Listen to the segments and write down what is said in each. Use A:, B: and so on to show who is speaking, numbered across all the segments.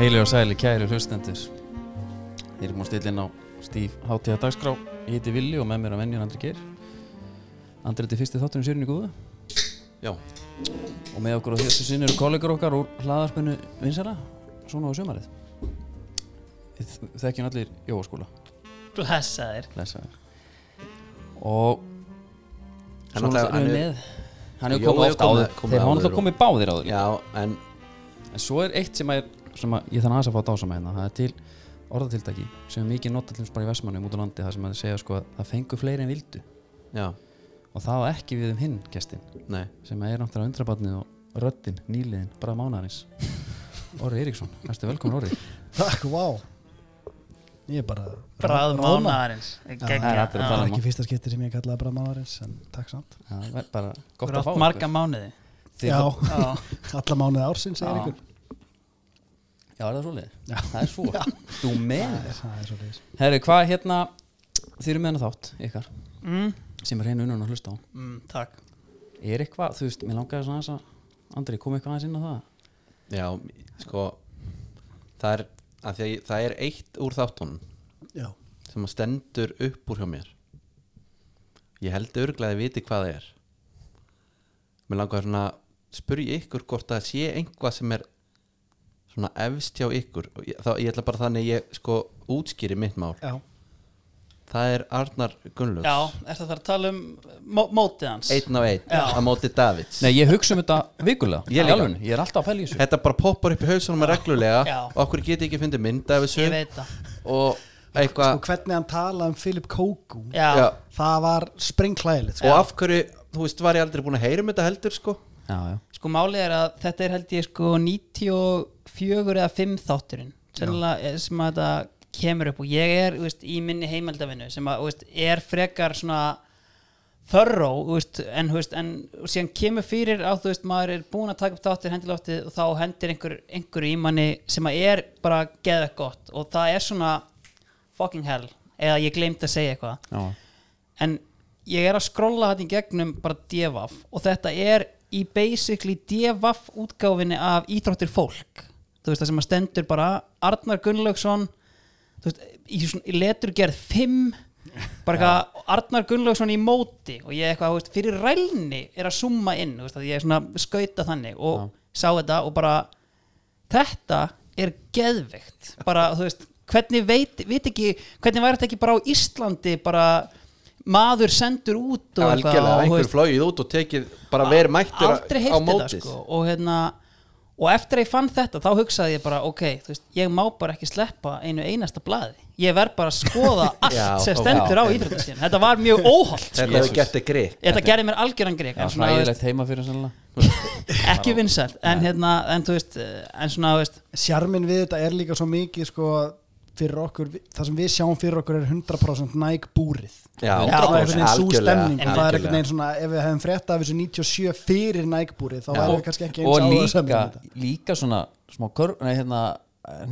A: Heili og sæli kæri hlustendur Þeir eru múið stillin á Stíf Hátíða Dagskrá Ég heiti Vili og með mér að venjun Andri Geir Andri, þetta er fyrsti þátturinn sérinn í góðu
B: Já,
A: Og með okkur á þessu sinni eru kollegar okkar úr hlaðarspunnu vinsæla Svona á sumarið Við þekkjum allir Jóaskúla
C: Blessaðir
A: Blessaður Og
B: Hann
A: Svona
B: náttúrulega-
A: erum við
B: hann er-
A: með Hann hefur
B: Jói
A: komið
B: hefur
A: oft
B: komið-
A: áður
B: komið
A: Þeir hafa
B: áður
A: náttúrulega
B: og-
A: komið báðir áður líka.
B: já, en
A: En svo er eitt sem er sem að ég þannig aðeins að fá dásama hérna það er til orðatiltæki sem er mikið nota til dæmis bara í Vestmannum út á landi það sem að þeir segja sko að það fengu fleiri en vildu
B: Já,
A: og það á ekki við um hinn gestin
B: nei
A: sem er náttúrulega undrabarnið og röddin, nýliðin, bara mánarins Orri Eiríksson, erstu velkomin Orri
D: Takk, vá Ég er bara
C: Bráð
D: Ráðma.
C: mánaðarins
A: það er allir að
D: Það
A: tala
D: er
A: um
D: ekki fyrsta skipti sem ég kallaði bara mánuðarins en takk samt
A: það er bara gott að
C: Grátt
A: fá
C: marga mánuði
A: ykkur. Þið-
D: Já,
C: Já.
D: alla mánuði ársins segir
C: Já.
D: ykkur
A: Já, er það svoleiðis?
D: Já.
A: Það er svo, þú með
D: Það er- það er svo leiðis
A: Herri, hvað hérna, þið eru með hana þátt ykkar,
C: mm,
A: sem er hreinu unan að hlusta á
C: mm, Takk
A: er eitthvað, þú veist, mér langaði svona aðeins að Andri, kom eitthvað aðeins inn á það
B: Já, sko Það er, að að ég, það er eitt úr þáttunum
D: Já,
B: sem að stendur upp úr hjá mér Ég held örglega að ég viti hvað það er Mér langar svona að spyrja ykkur hvort það sé einhvað sem er svona efst hjá ykkur Og ég, þá, ég ætla bara þannig að ég sko útskýri mitt mál
D: já,
B: Það er Arnar Gunnlaugs
C: Já, er það þarf að tala um mó mótið hans
B: Einn á einn
C: Já.
B: á móti Davids
A: Nei, ég hugsa um þetta vikulega
B: Ég
A: Í
B: líka.
A: alvörunni, ég er alltaf að pæla í þessu
B: Þetta bara poppar upp í hausunum reglulega
C: Já.
B: og okkur geti ekki fundið mynd af þessu
C: Ég veit það
B: og
D: og
B: eitthvað
D: hvernig hann talaði um Philip
C: Sko,
D: Kóku
C: Já,
B: Já.
D: Það var sko. sprengklæðilegt
B: og af hverju, þú veist, var ég aldrei búin að heyra um þetta heldur sko
A: Já, já,
C: sko málið er að þetta er held ég sko 94 eða 5 þátturinn Sennilega, eh, sem að þetta kemur upp og ég er þú veist, í minni heimaldavinu sem að, þú veist, er frekar svona þörró veist, en, þú veist, en síðan kemur fyrir á þú veist maður er búin að taka upp þáttir hendiloftið og þá hendir einhver, einhverju í manni sem að er bara geðvegt gott og það er svona fucking hell eða ég gleymd að segja eitthvað
A: já.
C: en ég er að skrolla þetta í gegnum bara devaf og þetta er í basically devaf útgáfinni af íþróttir fólk þú veist það sem að stendur bara Arnar Gunnlaugsson þú veist, í, svona, í leturgerð 5 bara eitthvað Arnar Gunnlaugsson í móti og ég eitthvað þú veist, fyrir rælni er að summa inn þú veist, að ég er svona skauta þannig og sá þetta og bara þetta er geðveikt bara þú veist hvernig veit, veit ekki, hvernig væri þetta ekki bara á Íslandi bara maður sendur út og
B: algjörlega,
C: og, þú
B: einhver
C: veist,
B: flóið út og tekið bara verið mættur
C: aldrei
B: á
C: heyrti þetta
B: mótið
C: sko og hérna og eftir að ég fann þetta þá hugsaði ég bara ok, þú veist, ég má bara ekki sleppa einu einasta blaði, ég verð bara að skoða
B: Já,
C: allt sem
B: ok.
C: stendur á íþróttastíðan þetta var mjög óholt
B: þetta
C: sko.
B: hefur gert þig grið
C: þetta gerði mér algjöran grek
A: já
C: en svona, þú veist,
A: hræðilegt heima fyrir sannlega
C: ekki vinsælt en hérna, en þú veist eh, en svona, þú veist,
D: Sjarmin við þetta er líka svo mikið sko fyrir okkur, það sem við sjáum fyrir okkur er 100% næg búrið
B: Já,
D: það
B: algjörlega,
D: er einhvern veginn svo stemning
B: algjörlega.
D: og það er einhvern veginn svona, ef við hefum frétt af þessu 97 fyrir nægbúrið þá væri við kannski ekki eins
A: og
D: áhuga
A: líka, líka svona smá körf, nei hérna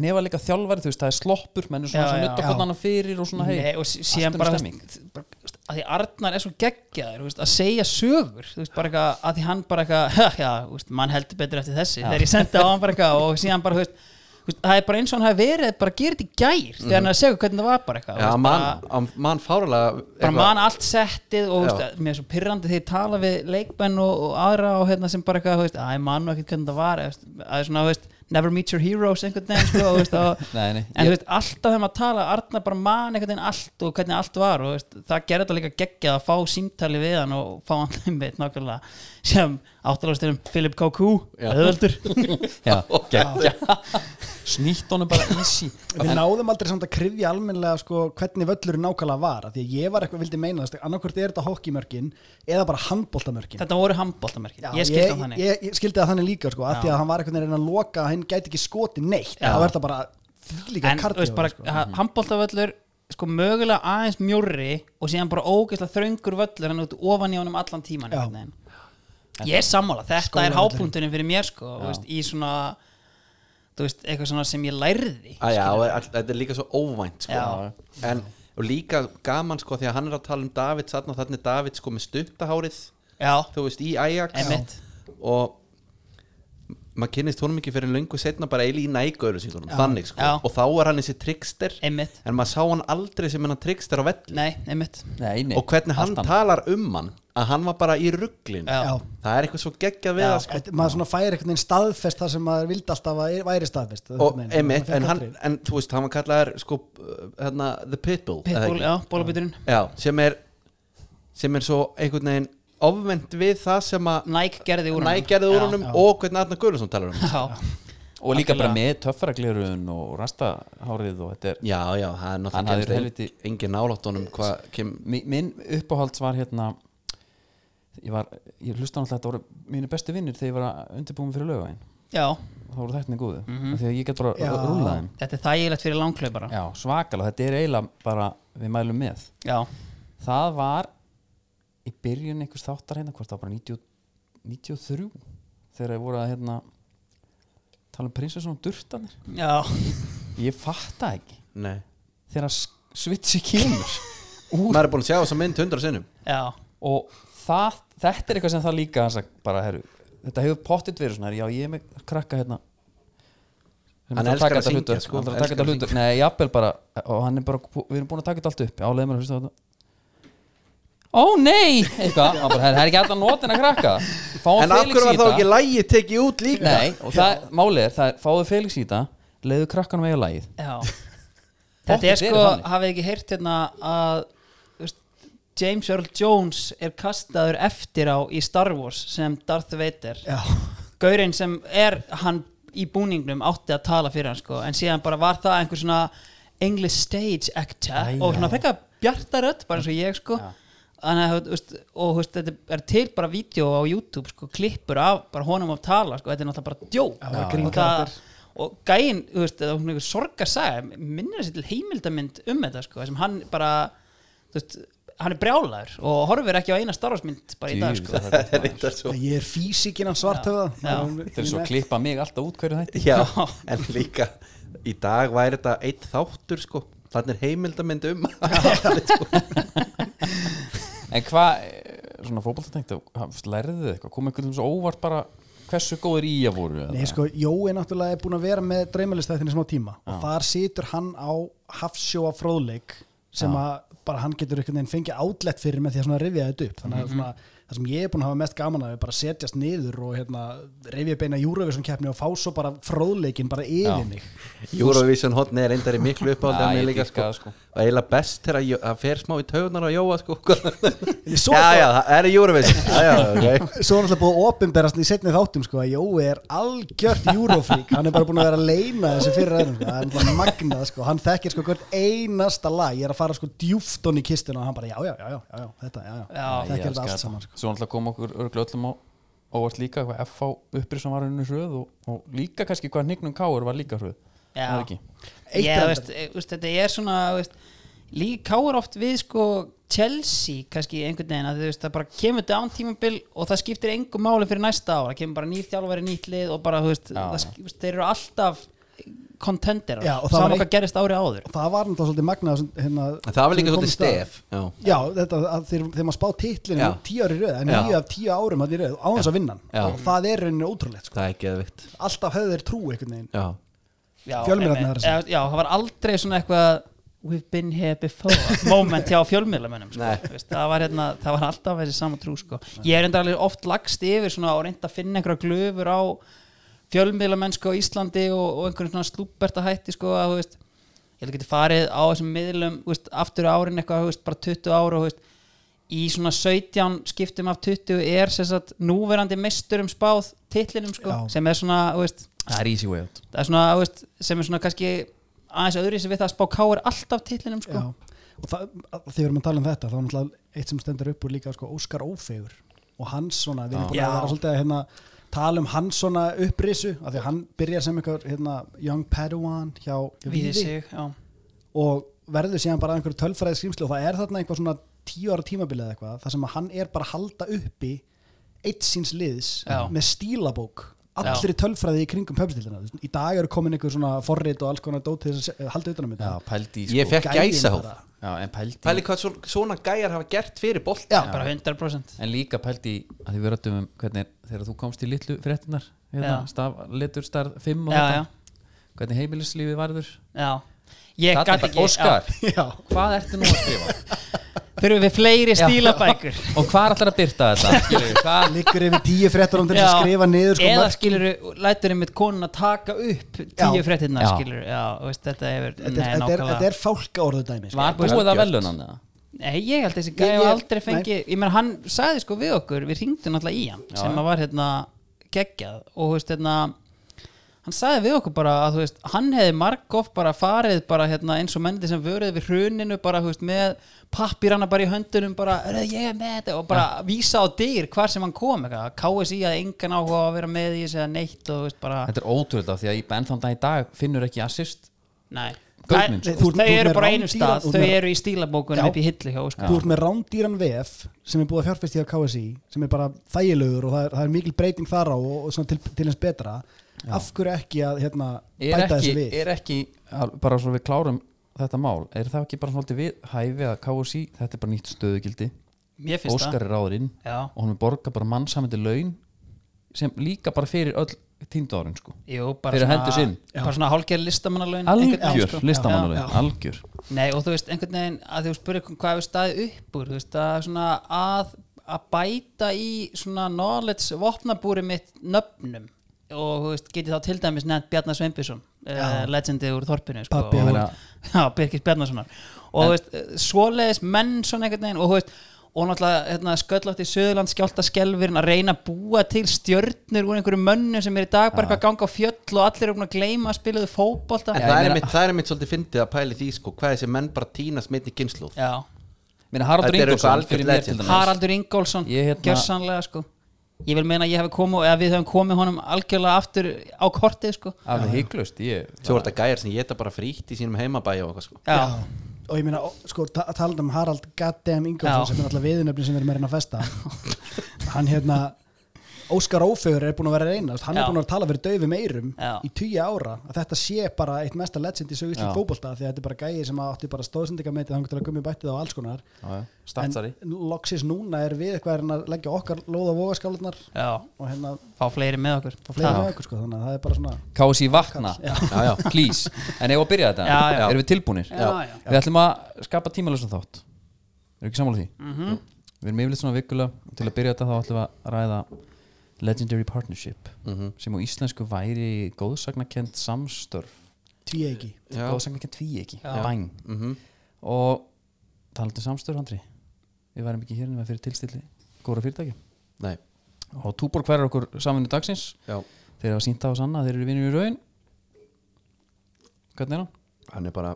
A: nefa líka þjálfari, þú veist, það er sloppur menn er svona
C: Já,
A: sem
C: já,
A: nutta
D: já.
A: hvort annan fyrir og svona hei,
C: Nei, og sí- síðan
A: allt
C: bara,
A: önnur
C: þú
A: stemming.
C: veist, bara þú veist, að því Arnar er svo geggjaður þú veist, að segja sögur þú veist, bara eitthvað, að því hann bara eitthvað já, þú veist, mann heldur betur eftir þessi þegar ég sendi á hann bara eitthvað og síðan bara þú veist, þú veist, það er bara eins og hann hafi verið bara gerði í gær þegar hann er að segja hvernig það var bara eitthvað
B: Já,
C: þú veist,
B: mann
C: bara,
B: man, man fáralega
C: bara man allt settið og þú veist,
B: Já.
C: að- mér er svo pyrrandi þegar ég tala við leikmenn og, og aðra og hérna sem bara eitthvað þú veist, að ég mann ekkert hvernig það var eða, þú veist, að það er svona, þú veist, never meet your heroes einhvern veginn sko, og, þú veist, og,
A: Nei, nei,
C: En
A: ég-
C: þú veist, alltaf þegar maður tala Arnar bara man einhvern veginn allt og hvernig allt var og þú veist, það gerði þetta líka geggjað að fá símtali við hann og fá hann einmitt nákvæmlega sem áttalastunum Philip Kókú
B: Já.
C: öðvöldur
A: Já, geggja. snýtt honum bara easy
D: Við náðum aldrei samt að krifja almennilega sko, hvernig völlurinn nákvæmlega var af því að ég var eitthvað vildi meina það annarkvort er þetta hokkimörkin eða bara handbóltamörkin
C: Þetta voru handbóltamerkin, ég skildi
D: ég,
C: hann þannig
D: ég, ég skildi það þannig líka sko, af því að hann var eitthvað reyna að loka að hann gæti ekki skoti neitt
C: Já.
D: þá er það bara því líka
C: En þú
D: kardió
C: veist bara,
D: sko.
C: sko. handbóltavöllur sko mögulega aðeins mjórri og síðan bara ógeðslega þröngur völlur en út ofan í honum allan tíman
D: Já.
C: ég er sammála, þetta
D: Skólavöllurinn.
C: er hápunkturinn fyrir mér sko,
A: Já.
C: þú veist, í svona þú veist, eitthvað svona sem ég lærði
B: Að já, og all- þetta er líka svo óvænt sko.
C: Já.
B: en, og líka gaman sko, því að hann er að tala um David satna, þannig David sko með stuttahárið
C: já,
B: þú veist, í Ajax
C: emitt
B: og maður kynnist honum ekki fyrir löngu setna bara eili í nægöru síðan þannig sko,
C: Já.
B: og þá er hann þessi trickster
C: Einmitt.
B: en maður sá hann aldrei sem hennan trickster á velli
C: nei, emitt
A: Nei, nei,
B: og hvernig hann
A: allt annað.
B: talar um hann að hann var bara í rugglinu
C: Já.
D: Já.
B: það er eitthvað svo geggjað við
C: Já.
B: það sko.
D: Þetta- maður svona fær einhvern veginn staðfest það sem maður vildi alltaf að væri staðfest
B: og
D: Einhvern veginn.
B: einmitt,
D: Maður
B: en,
D: fékk
B: hann,
D: aldrei.
B: en þú veist, hann var kallaðar sko, uh, hérna, The Pitbull eða
C: pitbull,
B: ekki?
C: já, bólabiturinn
B: Já, sem er sem er svo einhvern veginn ofvend við það sem að
C: Nike gerði úr
B: Næ gerði úr
C: Já.
B: honum
D: já.
B: og hvernig Arnar Guðlusson talar um
C: já,
A: og líka bara
C: Algjörlega.
A: með töffaraglerun og rastahárið og þetta er
B: Já, já, það er
A: Hann hafði
B: náttúrulega kemst
A: helviti-
B: engin nálátt honum hvað kem
A: Mi- minn uppáhalds var hérna ég var, ég hlusta náttúrulega þetta voru mínu bestu vinnir þegar ég var að undirbúmi fyrir lögvæðin
C: já,
A: þá voru þættinni góðu, mm því að ég get bara
D: Já.
A: r- rúllað þeim
C: þetta er þægilegt fyrir langklaupara
A: já, svakalega, þetta er eiginlega bara við mælum með,
C: já,
A: það var í byrjun einhvers þáttar hérna hvort það var bara 90, 93 þegar ég voru að hérna tala um prinsessun og durtanir
C: já,
A: ég fatta ekki
B: Nei
A: þegar s- svitsi kemur
B: Maður er búin að sjá þess að mynd hundra sinnum
C: já,
A: og það, þetta er eitthvað sem það líka hans að bara, herru, þetta hefur pottit verið svona, herru, já, ég er með krakka hérna Við erum
B: Hann
A: að
B: elskar
A: taka
B: að
A: þetta
B: syngja,
A: hlutverk,
B: sko,
A: hann er að
B: hann
A: taka þetta
B: elskar að
A: hlutverk. Nei, jafnvel bara, og hann er bara bú- við erum búin að taka þetta allt upp, já, leiðum mér að hlusta á þetta Ó nei, eitthvað hann bara, "Herru, það er ekki alltaf notin að krakka Fáum
B: En af
A: Felix í
B: hverju var þá
A: þetta
B: ekki lægi tekið út líka?
A: Nei, og það, málið er, það er, fáðu Felix í þetta leiðu krakkanum eiga lagið
C: já þetta
A: Pottet
C: er sko,
A: verið þannig.
C: hafið þið ekki heyrt hérna að þú veist, James Earl Jones er kastaður eftir á í Star Wars sem Darth Vader
D: Já.
C: gaurinn sem er hann í búningnum átti að tala fyrir hann sko, en síðan bara var það einhver svona English stage actor
A: Æ, já.
C: og svona fekka bjartarödd bara eins og ég sko
A: Já.
C: Þannig, að, þú veist, og þú veist, þetta er til bara vídeo á YouTube, sko, klippur af bara honum að tala, sko, þetta er náttúrulega bara djók
D: Já, bara
C: og, það, og gæinn, þú veist, eða hún einhver sorgarsæð minnir þessi til heimildamind um þetta sko, þar sem hann bara þú veist, hann er brjálaður og horfir ekki á eina starfsmynd bara í dag sko.
A: Djú, það er-
B: Reyndar svo
D: ég er físikinn hann svart
C: Já.
A: Þetta er svo að klippa mig alltaf út hverju þetta
B: Já, en líka Í dag væri þetta eitt þáttur sko Þannig er heimildamind um sko.
A: En hvað, eh, svona fótboltatengt lærðu þið eitthvað, kom einhvern veginn svo óvart bara hversu góður í að voru eða?
D: Nei, sko, Jói náttúrulega er búin að vera með draumalistættinni smá tíma og þar situr hann á hafsjóa fróðleik sem að bara hann getur einhvern veginn fengið átlegt fyrir með því að svona rifja þetta upp þannig að svona, það sem ég er búin að hafa mest gaman að er bara að setjast niður og hérna, rifja beina Eurovision keppni og fá svo bara fróðleikin bara yfir
A: Já.
D: mig
B: Eurovision hotni er reyndar í miklu uppáhaldi
A: Já,
B: af mér
A: ég
B: líka,
A: dýrka það, sko.
B: Og eiginlega best þegar að Jó- að fer smá í taugunar á Jóa sko Já,
D: svo
B: já, það er í Eurovision Já, já, ok
D: Svo er alltaf búið að opinberast í setni þáttum sko, að Jói er algjört júrófrík hann er bara búin að vera að leina þessu fyrir öðrum sko. það er alltaf magnað, sko. hann þekkir sko hvert einasta lag, ég er að fara sko djúftón í kistuna og hann bara já, já, já, já, já, já þetta, já, já,
C: Já,
A: Ég
D: þekkir
A: elska
D: þetta
A: þetta.
D: allt saman sko.
A: Svo náttúrulega kom okkur örglu öllum á óvart líka hvað FH upprið sem var unni hröð og, og líka kannski hvað hnignum káur var líka hröð
C: Já.
A: Það er ekki
D: Eitt
C: Já,
D: reyndar.
C: veist, eh, veist, þetta er svona veist, líka káur oft við sko Chelsea kannski einhvern veginn að þú veist, það bara kemur down tímabil og það skiptir engu máli fyrir næsta ára, kemur bara nýr þjálfari nýtt lið og bara, þú veist,
A: Já,
C: það,
A: já.
C: skip- veist, þeir eru alltaf contender,
D: Já, og það var
C: saman
D: eitt-
C: hvað gerist ári áður
D: og það var náttúrulega svolítið magnað sem- hérna,
B: Það var
D: sem
B: líka svolítið
D: við komumst að.
B: stef Já,
D: Já, þetta, að þeir, þeir maður spá titlinu
B: Já.
D: tíu ári röð, en
B: Já.
D: nýju af tíu árum að því röð, án þess að vinna
B: Já.
D: hann og það er rauninni ótrúlegt, sko.
B: það er geðvikt
D: alltaf höfðu þeir trú einhvern veginn
B: Já,
C: Já,
D: Fjölmiðlarnir
C: einmitt.
D: aðra sinni.
C: Eh, Já, það var aldrei svona eitthvað We've been here before moment hjá fjölmiðlamönnum sko.
B: Nei.
C: Þú veist, það, var hérna, það var alltaf þessi sama trú sko. Ég er enda alveg oft lagst yfir svona og reynd að finna einhverja glöfur á fjölmiðlamennsko á Íslandi og, og einhvern svona slúberta hætti sko, að, þú veist, ég held að geti farið á þessum miðlum þú veist, aftur árin eitthvað, þú veist, bara 20 ára og, þú veist, í svona 17 skiptum af 20 er sem sagt, núverandi misturum spáð titlinum sko,
D: Já.
C: sem er svona þú veist,
A: Það er easy way out
C: það er svona, þú veist, sem er svona kannski aðeins öðru sem við það að spá káir alltaf titlinum sko.
D: Já, og það, að- þegar við erum að tala um þetta þá er náttúrulega eitt sem stendur upp úr líka sko, Óskar Ófegur og hans svona við erum búin
C: Já.
D: að vera svolítið að hérna, tala um hans svona upprisu af því að hann byrjar sem eitthvað hérna, Young Padawan hjá hjá
C: við sig já.
D: og verður síðan bara einhverju tölfræði skrýmsli og það er þarna einhvað svona tíu ára tímabilið eða eitthvað þar sem að hann er bara að halda uppi eitt síns liðs
C: Já.
D: með stílabók allri tölfræði í kringum pöpstildina í dag eru komin einhver svona forrit og alls konar dótið þess að se- halda utan um þetta
A: Já, pældi í sko
B: Ég fekk
D: Gæinn
B: gæsahúf
D: bara.
A: Já, en pældi,
B: Pæli hvað svo- svona gæjar hafa gert fyrir bolt
C: Já, bara 100%
A: En líka pældi í að því við rættum um hvernig þegar þú komst í litlu fréttinar hérna,
C: Já.
A: staf, litur starf 5 og
C: Já,
A: þetta
C: já,
A: hvernig heimilislífið varður
C: já Ég
A: Þarna
C: gat
A: bara,
C: ekki
A: Óskar,
D: Já.
A: hvað ertu nú að skrifa?
C: já. Þurfum við fleiri
A: Já.
C: stílabækur
A: og hvað ætlar að byrta þetta? Skilur, hvað?
D: liggur yfir tíu fréttar um til þess
C: Já.
D: að skrifa niður sko
C: Eða
D: mörk.
C: skilur við, lætur við með konun að taka upp
D: Já.
C: tíu fréttinnar
A: Já.
C: skilur Já, þú veist, þetta hefur
D: þetta er,
C: sko- Nei,
D: þetta er, þetta
C: nákvæmlega
D: er fálka orðu dæmi sko.
A: Var búið að velunan eða?
C: Nei, ég held að þessi
D: Ég-
C: gæja
D: ég-
C: aldrei fengi Ég meina, hann sagði sko við okkur Við hringdum náttúrulega í hann sem að var hérna geggjað og þú veist hérna hann sagði við okkur bara að þú veist hann hefði margóf bara farið bara hérna eins og menndi sem vöruði við hruninu bara þú veist með pappirana bara í höndunum bara "Heyrðu, ég er með þetta og bara vísa á dyr hvar sem hann kom eitthvað KSI að engan áhuga á að vera með í þessu eða neitt og þú veist bara
A: Þetta er ótrúlega því að í bennþandan í dag finnur ekki assist
C: nei
A: Gautminn,
C: Þær-
D: sko. Þú-
C: þau
D: þú-
C: eru
D: með
C: bara á einum
D: rándýran-
C: stað
D: þú-
C: þau
D: með-
C: eru í stílabókunum
D: Já.
C: upp í hillu hjá sko. Óskar
D: þú ert með rándýran vef sem er búið að fjárfesti á KSI sem er bara þægilegur og það er, það er mikil breyting þar á og, og svona til, til eins betra af hverju ekki að hérna,
A: er
D: bæta
A: ekki,
D: þessu við
A: er ekki al- bara svo við klárum þetta mál er það ekki bara svolítið við hæfi að KSI þetta er bara nýtt stöðugildi
C: mér finnst
A: Óskar er ráðurinn
C: það já
A: og hún er borga bara mannsamendi laun sem líka bara fyrir öll týndu árin sko
C: Jú, bara
A: Fyrir
C: svona-
A: hendur sinn.
C: bara svona hálfgerð listamannalaun
A: algjör
C: sko. Já.
A: listamannalaun, algjör
C: nei og þú veist einhvern veginn að þú spurði hvað hefur staðið upp úr þú veist að svona að að bæta í svona knowledge vopnabúri mitt nöfnum og þú veist geti þá til dæmis nefnt Bjarnar Sveinbjörnsson uh, legendið úr þorpinu sko,
D: Pabbi
C: og,
A: hennar.
C: já, Birgis Bjarnarssonar og þú veist eh, svoleiðis menn svona einhvern veginn og þú veist og náttúrulega hérna, sköllátt í Suðurland skjálta skelfurinn að reyna að búa til stjörnur úr einhverju mönnu sem er í dag bara eitthvað að ganga á fjöll og allir eru búin að gleyma að spilaðu fótbolta
B: En
A: Já,
B: það
A: ég
B: er,
A: meina-
B: mitt, það er mitt svolítið fyndið að pæli því sko, hvað þessi menn bara tínast mitt í kynsluð
C: Já,
A: Meina, Haraldur
B: Þetta er eitthvað
A: Ingolson
B: algjört
A: fyrir mér
B: legend.
A: til dæmis
C: Haraldur Ingólfsson
A: Ég hérna-
C: gjörsanlega sko ég vil meina að ég hef komið eða við höfum komið honum algjörlega aftur á kortið sko
A: alveg hygglust ég
B: Svo er þetta gæjar sem geta bara frítt í sínum heimabæja og eitthvað sko
C: já,
D: og ég meina, ó, sko, ta talað um Harald Goddam Ingolfsson
C: Já.
D: sem er alltaf viðinöfni sem við erum að reyna að festa hann hérna Óskar Ófegur er búin að vera að reyna þú veist, hann
C: Já.
D: er búin að tala fyrir dauðum eirum
C: Já.
D: í tíu ára að þetta sé bara eitt mesta legend í sögu
A: Já.
D: íslensk fótbolta því að þetta er bara gæi sem átti bara stóðsendingameitið þannig til að gummi bættið á alls konar
A: Já, já. statsari
D: en loksis núna er við eitthvað að reyna að leggja okkar lóða vogaskálunar
C: já,
D: og hérna
C: fá fleiri með okkur
D: fá fleiri með okkur sko þannig að það er bara svona
A: KSI vakna,
B: Já, já.
A: please en eigum við að byrja þetta,
C: Já, já.
A: erum við tilbúnir
C: já, já,
A: Við ætlum að skapa tímalösa þátt Erum ekki sammála því?
C: Mhm.
A: -hmm. Við erum yfirleitt svona vikulega Til að byrja þetta þá ætlum við að ræða Legendary Partnership
B: Mhm.
A: Sem á íslensku væri góðsagnakent samstörf
D: tví ekki
B: Já.
A: Góðsagnakent tví ekki,
C: Já.
A: bæn
B: mm
A: Og talandi um samstörf, Andri Við værum ekki hér nema fyrir tilstilli Góra fyrirtæki
B: Nei,
A: Og Túborg færir okkur samvinnu dagsins
B: já,
A: Þeir hafa sínt á sann að þeir eru vinnur í raun Hvernig er hann?
B: hann er bara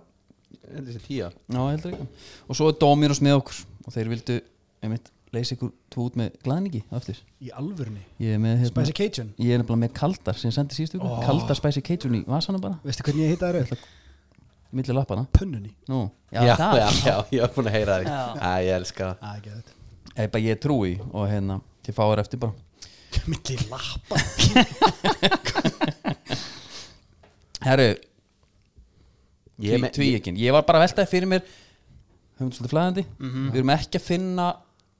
B: er Þessi tíja
A: Já, heldur ekki Og svo er Dominos með okkur og þeir vildu, einmitt, leysa ykkur tvo út með glæningi á eftir
D: í alvörni
A: Ég er með, hérna,
D: Spicy Cajun
A: ég er nefnilega með kaldar sem ég sendi síðustu ykkur, kaldar spæsi keitjun í vasana bara,
D: veistu hvernig ég heita það eru?
A: Hérna. milli lappana
D: pönnunni
A: Nú,
B: Já, já, já, ég er búin að heyra því
C: Já.
B: Æ, ég elska það
D: að ekki þetta
A: Ég, bara, ég trúi og hérna, ég fáir eftir bara
D: Milli lappa
A: Herru,
B: Ég er með-
A: tví ekki Ég var bara að veltaði fyrir mér höfum svolítið flæðandi
B: Mhm.
A: Við erum ekki að finna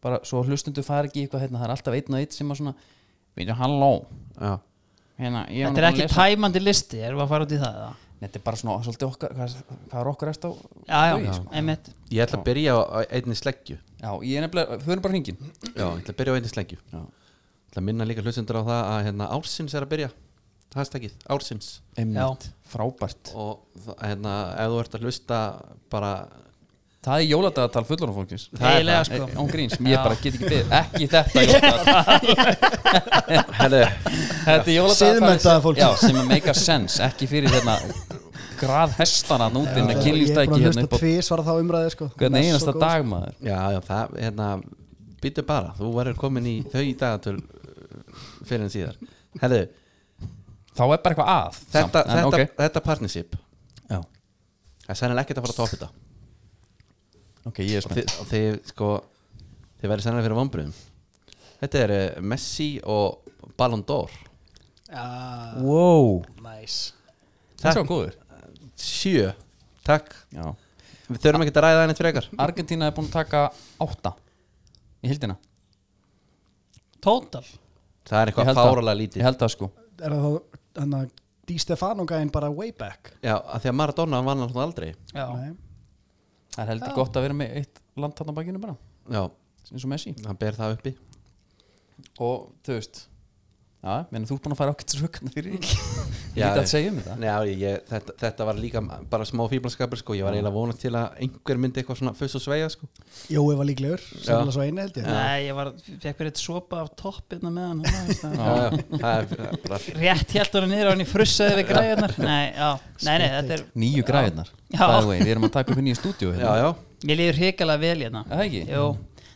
A: bara svo hlustundu fari ekki í eitthvað hérna, það er alltaf einn og einn sem að svona Veitir, halló
B: Já,
A: hérna, ég var nú
C: þetta er
A: búin að
C: ekki
A: lesa-
C: tæmandi listi erum við að fara út í það eða?
A: Nei, Þetta er bara svona svolítið okkar hvað, hvað er okkar eftir á
C: já, já,
A: degi,
C: já,
A: sko.
C: einmitt
B: Ég ætla að byrja á á einni sleggju
A: já, ég er nefnilega, förum bara hringin
B: Já, ég ætla að byrja á einni sleggju
A: Já.
B: Ég ætla að minna líka hlustendur á það að hérna, ársins er að byrja Hashtagið, ársins
A: Einmitt, frábært
B: Og það- hérna, ef þú ert að hlusta bara
A: Það er jóladagatal fullorðan fólkins
C: Eiginlega,
A: það,
C: sko.
A: án gríns,
C: Já.
A: ég bara get ekki byrð Ekki þetta jóladagatal
B: Herðu,
A: Þetta er jóladagatal
D: Siðmenntaða fólkið.
A: Já, sem er make a sense, ekki fyrir hérna Grað hestana núti með
D: Ég er
A: kynlýfstæki
D: búin að
A: hérna
D: hlusta
A: upp á
D: tvísvara þá umræði sko
A: Hvern
D: Hún er
A: einasta
D: svo góð,
A: dag maður
B: já, já, það, hérna Býtu bara, þú verður komin í þau í dagatöl uh, fyrir en síðar Herðu,
A: Þá er bara eitthvað að
B: þetta,
A: samt, en
B: þetta, þetta partnership
A: ok. Já.
B: Það er sennilega ekkert að fara að topa þetta
A: ok, ég er
B: og
A: spennt
B: þið, og þið sko þið verður sennilega fyrir vombriðum þetta er eh, Messi og Ballon d'Or
D: Já,
A: wow,
D: nice
A: það er góður
B: sjö, takk
A: já.
B: við þurfum ekki að ræða henni frekar
A: Argentina er búin að taka átta í hildina,
C: Total
B: það
A: Ég
B: er eitthvað
A: held að-
B: fáralega lítið
A: ég held það sko
D: Er það þá, hann að Di Stefano gæinn bara way back
B: já, að því að Maradona vann hann aldrei
C: Já,
D: Nei.
A: það er heldur gott að vera með eitt land þarna á bakinu bara,
B: já,
A: eins og Messi
B: hann ber það uppi
A: og þú veist já, menn þú er búin að fara ákveðt rökkana fyrir því. ég
B: Já,
A: veit að
B: ég-
A: segja um þetta
B: Nei, já, ég, þetta, þetta var líka bara smá fíblanskapur sko. ég var eiginlega vonast til að einhver myndi eitthvað svona fuss og sveia sko.
D: Jói var líklegur, sérlega svo einu held ég
C: Nei ég var, fekk fyrir eitt sopa af toppirna með hann það var-
B: já, já, það er það er bara
C: Rétt held hann niður og hann í frussaði við græðunar Nei, já, nei, nei, þetta er
A: nýju græðnar,
C: Já.
A: by the way, við erum að taka upp henni í stúdíu
B: já, já,
C: Ég líður hrikalega vel hérna
A: Það ekki?
C: Jú,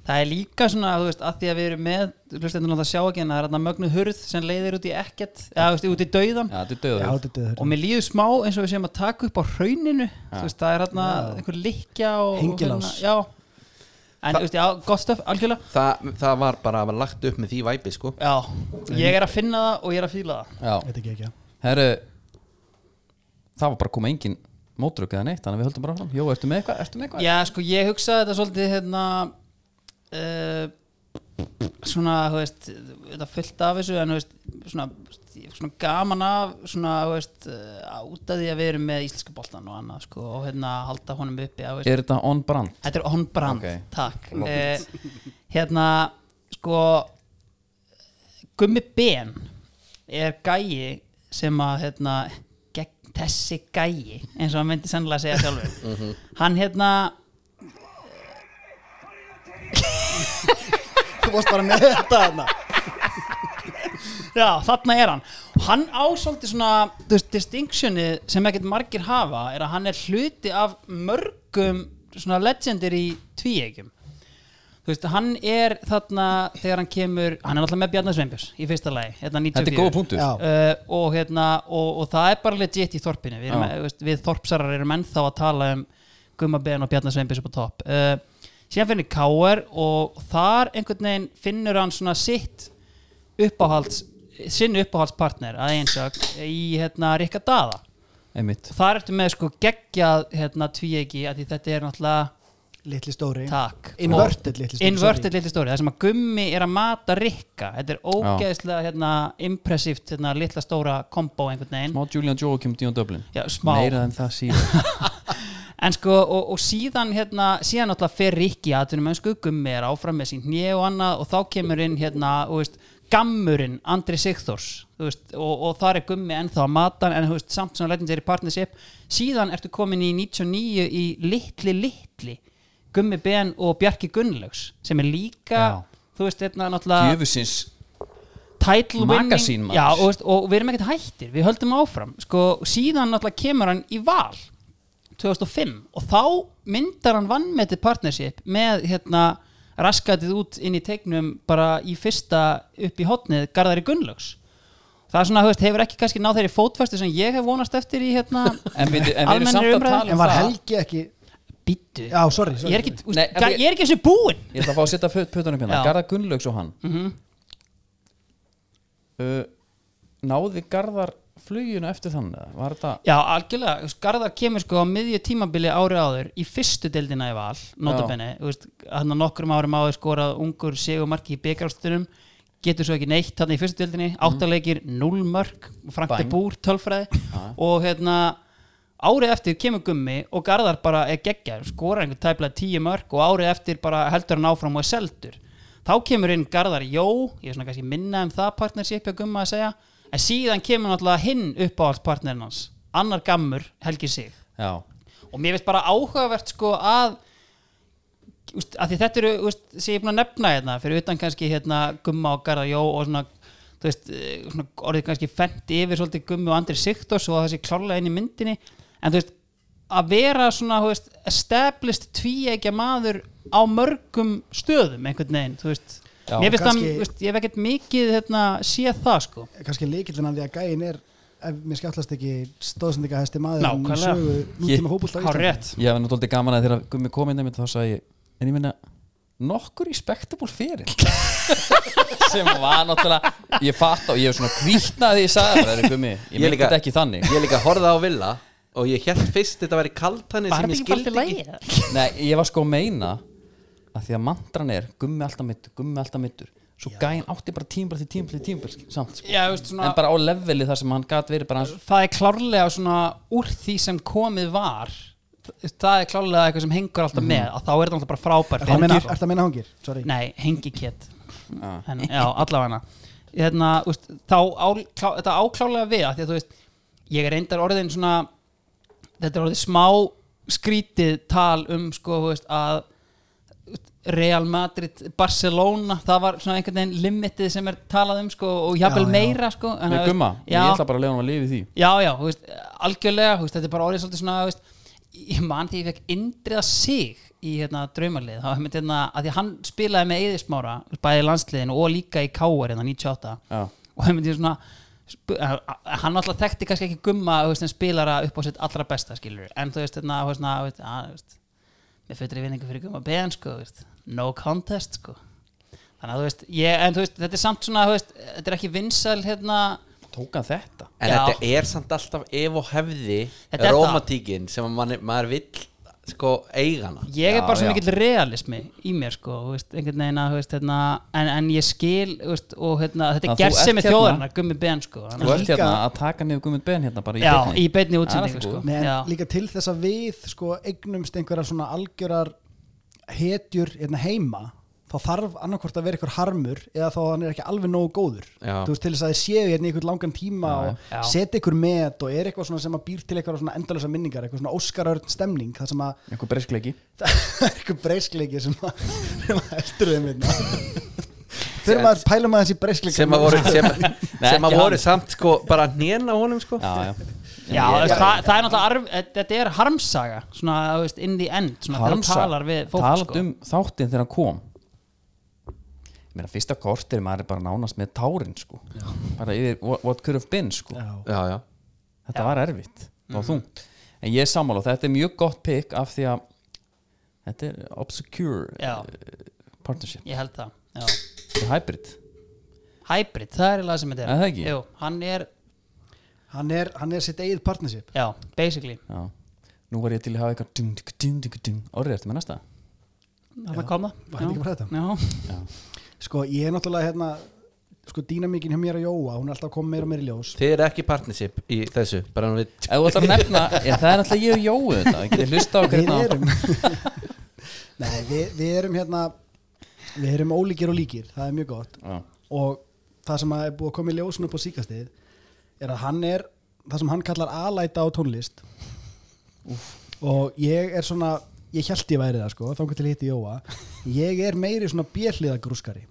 C: það er líka svona, þú veist, að því að við erum með Hlustendur náttúrulega sjá ekki en það er þarna mögnu hurð sem leiðir út í ekkert Eða, þú veist, út í dauðan
A: Já, þetta er
D: Já,
A: döður
D: þetta er
C: Og mér líður smá eins og við séum að taka upp á hrauninu Þú veist, það er hérna einhver likja og, og
D: Hengilás.
C: hérna- Já, en,
B: Þa-
C: þú veist, já, gott stöf, algjörlega
B: það, það var bara var lagt upp með því væpi sko.
C: Já, ég er að finna það og ég er að fíla það
A: Já,
D: Þetta er ekki ekki
A: herru Það var bara að koma engin mótrök eða neitt, þannig að við höldum bara áfram Jó, ertu með eitthvað? Ertu með eitthvað?
C: Já, sko, ég hugsaði þetta svolítið hérna uh, svona, þú veist þetta fullt af þessu en, þú veist, svona, svona gaman af svona, þú veist, uh, út af því að við erum með íslenska boltan og annað, sko og hérna halda honum uppi, þú veist
A: Er þetta on brand?
C: Þetta er on brand,
A: Ok.
C: takk uh, Hérna, sko Gummi Ben er gæi sem að hérna, gegn þessi gæi eins og hann myndi sennilega segja sjálfur Hann hérna
D: Þú varst bara með þetta hérna. þarna
C: Já, þarna er hann og hann ásóldi svona þú veist, distinctioni sem ekkert margir hafa er að hann er hluti af mörgum svona legendir í tvíegjum þú veist, hann er þarna þegar hann kemur, hann er náttúrulega með Bjarnar Sveinbjörns í fyrsta lagi, hérna 94
A: Þetta er góða punktur
D: Já.
C: Uh, og, hérna, og, og það er bara legit í þorpinu við, erum,
A: Já.
C: þú veist, við þorpsarar erum ennþá að tala um Gumma Ben og Bjarnar Sveinbjörns upp á topp uh, síðan finnir K.R. og þar einhvern veginn finnur hann svona sitt uppáhalds sinn uppáhaldspartner að einsök í hérna Rikka Dada
A: Einmitt
C: þar ertu með sko geggjað hérna tvíegi að því þetta er náttúrulega
D: Litli stóri
C: takk
D: Inverted litli stóri
C: Inverted litli stóri, það sem að gummi er að mata Rikka, þetta er ógeðslega hérna, impressíft hérna, litla stóra kombo einhvern veginn,
A: Má Julian Joachim Dion Dublin
C: já, smá
A: Meira en það síðan
C: en sko, og, og síðan hérna, síðan náttúrulega fer Rikki aðtunum en sko, gummi er áfram með sín hnjö og annað og þá kemur inn hérna, þú veist, gammurinn Andri Sigþórs, þú veist, og, og þar er gummi ennþá að mata hann, en þú veist, samt sem að letin sér í partnership, síðan ertu komin í 99 í litli litli gummi Ben og Bjarki Gunnlaugs sem er líka,
A: Já.
C: þú veist, hérna náttúrulega
A: Jöfusins
C: title
A: Magasín,
C: winning
A: maður.
C: já, og, veist, og við erum ekkert hættir, við höldum áfram sko, síðan náttúrulega kemur hann í val 2005 og þá myndar hann vannmetið partnership með hérna raskatið út inn í teiknum bara í fyrsta upp í hotnið Garðari Gunnlaugs það er svona, þú veist, hefur ekki kannski náð þeirri fótfestu sem ég hef vonast eftir í hérna
A: En við, en við erum
C: Almennri
A: samt að
C: umræðu.
A: tala
D: En
A: um
D: var
A: það
D: Helgi ekki
C: býttu,
D: Já, sorry,
C: ég
D: sorry
C: er ekki þú veist,
A: Nei, en
C: ga-
A: við-
C: ég er ekki þessu búinn
A: Ég ætla að fá að setja pöt- pötunum hérna
C: Já.
A: Garðar Gunnlaugs og hann uh, Náði Garðar fluginu eftir þannig eða? Var þetta
C: Já, algjörlega, Þú veist, Garðar kemur sko á miðju tímabili árið áður í fyrstu deildina í val, notabenni hann að nokkrum árum áður skorað ungur segumarki í byggjálstunum getur svo ekki neitt þarna í fyrstu deildinni áttalegir, null mörk, Frank de
A: Bang.
C: Búr tölfræði og hérna árið eftir kemur gummi og Garðar bara er geggjar, skorar einhver tæplega tíu mörk og árið eftir bara heldur hann áfram og er seldur þá kemur inn Garðar Jó ég er svona kannski minna um það partnership að gumma að segja, en síðan kemur náttúrulega hinn uppáhaldspartnerin hans, annar gammur Helgi Sig,
A: Já,
C: og mér finnst bara áhugavert sko að úst, að því þetta eru, úst, sem ég er búin að nefna hérna, fyrir utan kannski hérna gumma og Garðar Jó og svona þú veist, eh, svona orðið kannski fendt yfir svolítið gummi og Andri Sigtors og það sé klárlega inn í myndinni, en þú veist að vera svona, þú veist, established tvíegja maður á mörgum stöðum einhvern veginn, þú veist
A: Já,
C: mér finnst það,
D: kannski-
C: þú veist, ég hef ekkert mikið hérna, séð það sko
D: Kannski leikillin að því að gæin er ef mér skjáttlast ekki stóðsendingahæsti maður
C: Nákvæmlega.
D: sögu nútíma
A: Ég-
D: fótbolta
C: Há
D: á Íslandi.
C: rétt
A: Ég hef náttúrulega gaman að þegar Gummi kom inn einmitt þá sagði ég, en ég minna nokkur respectable fyrir sem var náttúrulega ég fatt á, ég hef svona kvítnaði ég sagði bara, "Heyrðu, Gummi, ég,
B: Ég
A: ég myndi
B: líka-
A: þetta ekki þannig
B: Ég líka horfði á Villa og ég held fyrst þetta væri kaltanir sem ég skildi ekki
A: Nei, ég var sko að meina að því að mantran er Gummi alltaf mittur, Gummi alltaf mittur svo gæinn átti bara tímbar því tímbar því tímbar samt, sko.
C: Já, veist, svona,
A: en bara á leveli þar sem hann gat verið bara hans
C: það er klárlega svona úr því sem komið var það er klárlega eitthvað sem hengur alltaf
A: Mhm.
C: með að þá er þetta alltaf bara frábær
D: Er það að meina-
C: fyrir-
D: er það að meina hangir? Sorry.
C: Nei, hengikett
A: Ah.
C: en, Já, allavega hérna, úst, þá á, klá, þetta áklálega við að því að þú veist, ég er reyndar orðin svona þetta er orðið smá skrítið tal um sko, þú veist, að úst, Real Madrid, Barcelona það var svona einhvern veginn limitið sem er talað um sko, og jafnvel
D: Já, já.
C: meira sko, en
A: með
C: að, þú veist,
A: Gumma,
C: já,
A: ég ætla bara að leiða hann að lifi því
C: já, já, þú veist, algjörlega þú veist, þetta er bara orðið svolítið svona þú veist, ég man því ég fekk indriða sig í hérna, draumalið þá, einmitt, hérna, að því að hann spilaði með Eðismára bæði í landsliðinu og líka í Káar hérna, 98
A: Já.
C: og einmitt, ég svona, sp- að- að- hann alltaf þekkti kannski ekki gumma þú veist, en spilara upp á sitt allra besta skilur en þú veist, hérna, þú veist, na, þú veist, að, þú veist með fyrir vinningu fyrir gumma ben sko, þú veist, no contest sko. þannig að þú veist, ég, en þú veist þetta er samt svona, þú veist, þetta er ekki vinsæl hérna,
A: tók hann þetta
B: En
C: Já.
B: þetta er samt alltaf ef og hefði
C: Þetta er það.
B: romantíkin sem að manni, maður vill sko eigana
C: ég er
A: Já,
C: bara svo
A: já.
C: mikill realismi í mér sko, þú veist, einhvern veginn að þú veist, hérna, en, en ég skil þú veist, og hérna,
A: Þannig
C: þetta er
A: að þú
C: gerðsemi
A: ert hérna-
C: þjóðarinnar gummi ben sko, þannig
A: þú ert
D: Líka-
A: hérna að taka niður Gummi Ben hérna bara í
C: að- já,
A: beinni.
C: í beinni
A: Það er
C: útsendingu
A: alltaf
C: sko.
A: góð.
D: Nei, en
C: Já.
D: líka til þess að við sko eignumst einhverjar svona algjörar hetjur hérna heima þá þarf annarkvort að vera einhver harmur eða þá að hann er ekki alveg nógu góður
B: Já.
D: þú veist til þess að þið séu hérna í einhvern langan tíma og
C: Já.
D: setja einhver met og er eitthvað svona sem að býr til eitthvað svona endalösa minningar eitthvað svona óskarörn stemning það sem að
A: einhver breyskleiki
D: það er einhver breysklegi sem að sem að heldur þeim hérna fyrir maður pælum að þessi breysklegi
B: sem að voru, sem, sem að
A: ekki
B: voru
A: hann.
B: samt sko bara hnén á honum sko
A: já, já.
C: Já, þú veist, það, það er náttúrulega arf, þetta er harmsaga svona, þú veist, in the end svona, þegar þú
A: Harmsa-
C: talar við fólk
A: Talandi
C: sko.
A: um þáttinn þegar hann kom Ég meina, fyrsta kortir maður er bara nánast með tárin sko. bara yfir what, what could have been sko.
D: Já.
B: Já, já
A: þetta var erfitt, það var þungt en ég er sammála, og þetta er mjög gott pick af því að þetta er obscure
C: Já.
A: eh, partnership,
C: ég held það já.
A: þetta er hybrid
C: hybrid, það er eiginlega sem þetta er
A: Er það ekki?
C: Jú, hann er,
D: hann er, hann er sitt eigið partnership
C: já, basically
A: já. nú var ég til að hafa eitthvað dung, dung, dung, dung, dung. orðið eftir með næsta
C: það kom
D: var hann ekki bara þetta?
C: það já.
D: Sko, ég er náttúrulega hérna sko, dýnamíkin hjá mér að jóa, hún er alltaf komið meira og meira í ljós
B: Þið eru ekki partnership í þessu bara hann við
A: ef þú ætlar að nefna, já, það er alltaf ég og Jói um þetta, ég geti hlusta á hérna.
D: Við
A: hvernig
D: erum Nei, við, við erum hérna við erum ólíkir og líkir, það er mjög gott
A: Já.
D: og það sem að er búið að koma í ljós svona upp á síkastið er að hann er það sem hann kallar alæta á tónlist og ég er svona ég held ég væri það sko, þá til hitti Jóa ég er meiri svona björliðagrúskari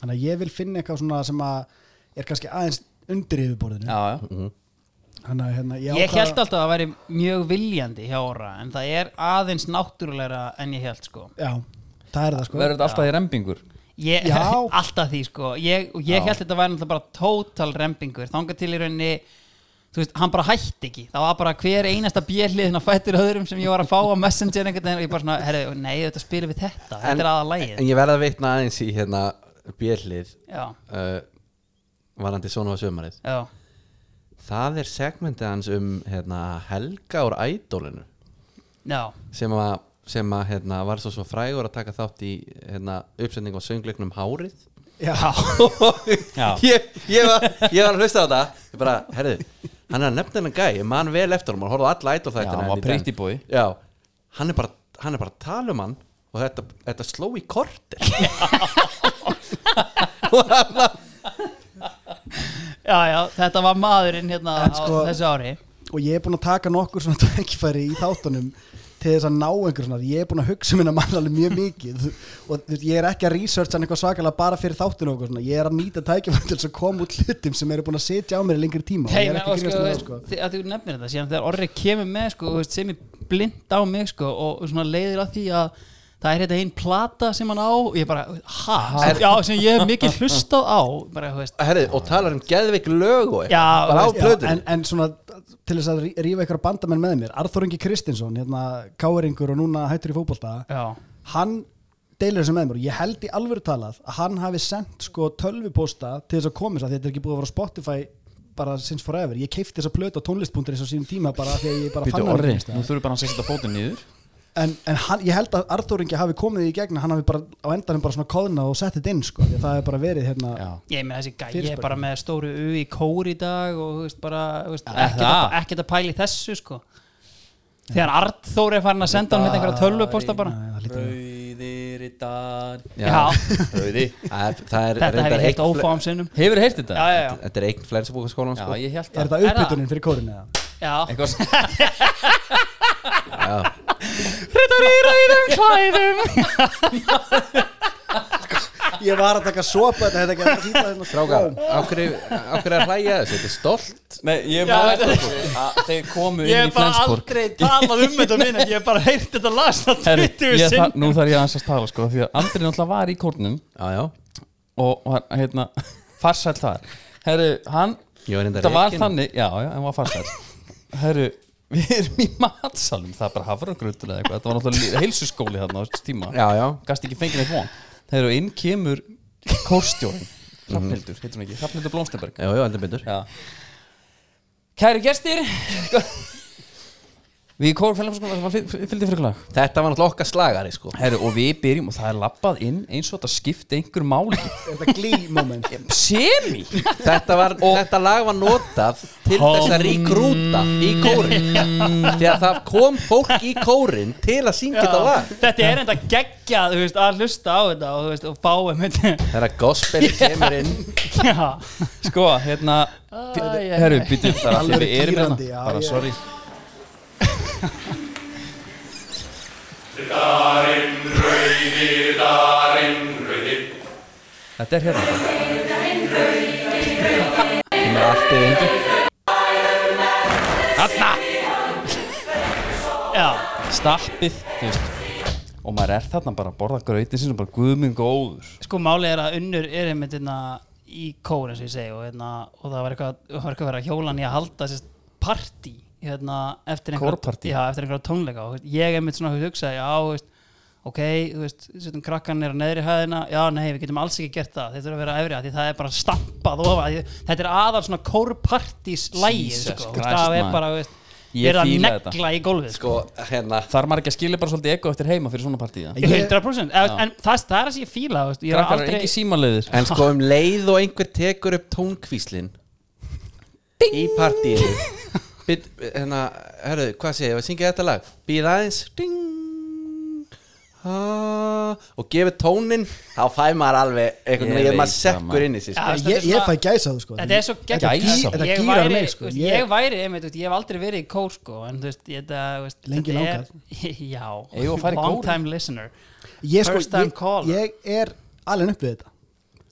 D: þannig að ég vil finna eitthvað svona sem að er kannski aðeins undir yfirborðinu
A: já, já,
D: Þannig að, hérna, ég
C: ég
D: ákvað-
C: held alltaf að það væri mjög viljandi hjá Óra en það er aðeins náttúrulegra en ég held sko
D: já, það er það sko
A: verður þetta alltaf í rembingur
C: ég,
D: Já.
C: alltaf því sko ég, og ég
A: Já.
C: held þetta væri náttúrulega bara total rempingur þangað til í rauninni þú veist, hann bara hætti ekki það var bara hver einasta björliðin að fættur öðrum sem ég var að fá á Messenger einhvern veginn og ég bara svona, herru, nei, þetta spilum við þetta þetta er aða lægið
B: En ég verða að veitna aðeins í hérna björlið
C: já,
B: uh, varandi svona á sömarið
C: já,
B: Það er segmentið hans um hérna, Helga úr ædólinu
C: já,
B: sem að, sem að hérna, var svo, svo frægur að taka þátt í hérna, uppsetning á söngleiknum Hárið
D: Já,
A: Já.
B: ég, ég, var, ég var að hlusta á þetta Ég bara, herðu, hann er að nefna hennan gæ ég man vel eftir hann, hann horfði á alla ædól
A: Já, hann
B: þættina
A: var
B: hérna í dag.
A: pretty boy.
B: Já, hann er bara, hann er bara að tala um hann og þetta, þetta sló í kortir og hann var
C: já, já þetta var maðurinn hérna
D: En
C: á
D: sko-
C: þessu ári
D: og ég er búinn að taka nokkur svona tækifæri í þáttunum til þess að ná einhver svona ég er búinn að hugsa minna mann alveg mjög mikið og þú veist, ég er ekki að researcha hann eitthvað svakalega bara fyrir þáttun og eitthvað svona ég er að nýta tækifæri til þess að koma út hlutum sem eru búin að sitja á mér í lengri tíma og
C: Hei,
D: ég er
C: menn,
D: ekki
C: og
D: að
C: sko,
D: grínast með það
C: veist,
D: sko
C: þi- að þú nefnir þetta síðan þegar orðið kemur með sko, þú veist, sem er blind á mig sko, og og svona leiðir að því að það er þetta einn plata sem hann á og ég bara, ha, sem, já, sem ég hef mikið hlustað á bara, þú veist,
B: Herri, og talar um geðveik lög og eitthvað,
C: Já,
B: bara á
C: veist,
D: Já,
B: plöðunni
D: en, en svona til þess að rí- rífa ykkur bandamenn með mér Arþór Ingi Kristinsson, hérna káeringur og núna hættur í fótbolta
C: já,
D: hann deilir þessu með mér og ég held í alvöru talað að hann hafi sendt sko tölvupósta til þess að komast að þetta er ekki búið að vera á Spotify bara since forever, ég keifti þessa plötu á tónlist.is á sínum tíma bara af því að ég bara
A: Býtu
D: fann hana
A: orri,
D: einhvers staðar.
A: nú þurfum bara að setja fótinn niður
D: en, en hann, ég held að Arþór Ingi hafi komið því í gegn hann hafi bara á endanum bara svona kóðnað og sett þetta inn sko, því að það hefur bara verið hérna
A: Já.
C: ég meina þessi gæi
D: Fyrirspurn.
C: er bara með stóru u í kór í dag og þú veist, bara, þú veist,
A: Er
C: ekkert
A: það?
C: að- ekkert að pæli þessu sko þegar Arnþór er farin að senda hann með einhverja tölvuposta bara
D: Ah, Nei, það lítur við.
A: Rauðir í dag
C: Já.
A: Rauði
B: Það er- það er
C: þetta hef
B: reyndar
C: ég
B: eign
C: heilt
B: fle-
C: ófáum sinnum
A: Hefur heyrt þetta?
C: já, já, já,
B: Þetta er eign flensaboka skólan sko.
A: ég held það
D: er
C: Er
D: það
C: það?
D: uppbytunin fyrir kórinu eða?
C: já.
A: Eitthvað sem
C: þetta er í ræðum klæðum
D: Ég var að taka sopa þetta, þetta ekki að kýta hérna
B: Strákar, á hverju á hverju er að hlæja að þessu? Þetta er stolt
A: Nei, ég
C: Já,
A: var
C: þetta-
A: að Þeir komu
C: ég
A: inn
C: hef
A: í
C: bara
A: Flensborg
C: aldrei talað um þetta minn ég hef bara heyrt þetta lasna
A: Herri,
C: 20
A: ég þar-
C: sinn
A: Nú þarf ég aðeins að tala sko Því að Andri náttúrulega var í kórnum
B: Já, já,
A: Og var, hérna, farsæll þar Herru, hann
B: ég var reyndar
A: Þetta var
B: rekinn.
A: þannig, já, já, hann var farsæll Herru, við erum í matsalum Það er bara hafragrautur eða eitthvað Þetta var náttúrulega heilsuskóli þarna á þessu tíma
B: Já, já,
A: gast ekki fengið neitt von þegar þú inn kemur kórstjórin Hrafnildur, heitir hún ekki, Hrafnildur Blómstenberg
B: já, já, heldur betur
A: Já. Kæri gestir Við í Kór Félagskóla sem var fylg- fylgdi fyrir klag
B: Þetta var náttúrulega okkar slagari sko
A: Herru, og við byrjum og það er labbað inn eins og þetta skipti einhver máli
D: Þetta glý-moment
A: Semi
B: Þetta, var, þetta lag var notað til þess að ríkrúta í kórin Þegar það kom fólk í kórin til að syngja þetta lag
C: þetta er enda geggjað þú veist, að hlusta á þetta og, þú veist, og fáum þetta
B: Þegar gospel kemur inn
C: já,
A: Sko, hérna
C: Æ, æ, æ.
A: Herru, býtum það er að því
D: Alveg
A: við erum
D: kýrandi, já,
A: hérna Bara
D: ég-
A: sorry
E: Darinn, rauðir, darinn, rauðir
A: Þetta er hérna
B: Kemur allt yfir indi
C: já.
A: Stappið, þú veist Og maður er þarna bara að borða grautin sinni og bara guðminn góður
C: sko málið er að unnur er einmitt hérna, í kór eins og ég segi og, hérna, og það var eitthvað, það var eitthvað að vera hjólan í að halda sérst partí hérna, eftir einhverja-
A: Kórpartí?
C: já, eftir einhverja tónleika og þú veist, ég einmitt svona hugsaði já, þú veist, ok, þú veist, setjum krakkanir á neðri hæðina, já, nei, við getum alls ekki gert það þeir þurfa að vera efri að því það er bara stampað ofa, þetta er aðal svona kórpartís lægið,
A: Jesus
C: sko, þú veist,
A: Christ,
C: það er
A: maður.
C: bara þú veist,
A: Ég
C: er að
A: fíla þetta.
C: negla í gólfið, sko
B: Sko, hérna
A: Þarf maður ekki að skilja bara svolítið ego eftir heima fyrir svona partíða?
C: 100% en, en það, það er að sé ég fíla, þú veist, ég
A: Sko,
C: er
A: Krakkar er
C: aldrei
A: ekki símanleiðir
B: En sko um leið og einhver tekur upp tónkvíslin Í partíinu Byt, hérna, herru, hvað segir ég, að syngja þetta lag Býð aðeins Ding ha, Og gefið tónin Þá fæ maður alveg einhvern
A: Ég
B: veginn
A: veit
B: maður
A: það,
B: sekkur
A: maður.
B: inn í sér
C: Já,
B: sko.
C: þú veist,
D: Ég,
C: þetta
D: ég
C: er
D: fæ
C: svona-
D: gæsa sko
C: Þetta er svo
A: Þetta
C: geggjað.
A: gýrar-
D: þetta
C: Ég
D: gýrar
C: væri-
D: mig, sko.
C: þú veist,
D: Ég-
C: Ég væri, einmitt, þú veist, ég hef aldrei verið í kór sko, en þú veist, ég, það, þú veist
D: Lengi
C: þetta er- Já,
A: Eigum við að fara í
C: long
A: kórinn?
C: time listener
D: ég, sko,
C: First time
D: ég,
C: caller.
D: ég er alveg upp við þetta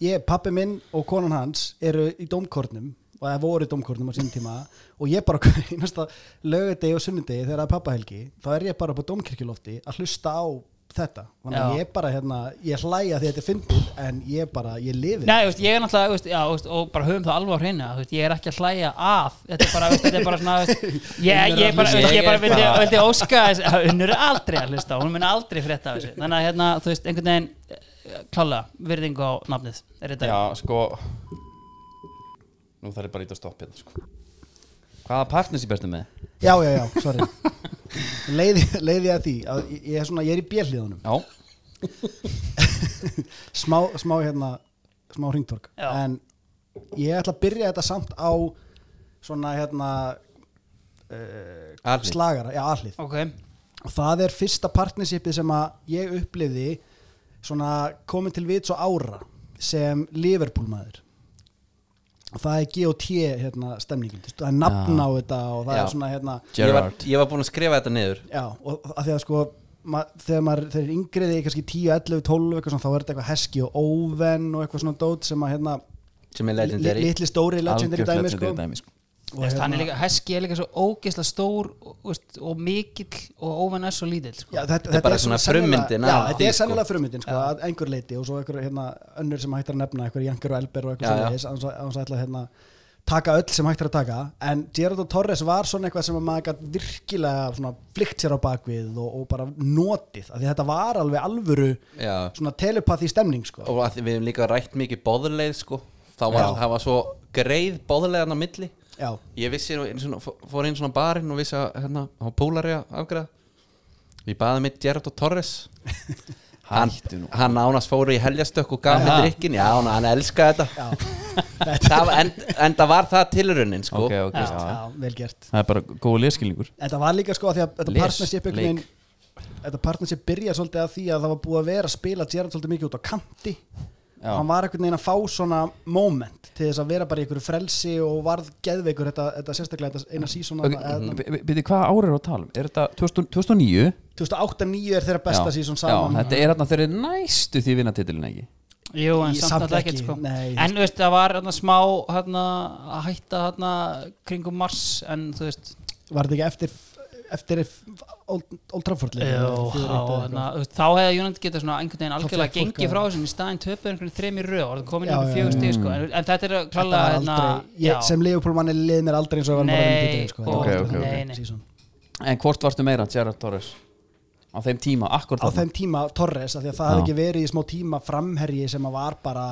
D: ég, pappi minn og konan hans eru í dómkornum og það voru í dómkornum á sínum tíma og ég bara í næsta lögadegi og sunnudegi þegar það er pappahelgi þá er ég bara upp á dómkirkjulofti að hlusta á þetta þannig að
C: Já.
D: ég bara hérna ég hlæja því að þetta er fyndið en ég bara, ég lifi
C: Nei, þú veist, ég er náttúrulega, þú veist, já, þú veist, og bara höfum það alveg á hreinu, þú veist, ég er ekki að hlæja að Þetta er bara, þú veist, þetta er bara svona, þú veist Ég, ég bara, þú veist, ég bara vildi, vildi óska þess að Unnur er aldrei að hlusta, hún mun aldrei frétta af þessu Þannig að, hérna, þú veist, einhvern veginn eh, Klálega, virðingu á nafnið Er þetta
A: Já, sko Nú þarf ég bara ít að stoppa hérna, sko Hvaða partners ég berti með?
D: já, já, já, sorry leiði, leiði að því að ég, ég, er svona, ég er í bjellíðunum
A: Já,
D: smá, smá hérna smá hringtork
C: Já.
D: en ég ætla að byrja þetta samt á svona hérna eh,
B: Alveg.
D: slagara, já allið
C: Ok,
D: og það er fyrsta partnershipið sem að ég upplifði svona komið til vits og ára sem Liverpool maður og það er G.O.T. hérna stemningin, þú veist, það er nafn á þetta og það
B: Já.
D: er svona hérna
B: ég, var,
A: Gerrard.
B: ég var búin að skrifa þetta niður
D: Já, og að því að sko ma þegar maður, þegar er yngriði í kannski 10, 11, 12 eitthvað svona, þá er þetta eitthvað heski og óven og eitthvað svona dót sem að hérna
B: Sem er
D: li-
B: legendary
D: litli stóri legendary
A: algjört
D: dæmi sko
A: legendary dæmi, sko
D: Og
C: Veist, hann er
D: hérna-
C: líka, Heski er líka svo ógeðslega stór og, veist, og mikill og óvenn er svo lítill sko.
D: Já, þetta,
B: bara
D: er
B: svona
D: sennilega-
B: frummyndin
D: Já,
B: af
D: þetta
B: því,
D: er
B: sko.
D: sennilega frummyndin sko, að einhver leiti og svo einhver hérna, önnur sem hægt er að nefna einhver Janker og Elber
B: Já,
D: og
B: já.
D: eitthvað sem þess að hans ætla að hérna, taka öll sem hægt er að taka en Gerardo Torres var svona eitthvað sem að maður gætt virkilega svona flykt sér á bakvið og, og bara notið af því að þetta var alveg alvöru
B: Já.
D: svona telepathy stemning sko.
B: og að við hefum líka rætt mikið boðleið sko. þá var,
D: Já.
B: það var svo greið boðleiðan á milli
D: Já,
B: ég vissi, nú einu svona, fó- fór inn svona á barinn og vissi að hérna, hann var pólari að afgræða ég baði mitt Gerard Torres hann,
A: Hættu nú.
B: hann ánast fóru í heljastökk og gaf mér drikkin já, hann, hann elskaði þetta
D: já,
B: það, var- en, en það var það tilraunin sko.
A: Ok, ok,
D: já,
A: já.
D: já, vel gert
A: Það er bara góð leskilningur
D: Þetta var líka sko að því að þetta
A: Les,
D: partnership einhvern
A: leik.
D: veginn Þetta partnership byrjaði svolítið að því að það var búið að vera að spila Gerard svolítið mikið út á kanti
A: Já.
D: og hann var einhvern veginn að fá svona moment til þess að vera bara í einhverju frelsi og varð geðveikur þetta, þetta sérstaklega þetta eina sísona okay.
A: Býtti, hvað ára er á talum? Er þetta 2000 2009?
D: 2008-2009 er þeirra besta
A: Já.
D: síson
A: Já,
D: saman
A: þetta er þarna þeir eru næstu því vinna titilin ekki
C: Jú, en
D: Ég
C: samt
D: samt
C: alltaf
D: ekki,
C: ekkert sko.
D: nei.
C: En þú veist, það var hana, smá hana, að hætta hana, kringum Mars en þú veist
D: Var þetta ekki eftir eftir Old, old Trafford leik?
C: Já,
D: Fjögur eitt
C: á,
D: eða
C: hana, hérna,
D: eitthvað.
C: þú veist, þá hefði Jónand getað svona einhvern veginn algjörlega
D: fékk fólk
C: gengið
D: að-
C: frá þessu en í staðin töpuð einhvern þrem í röð og það komin
D: Já,
C: ykkur
D: já,
C: fjögur
D: já.
C: stig sko. en, en þetta er
D: Þetta
C: klálega hérna,
D: var
C: hana,
D: aldrei, ég, sem Leopold manni lið mér aldrei eins og ég var bara
C: Nei,
D: um titilinn, sko. Þetta
C: og-
D: var aldrei
A: ok,
D: þannig
C: nei, nei.
D: season.
A: En hvort varstu meira, Gerard Torres? Á þeim tíma, akkur
D: á þeim tíma Torres af því að það
A: Já.
D: hafði ekki verið í smá tíma framherji sem að var bara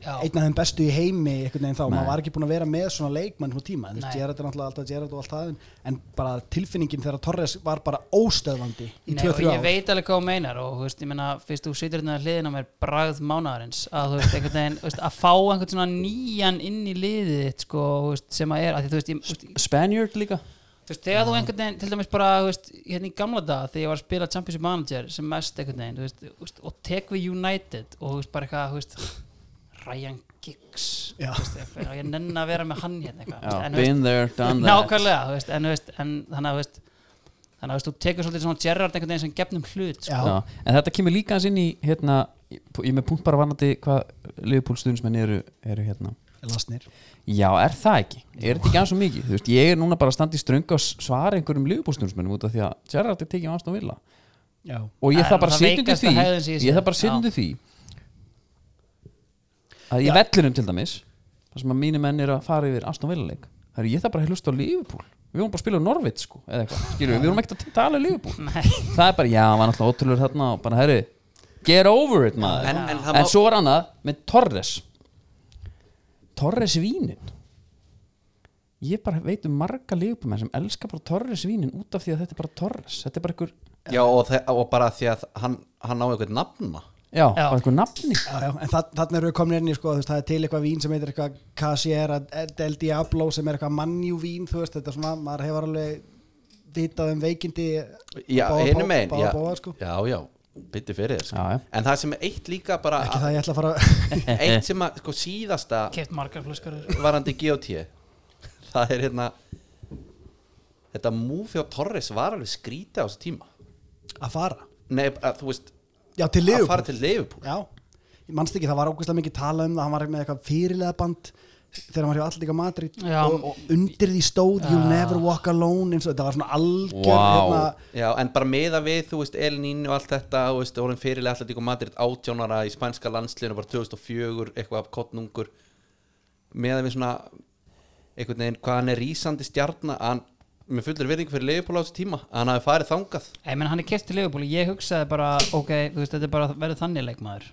C: Já.
D: einn af þeim bestu í heimi einhvern veginn þá,
A: Nei.
D: maður var ekki búin að vera með svona leikmann svona tíma, þú veist,
C: Nei.
D: Gerard er náttúrulega alltaf Gerard og allt það, en- en bara tilfinningin þegar Torres var bara óstöðvandi í
C: Nei, og
D: 2-3
C: ég
D: ár,
C: veit alveg hvað þú meinar og þú veist, ég meina, fyrst þú situr hérna hliðin á mér bragð mánaðarins að þú veist, einhvern veginn, þú veist, að fá einhvern svona nýjan inn í liðið þitt, sko, þú veist, sem að er, að því, þú veist, ég, þú veist,
A: Spaniard líka
C: þú veist, þegar þú einhvern veginn, til dæmis bara, þú veist, hérna í gamla dag þegar ég var að spila Championship Manager sem mest einhvern veginn, þú veist, þú veist og tek við United og þú veist, bara eitthvað, þú veist Ryan Giggs
D: Já.
C: þú veist, eitthvað, ég nenn að vera með hann hérna eitthvað, þú
A: Já,
C: veist, en, þú veist,
A: Been there, done that
C: nákvæmlega þú veist, en, þú veist, en þannig að þú veist, þannig að þú veist, þú tekur svolítið svona Gerrard einhvern veginn sem gefnum hlut sko.
D: Já.
A: Já, en þetta kemur líka hans inn í hérna, ég ég er með punkt bara varnandi hvað Liverpool stuðnismenn eru, eru hérna
D: lasnir
A: Já, er það ekki? Er þetta ekki aðeins svo mikið? Þú veist, ég er núna bara að standa í ströngu og svara einhverjum Liverpool stuðnismennum út af því að Gerrard er tekið ást og vilja
D: Já.
A: og ég
C: Það
A: þarf
C: er
A: bara
C: það
A: sitjandi
C: veikasta
A: því
C: hegðun sem ég sé.
A: ég þarf bara sitjandi því að ég vellurum til dæmis þar sem að mínu menn er að fara yfir Aston Villa leik það er ég þarf bara að hlusta á Liverpool við vorum bara að spila á Norvit sko eða eitthvað skilur við, við vorum ekkert að tala um Liverpool
C: Nei.
A: það er bara já, hann var náttúrulega ótrúlega þarna og bara herri get over it maður
B: en, en
A: en,
B: það má
A: svo er annað með Torres Torres vínin ég bara veit um marga Liverpool menn sem elska bara Torres vínin út af því að þetta er bara Torres þetta er bara einhver
B: já, og, þe- og bara því að hann, hann á eitthvað nafna
A: Já, bara einhver nafni
D: Já, já, en það, þannig eru við komin inn í sko, þú veist, það er til eitthvað vín sem heitir eitthvað Casiera del Diablo sem er eitthvað mannjú vín, þú veist, þetta er svona, maður hefur alveg vitað um veikindi
B: já,
D: báða
B: einu
D: bá-
B: megin
D: báða
B: já,
D: bóða, sko.
B: já, já, bytti fyrir þér sko.
A: Já, já.
B: en það sem er eitt líka bara
D: ekki það ég ætla að fara
B: eitt sem að sko, síðasta
C: keft margar flöskar
B: varandi GOT það er hérna þetta move hjá Torres var alveg skrítið á þessu tíma
D: að fara
B: Nei, að, þú veist,
D: Já, til
B: að
D: Liverpool
B: fara til Liverpool
D: Já, ég manst ekki, það var ógustlega mikið talað um það, hann var með eitthvað fyrirlega band þegar hann var hjá Allíka Madrid
C: Já.
D: og, og undir því stóð You'll never walk alone eins og þetta var svona algjör hérna,
A: Vá.
B: Já, en bara meða við, þú veist, El Nino og allt þetta, þú veist, orðin fyrirlega alltaf líka Madrid átjónara í spænska landsliðinu bara 2004, eitthvað af kottnungur meða við svona einhvern veginn, hvað hann er rísandi stjarna hann, með fullir verðing fyrir Liverpool á þessu tíma að hann hafi farið þangað
C: Ég menn hann er keft til Liverpool ég hugsaði bara ok, þú veist þetta er bara verið þannig leikmaður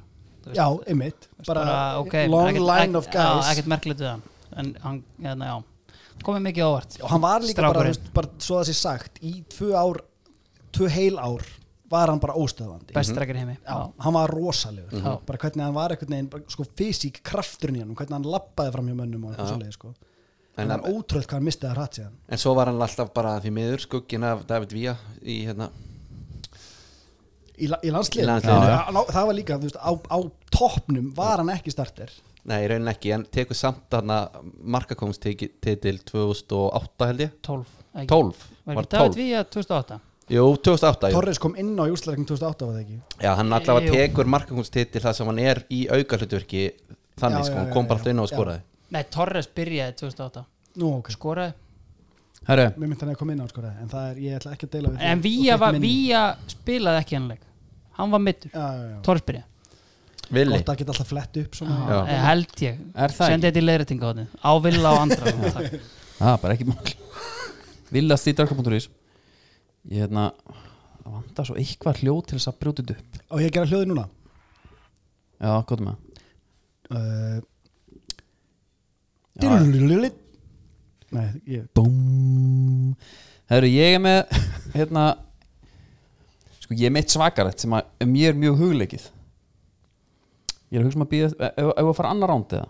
C: Þú veist,
D: Já, einmitt,
C: þú veist,
D: bara,
C: ok,
D: long
C: ekkert-
D: line of
C: ekkert- já,
D: guys
C: ekkert merkilegt við hann en hann, hérna, já, komið mikið ávart
D: og hann var líka bara, þú
C: Strákurinn.
D: veist, bara svo það sé sagt, í tvö ár tvö heil ár var hann bara óstöðandi
C: bestrækir heimi
D: Mhm. Já, hann var rosalegur
C: Mhm.
D: bara hvernig hann var einhvern veginn, bara, sko fysík krafturinn í hann, hvernig hann lappaði fram hjá mönnum og eitthvað svoleið, sko
B: En
D: en það er ótröld hvað hann misti það rætt síðan
B: En svo var hann alltaf bara því miður skuggin af David Villa í hérna
D: í, la- í landsliðinu,
B: Í landsliðinu.
D: Já, já. það var líka þú veist, á, á toppnum var hann ekki starter
B: Nei, í raunin ekki, en tekur samt hana markakóngstitil 2008 held ég
C: 12 ekki-
B: 12,
C: var
B: var
C: ekki David
B: 12
C: Villa 2008
B: Jú, 2008 jú.
D: Torres kom inn á júslarleikin 2008 var það ekki
B: Já, hann allavega
C: Jú.
B: tekur markakóngstitil það sem hann er í auka hlutverki
D: Já,
B: þannig
D: já,
B: sko, hann
D: já,
B: kom bara
D: já,
B: alltaf inn á og
D: já.
B: skoraði
C: nei, Torres byrjaði 2008
D: Nú, ok, sko,
C: skoraði
A: Herru,
D: mér myndi hann að koma inn á sko, en það er, ég ætla ekki að deila við
C: en Vía, var, Vía spilaði ekki hannleik hann var mittur,
D: Já, já, já,
C: torspyrja
B: Vili
D: gott að geta alltaf flett upp svona
B: Já.
C: Eh, held ég,
A: Er það
C: sendi þetta í leiðrætinga á þetta á Villa og Andra takk.
A: það er bara ekki mál Villast í drakka.is Ég hérna Það vantar svo eitthvað hljóð til þess að brjóta þetta upp
D: Og ég að gera hljóði núna
A: Já, gott með það.
D: uh,
A: Já.
D: dyrulululit. Nei, ég
A: Búm Herru, ég er með Hérna Sko, ég er meitt svakarætt sem að um ég er mjög hugleikið Ég er að hugsa um að býða Ef ef að fara annar ránd eða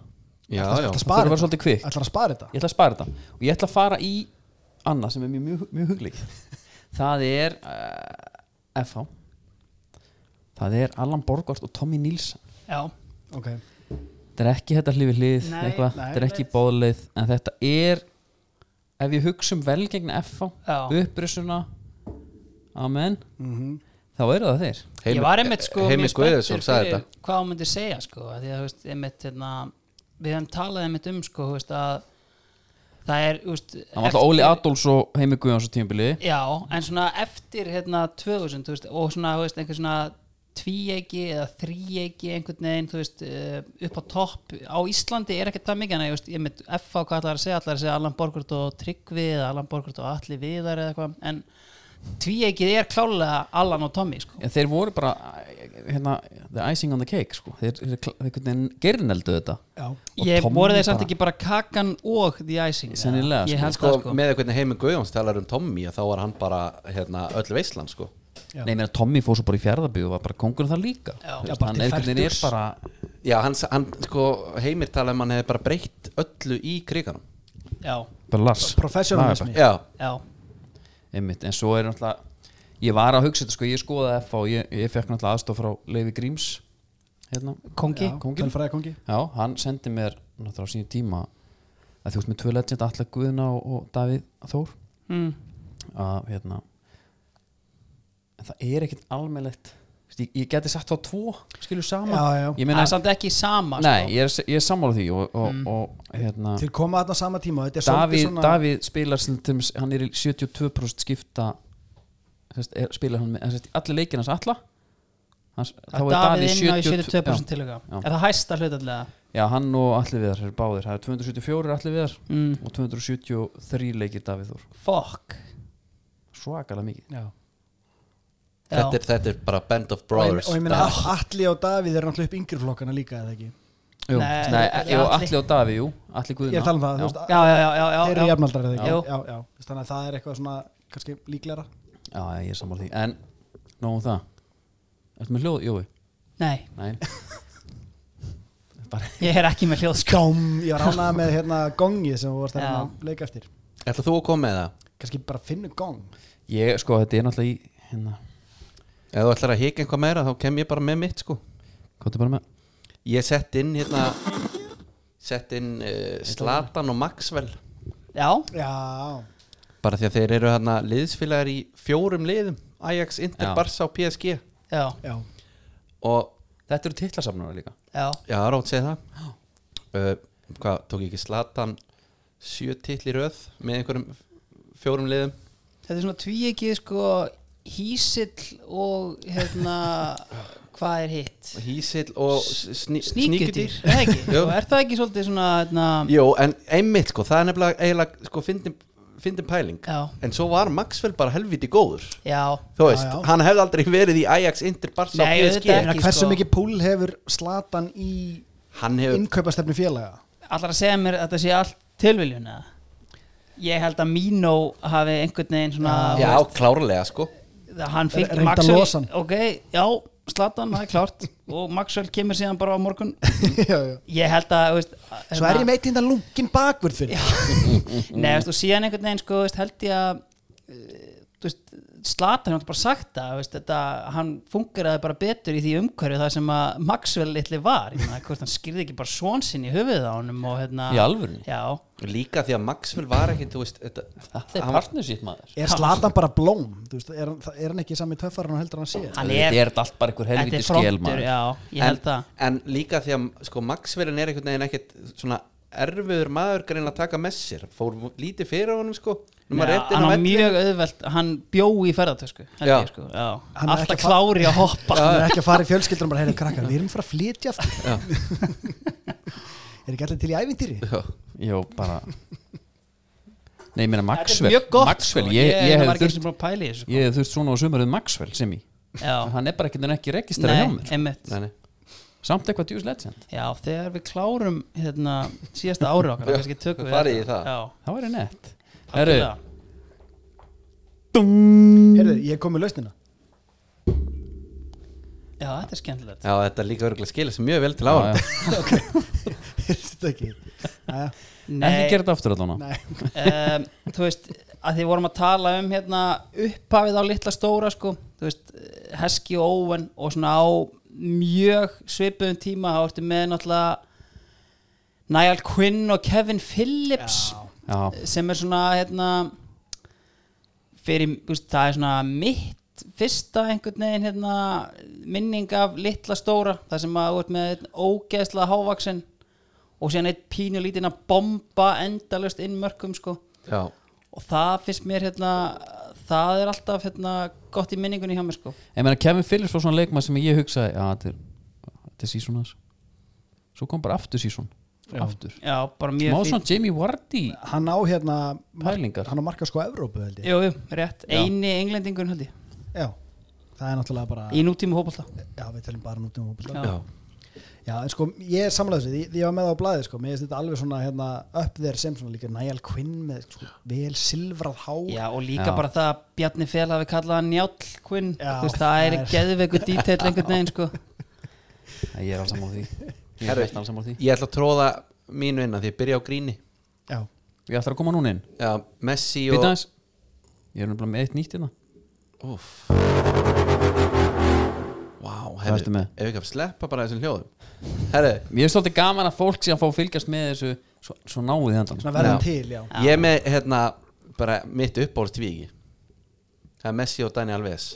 B: Já, já,
D: ætla að
A: Það þarf að
D: spara
A: vera svolítið kvik
D: Ætlar að spara þetta
A: Ég ætla að spara þetta og ég ætla að fara í annað sem er mjög, mjög, mjög hugleik það er uh, FH það er Allan Borgvart og Tommy Nilsson
C: já,
D: Ok,
A: þetta er ekki þetta hlifi hlið
C: Nei,
A: eitthvað,
D: nei,
A: þetta er ekki bóðleið en þetta er ef ég hugsa um velgengna FH
C: já.
A: upprissuna amen,
D: mm
A: þá eru það þeir
C: ég var einmitt sko
B: Heimi
C: mjög
B: Guðjóðsson
C: spenntur
B: sagði
C: fyrir
B: þetta
C: hvað hún myndi segja sko af því að þú veist, einmitt hérna við hefum talað einmitt um sko þú veist, að það er þú veist,
A: það var alltaf Óli Adolfs og Heimi Guðjóns og tímabili
C: Já, en svona eftir hérna 2000, þú veist, og svona, þú veist, einhver svona tvíegi eða þríegi einhvern veginn, þú veist, eh, upp á topp á Íslandi er ekkert það mikið en ég veist, ég mynd FA hvað allar að segja, allar að segja Allan Borgurt og Tryggvi eða Allan Borgurt og Atli Viðar eða eitthvað, en tvíegið er klálega Allan og Tommy, sko
A: en þeir voru bara eh, hérna, the icing on the cake sko. þeir, þeir, þeir, þeir gerineldu þetta
D: já
A: Og
C: Ég
A: Tommy
C: voru þeir samt
A: bara-
C: ekki bara kakan og The Icing eða?
A: Sennilega, sko.
C: Ég held
B: Sko,
C: það, sko
B: með hvernig Heimi Guðjóns talar um Tommy að þá var hann bara, hérna, öll veislan, sko
D: Já.
A: Nei, meina Tommy fór svo bara í fjárðabíu og var bara kongur þar líka
C: Já.
A: Þú
D: Já,
A: veist,
D: bara
A: hann
D: til
A: einhvern veginn er
D: fertugs.
A: bara
B: Já, hann, hann sko, Heimir talaði um að hann hefði bara breytt öllu í kriganum
C: Já,
A: bara Lars
D: Professionalismi.
A: Lagerberg.
B: Já,
C: já,
A: Einmitt, en svo er náttúrulega ég var að hugsa þetta sko, ég skoðaði F og ég, ég fekk náttúrulega aðstof frá Leifi Gríms hérna,
C: kongi
D: Já,
A: Kónginn.
D: Tölfræði kongi
A: já, hann sendi mér náttúrulega á sínu tíma að þú veist með tvö legend Alla Guðna og, og Davíð Þór
C: mm.
A: að hérna en það er ekkit almennlegt Þú veist, ég, ég geti sagt þá tvo skilur
D: Já,
A: saman
D: já, Mm.
A: ég
C: Það
A: meina,
C: er samt ekki sama, sko.
A: nei, ég er, ég er sammála því og, og, og hérna
D: Þeir koma þarna á sama tíma og Þetta er
A: Davíð,
D: svolítið svona
A: Davíð spilar sem til dæmis- hann er í 72% skipta sest, er, spilar hann með en sest, allir leikir hans alla hans, þá
C: sko
A: er Davíð
C: Davíð inn á í 72% tilöka
A: Já.
C: Er það hæsta hlutallega?
A: já, já, hann og allir viðar er báðir það er 274 allir viðar
C: Mm.
A: og 273 leikir Davíð Þór
C: Fuck
A: svakalega mikið
D: Já.
C: Já.
B: þetta er, þetta er bara Band of
D: Og ég-
B: Brothers
D: Og ég meina Atli og Davíð er náttúrulega upp yngri flokkana líka eða ekki
A: Jú,
C: Nei,
A: nei,
C: Atli-
A: jú, allir og Davíð, jú, allir
D: Ég er að
A: guðina
D: tala um það, þú
A: Já.
C: Já,
D: veist
C: já, já, já, já,
D: Þeir eru
C: já.
D: jafnaldrar eða ekki
C: Jú.
D: Já, já Þú veist, Þannig að það er eitthvað svona kannski líklegra
A: já, ég er sammála því en, nógum það ertu með hljóð, Jói?
C: Nei,
A: nei,
C: ég er ekki með hljóð sko.
D: Gám Ég var ánað með hérna gongið sem þú varst
C: Já.
D: hérna að leika eftir
B: Ætla þú að koma með það?
D: Kannski bara finnu gong
A: ég, sko, þetta er náttúrulega í hérna,
B: Ef þú ætlar að hika eitthvað meira þá kem ég bara með mitt sko
A: hvað er bara með
B: Ég sett inn hérna sett inn uh, Slatan og Maxwell
C: Já,
D: Já
B: bara því að þeir eru hérna liðsfélagar í fjórum liðum Ajax, Inter,
A: Já.
B: Barca og PSG
C: já,
D: Já
B: og
A: þetta eru titlasafnur líka
C: já
B: já, rátt segir það uh, hvað, tók ekki Slatan sjö titli í röð með einhverjum fjórum liðum
C: Þetta er svona tvíegið sko Hísill og hérna Hvað er hitt?
B: Hísill og sní,
C: Sníkudýr,
B: sníkudýr
C: er það ekki?
B: Jú.
C: Og er það ekki svolítið svona hérna,
B: Jó, en einmitt sko, það er nefnilega eiginlega sko, fyndin, fyndin pæling
C: Já.
B: en svo var Maxwell bara helviti góður
C: Já,
B: þú veist,
D: Já, já.
B: hann hefði aldrei verið í Ajax, Inter, Barca og
C: Nei,
B: PSG
C: auðvitað.
D: Ég meina,
C: Ekki,
D: Hversu
C: sko.
D: mikið púl hefur Slatan í
B: hann hefur,
D: innkaupastefni félaga?
C: allar að segja mér að þetta sé allt tilviljun eða? Ég held að Mino hafi einhvern veginn svona
B: já, klárlega sko
C: Það hann fikk
D: Reyndu að
C: Maxwell-
D: losa hann.
C: ok, já, Slatan, það er klárt og Maxwell kemur síðan bara á morgun
D: já, já
C: ég held að þú veist,
D: Svo er ég meitt hérna lungin bakvörð fyrir
C: Nei, veist, og síðan einhvern veginn sko, veist, held ég að eh, þú veist, Slatan hann bara sagt það þú veist, þetta, hann fungeraði bara betur í því umhverju það sem að Maxwell litli var ég meina, hvort hann skýrði ekki bara svon sinn í höfuðið á honum og
D: Ah.
C: hérna
A: Í alvörunni?
C: já,
B: líka því að Maxwell var ekki, þú veist þetta,
A: þetta er
B: hann var,
A: partnership maður
D: Er Slatan bara blóm? Þú veist, er, hann- það- er hann ekki sami töffar en heldur hann sé?
C: hann
A: Þetta
C: er,
A: er þetta allt bara einhver
C: þetta
A: helviti
C: er
A: skel
C: frontur
A: maður
C: já, ég held
B: en,
C: það
B: en líka því að sko, Maxwellin er einhvern veginn ekkert svona erfiður maður grein að taka með sér fór lítið fyrir á honum sko Nú maður
C: Nei,
B: rétt inn á
C: hann var
B: vellinn.
C: mjög auðvelt hann bjó í ferðartösku held
B: Já.
C: ég, sko. Já.
D: Hann er
C: alltaf
D: ekki að fa-
C: klári að hoppa
D: hann er ekki að fara í fjölskyldunum bara, heyrðu krakkar, við erum að fara að flytja aftur er ekki allir til í ævindýri
B: Já.
A: Jó, bara Nei, ég meina
C: Þetta
A: Maxwell
C: er mjög gott
A: Maxwell,
C: sko.
A: ég, ég,
C: ég
A: ég
C: var
A: hef
C: ekki
A: þurft
C: sem búin að pæla í þessu sko.
A: Ég hef þurft svona á sumarið Maxwell sem í
C: já,
A: Hann er bara ekki, ekki registrað hjá
C: nei,
A: mér
C: einmitt
B: Nei, nei.
A: Samt eitthvað djús legend
C: já, þegar við klárum hérna, síðasta ári okkar þá
B: Já,
C: kannski tökum við
B: farið í
C: þetta.
B: það.
C: já,
A: Það væri nett
C: Heru,
A: Herru,
D: heyrðu, ég kom með lausnina
C: já, þetta er skemmtilegt
B: Já, þetta líka örgulega skilja sem mjög vel til á hann
D: heyrðu þetta ekki Jæja,
A: ekki gera þetta aftur allan
D: nei.
C: um, þú veist að þið vorum að tala um hérna upphafið á litla stóra sko þú veist, Heski og Owen og svona á mjög svipuðum tíma þá ertu með náttúrulega Niall Quinn og Kevin Phillips
A: Já,
C: sem er svona hérna fyrir, þú veist, það er svona mitt fyrsta einhvern veginn hérna, minning af litla stóra þar sem að þú ert með einn ógeðslega hávaksin og síðan eitt pínu lítinn að bomba endalust inn mörgum sko
B: Já,
C: og það finnst mér hérna það er alltaf hérna gott í minningunni hjá mér sko
A: ég meina Kevin Phillips var svona leikmað sem ég hugsaði Já, þetta er, þetta er season hans Svo kom bara aftur season Aftur
C: já, bara
A: Má
C: mjög
A: svona Jamie Vardy
D: hann á hérna
A: Pælingar.
D: hann á marka sko Evrópu held ég
C: jú, jú, rétt, eini englendingun held ég
D: já, það er náttúrulega bara
C: í nútíma hópallta
D: já, við telum bara nútum hópa
C: já,
D: já, en sko, ég er samlega þessu því, því ég var með það á blæði sko, mér finnst þetta alveg svona hérna, upp þér sem svona líka Niall Quinn með sko, vel silfrað há
C: já og líka
A: Já.
C: bara það að Bjarni Fel hafi kallað hann Njáll Kvinn
D: Já.
C: Þú veist, það er
D: Það er-
C: geðveiku dítill einhvern veginn sko
A: Nei, Ég er alls saman á því Ég er
B: Herru.
A: alls saman á því
B: ég ætla að tróða mínu innan því ég byrja á gríni
D: já.
A: Ég ætlar að koma núna inn
B: Já, Messi og
A: Býta aðeins Ég er nefnilega með eitt nýtt hérna
B: Úff. Vá, wow,
A: ertu með?
B: ef ekki að sleppa bara þessum hljóðum Herru,
A: Ég er svolítið gaman að fólk sé að fá að fylgjast með þessu Svo, svo náðu þið hendan
D: svona verðum
B: Já.
D: til, já
B: Ég er með hérna bara mitt uppbólst tvigi Það er Messi og Dani Alves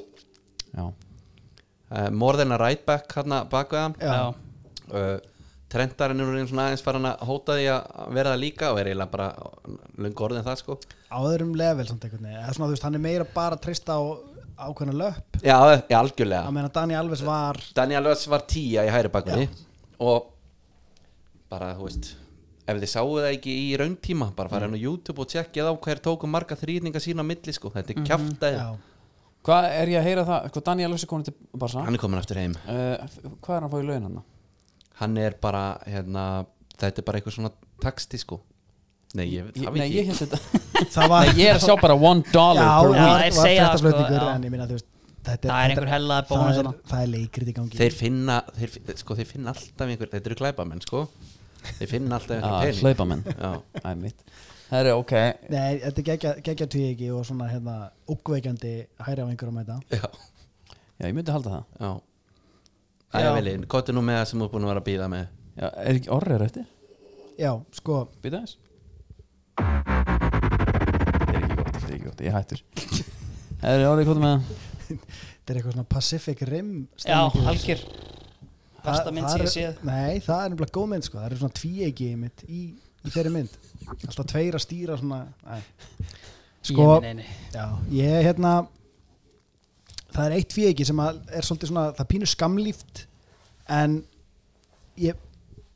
A: Já,
B: uh, More than a right back hérna bakveðan
D: Já.
C: já,
B: uh, Trentarinn er nú svona aðeins farin að hóta því að vera það líka og er eiginlega bara löngu orðin það sko
D: á öðrum level samt einhvern veginn Eða svona, þú veist, hann er meira bara að treysta á ákveðna löpp
B: Já, já
D: að
B: algjörlega
D: meina Dani Alves var
B: Dani Alves var tíja í hæri bakveði og bara þú veist ef þið sáu það ekki í rauntíma bara fara hann á YouTube og tjekkið á hver tóku marga þrýninga sína á milli sko, þetta er mm
D: já,
A: Hvað er ég að heyra það? Sko, Daniel Alves er komin til Barca
B: hann er komin aftur heim
A: uh, f- Hvað er hann að fá í laun hérna? hann?
B: hann er bara hérna, þetta er bara eitthvað svona taksti sko nei ég veit það
A: Nei,
B: ekki
A: ég held þetta
D: það var
A: Nei, ég er að sjá bara one dollar
D: já,
A: per
D: það
A: week
D: var,
C: þeir
D: var
C: segja það, sko,
D: fréttaflutningur
C: já.
D: en ég meina þú veist þetta
C: Það er
D: þetta-
C: einhver hellaður
D: það
C: bónus
D: er-
C: þarna.
D: það er leikrit í gangi
B: þeir finna þeir, fi- sko þeir finna alltaf einhver þetta eru glæpamenn sko þeir finna alltaf
A: Já,
B: einhver
A: Ah, hlaupamenn
B: pening
A: Það er mitt Það er ok
D: Nei, þetta geggja, geggja tvíegi og svona hérna ókveikjandi hæra á einhverjum mæta
B: já, já,
A: Já, ég myndi halda það
B: já
C: Já.
B: Æja velin, hvað er nú með það sem þú er búin að vera að býða með
A: Já, er ekki orrið rétti?
D: Já, sko,
A: Býta aðeins Þetta er ekki gott, þetta er ekki gott Ég er hættur Það er orrið gott með það
D: þetta er eitthvað svona Pacific Rim
C: já
D: stemning yfir þessu.
C: algjör besta mynd
D: það
C: sem
D: er-
C: ég séð
D: Nei, það er nefnilega góð mynd sko, það eru svona tvíegi mitt í, í þeirri mynd Alltaf tveir að stýra svona Nei. Sko,
C: Ég, nei, nei, nei.
D: já, ég hérna það er eitt tvíegi sem að er svolítið svona, það pínur skamlíft en ég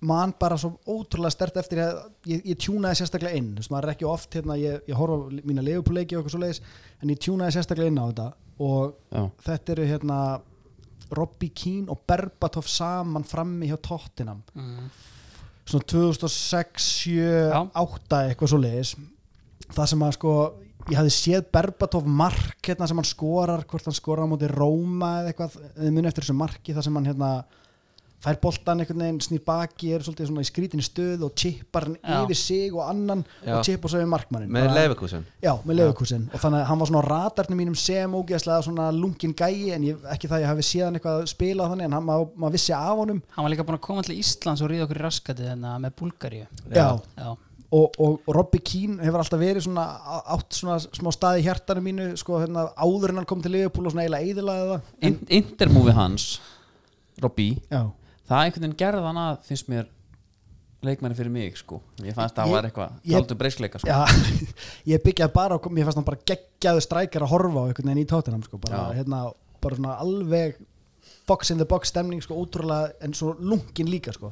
D: man bara svo ótrúlega stert eftir að ég, ég tjúnaði sérstaklega inn þú veist maður er ekki oft hérna, ég, ég horfa á mína leifupúleiki og eitthvað svoleiðis en ég tjúnaði sérstaklega inn á þetta og
A: Já,
D: þetta eru hérna Robbie Keane og Berbatov saman frammi hjá Tottenham
C: Mm.
D: svona 2006, 7, 8 eitthvað svo leiðis það sem að sko ég hafði séð Berbatov mark hérna sem hann skorar, hvort hann skorar á móti Róma eða eitthvað, eða muni eftir þessu marki það sem hann hérna fær boltan einhvern veginn, snýr baki, er svolítið svona í skrítinni stöð og chippar hann
C: Já.
D: yfir sig og annan
B: Já.
D: og chippar svo yfir markmannin
B: með Leifekúsen
D: Já, með Leverkusen og þannig að hann var svona á radarnum mínum sem ógeðslega svona lungin gæi en ég, ekki það ég hafi síðan eitthvað að spila á þannig en hann, maður, maður vissi af honum
C: hann var líka búin að koma til Íslands og ríða okkur í raskatið hérna með Búlgaríu
D: Já.
C: já,
D: og, og, og Robbie Keane hefur alltaf verið svona á- átt svona smá staði í hjartanum mínu sko hérna áður en hann kom til Liverpool og svona eiginlega eiðilaði það
A: In- Intermovie hans Robbie
D: Já,
A: það einhvern veginn gerði hann að finnst mér leikmenni fyrir mig sko Ég fannst
D: Ég-
A: það var eitthvað,
D: ég-
A: þáttu breysleika sko
D: Já, ég byggjaði bara á, mér fannst hann bara geggjaðu strækjar að horfa á einhvern veginn í tóttinam sko, bara,
A: Já.
D: hérna, bara svona alveg box in the box stemning sko, ótrúlega en svo lungin líka sko.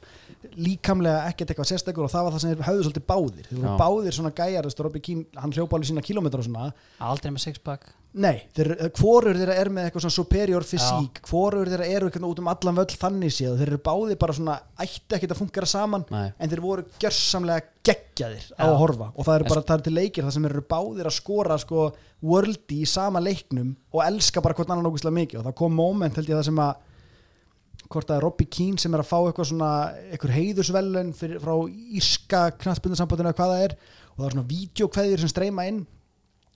D: líkamlega ekkert eitthvað sérstakur og það var það sem þeir höfðu svolítið báðir þeir voru
A: Já.
D: báðir svona gæjar þú veist, Robbie Keane, hann hljópa alveg sína kílómetra og svona
C: Aldrei með sixpack
D: Nei, þeir, hvorur þeirra er með eitthvað svona superior fysík, hvorur þeirra eru eitthvað út um allan völl þannig séð, þeir eru báði bara svona ætti ekkert að fungera saman
A: Nei.
D: en þeir voru gjörsamlega geggjaðir á að horfa og það eru bara það eru til leikir það sem eru báðir að skora sko worldi í sama leiknum og elska bara hvort annan ógustlega mikið og það kom moment held ég það sem að hvort að Robbie Keane sem er að fá eitthvað svona eitthvað heiðusvelun fyrir, frá Íska knastbundarsambandinu eða hvað það er og það er svona vídeokveðir sem streyma inn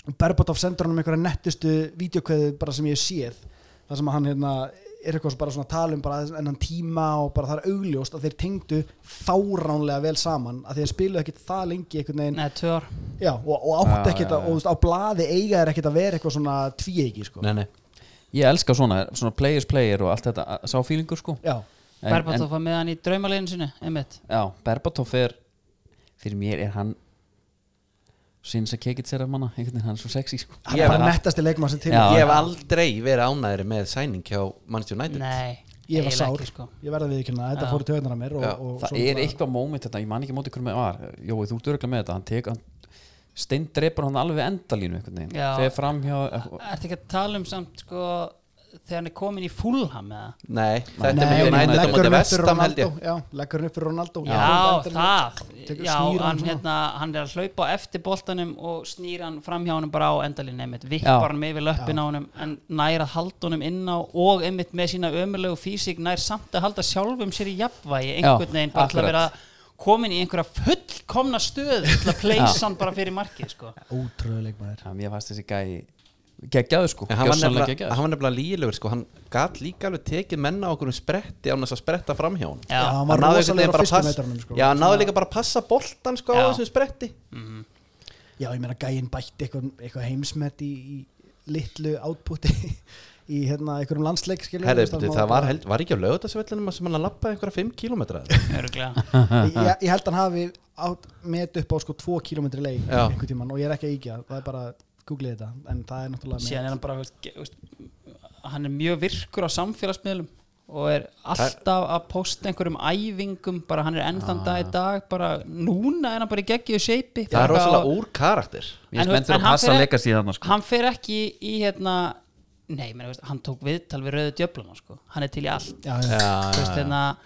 D: og Berbatov sendur hann um einhverja nettustu vídeokveði bara sem ég hef séð þar sem að hann hérna er eitthvað svo bara svona að tala um bara ennan tíma og bara það er augljóst að þeir tengdu fáránlega vel saman að þeir spiluðu ekkit það lengi einhvern veginn
C: Nei, tvö ár
D: já, og, og átt
A: Já,
D: ekkit
A: já,
D: að, og þú veist, á blaði eiga er ekkit að vera eitthvað svona tvíegi sko.
B: Nei, nei,
A: Ég elska svona, svona players player og allt þetta sá fílingur sko
D: já,
A: En-
C: Berbatov var með hann í draumaleginu sinu einmitt.
A: en- Já, Berbatov er fyrir mér er hann sinns að kekið sér af manna einhvern veginn, hann er svo sexy sko
D: hann
B: Ég
D: er
B: var-
D: bara nettasti leikmann sem til
A: Já,
B: ég
A: já.
B: hef aldrei verið ánæður með sæning hjá Manchester United
C: Nei,
D: ég var
C: eiginlega
D: sár,
C: ekki, sko.
D: ég verði að viðkynna þetta
C: Já.
D: fór í töðunar að mér og,
B: Já,
D: og
A: það
D: svo
A: er
D: bara-
A: eitthvað moment þetta, ég man ekki móti hvernig var Jói, þú ert örgulega með þetta, hann tek hann steindreipur hann alveg við endalínu einhvern veginn,
C: Já.
A: þegar fram hjá
C: Ertu ekki að tala um samt sko þegar hann er komin í Fulham eða?
B: Nei, þetta
D: Nei,
B: er með
D: hún
B: United á
D: leggur
B: móti
D: hann upp fyrir
B: vestam held
D: Ronaldo
B: ég
D: já, leggur hann upp fyrir Ronaldo
C: Já,
D: Tekur
C: það
D: tekur-
C: Já,
D: snýr
C: hann,
D: svona.
C: hérna, hann er að hlaupa á eftir boltanum og snýr hann fram hjá honum bara á endalinn einmitt,
A: Já.
C: vippar hann með við löppin á honum en nær að halda honum inn á og einmitt með sína ömurlegu físík nær samt að halda sjálfum sér í jafnvægi einhvern
A: Já,
C: veginn bara til að
A: akkurat.
C: vera komin í einhverja fullkomna stöð til að pleysa hann bara fyrir markið sko.
D: ótrúlega leikmaður
A: hann, ég fannst þessi gæi geggjaðu sko,
B: En Hann var
A: gjörsamlega
B: nefnilega- hann var nefnilega lílegur sko, hann gat líka alveg tekið menna á okkur um spretti án þess að spretta fram hjá hann
D: Já, hann
B: náði
D: var
B: einhvern
D: rosalegur
B: veginn
D: á
B: bara
D: fyrstu
B: pass-
D: metrunum sko.
B: Já, hann náði líka bara að passa boltan sko á
C: Já.
B: þessum spretti
D: Já, ég meina gæinn bætti eitthvað, eitthvað heimsmet í, í litlu átputi í hérna, einhverjum landsleik skilur
B: Herri,
D: við, þú veist,
B: byrju,
D: hann
B: það var,
D: bara-
B: held, var ekki á lögutarsvellinum sem hann að lappa einhverja 5 km
C: Öruglega
D: ég, ég held hann hafi átt met upp á sko 2 km leik
B: Já.
D: einhvern tímann og ég er ekki að íkja það er bara, googlið þetta en það er náttúrulega met.
C: síðan er hann bara veist, ge- veist, hann er mjög virkur á samfélagsmiðlum og er alltaf að posta einhverjum æfingum bara hann er enn þann dag í dag bara núna er hann bara í geggju seipi
B: Ah. Það er rosalega úr karakter
A: Ég
C: En
A: er menn
C: þú- en
A: fyrir að
C: hann
A: passa
C: fer-
A: að leika síðan sko.
C: hann fer ekki í hérna nei, meni, veist, hann tók viðtal við rauðu djöflana sko. hann er til í allt
D: já, já.
B: Já,
C: Þú veist, hérna,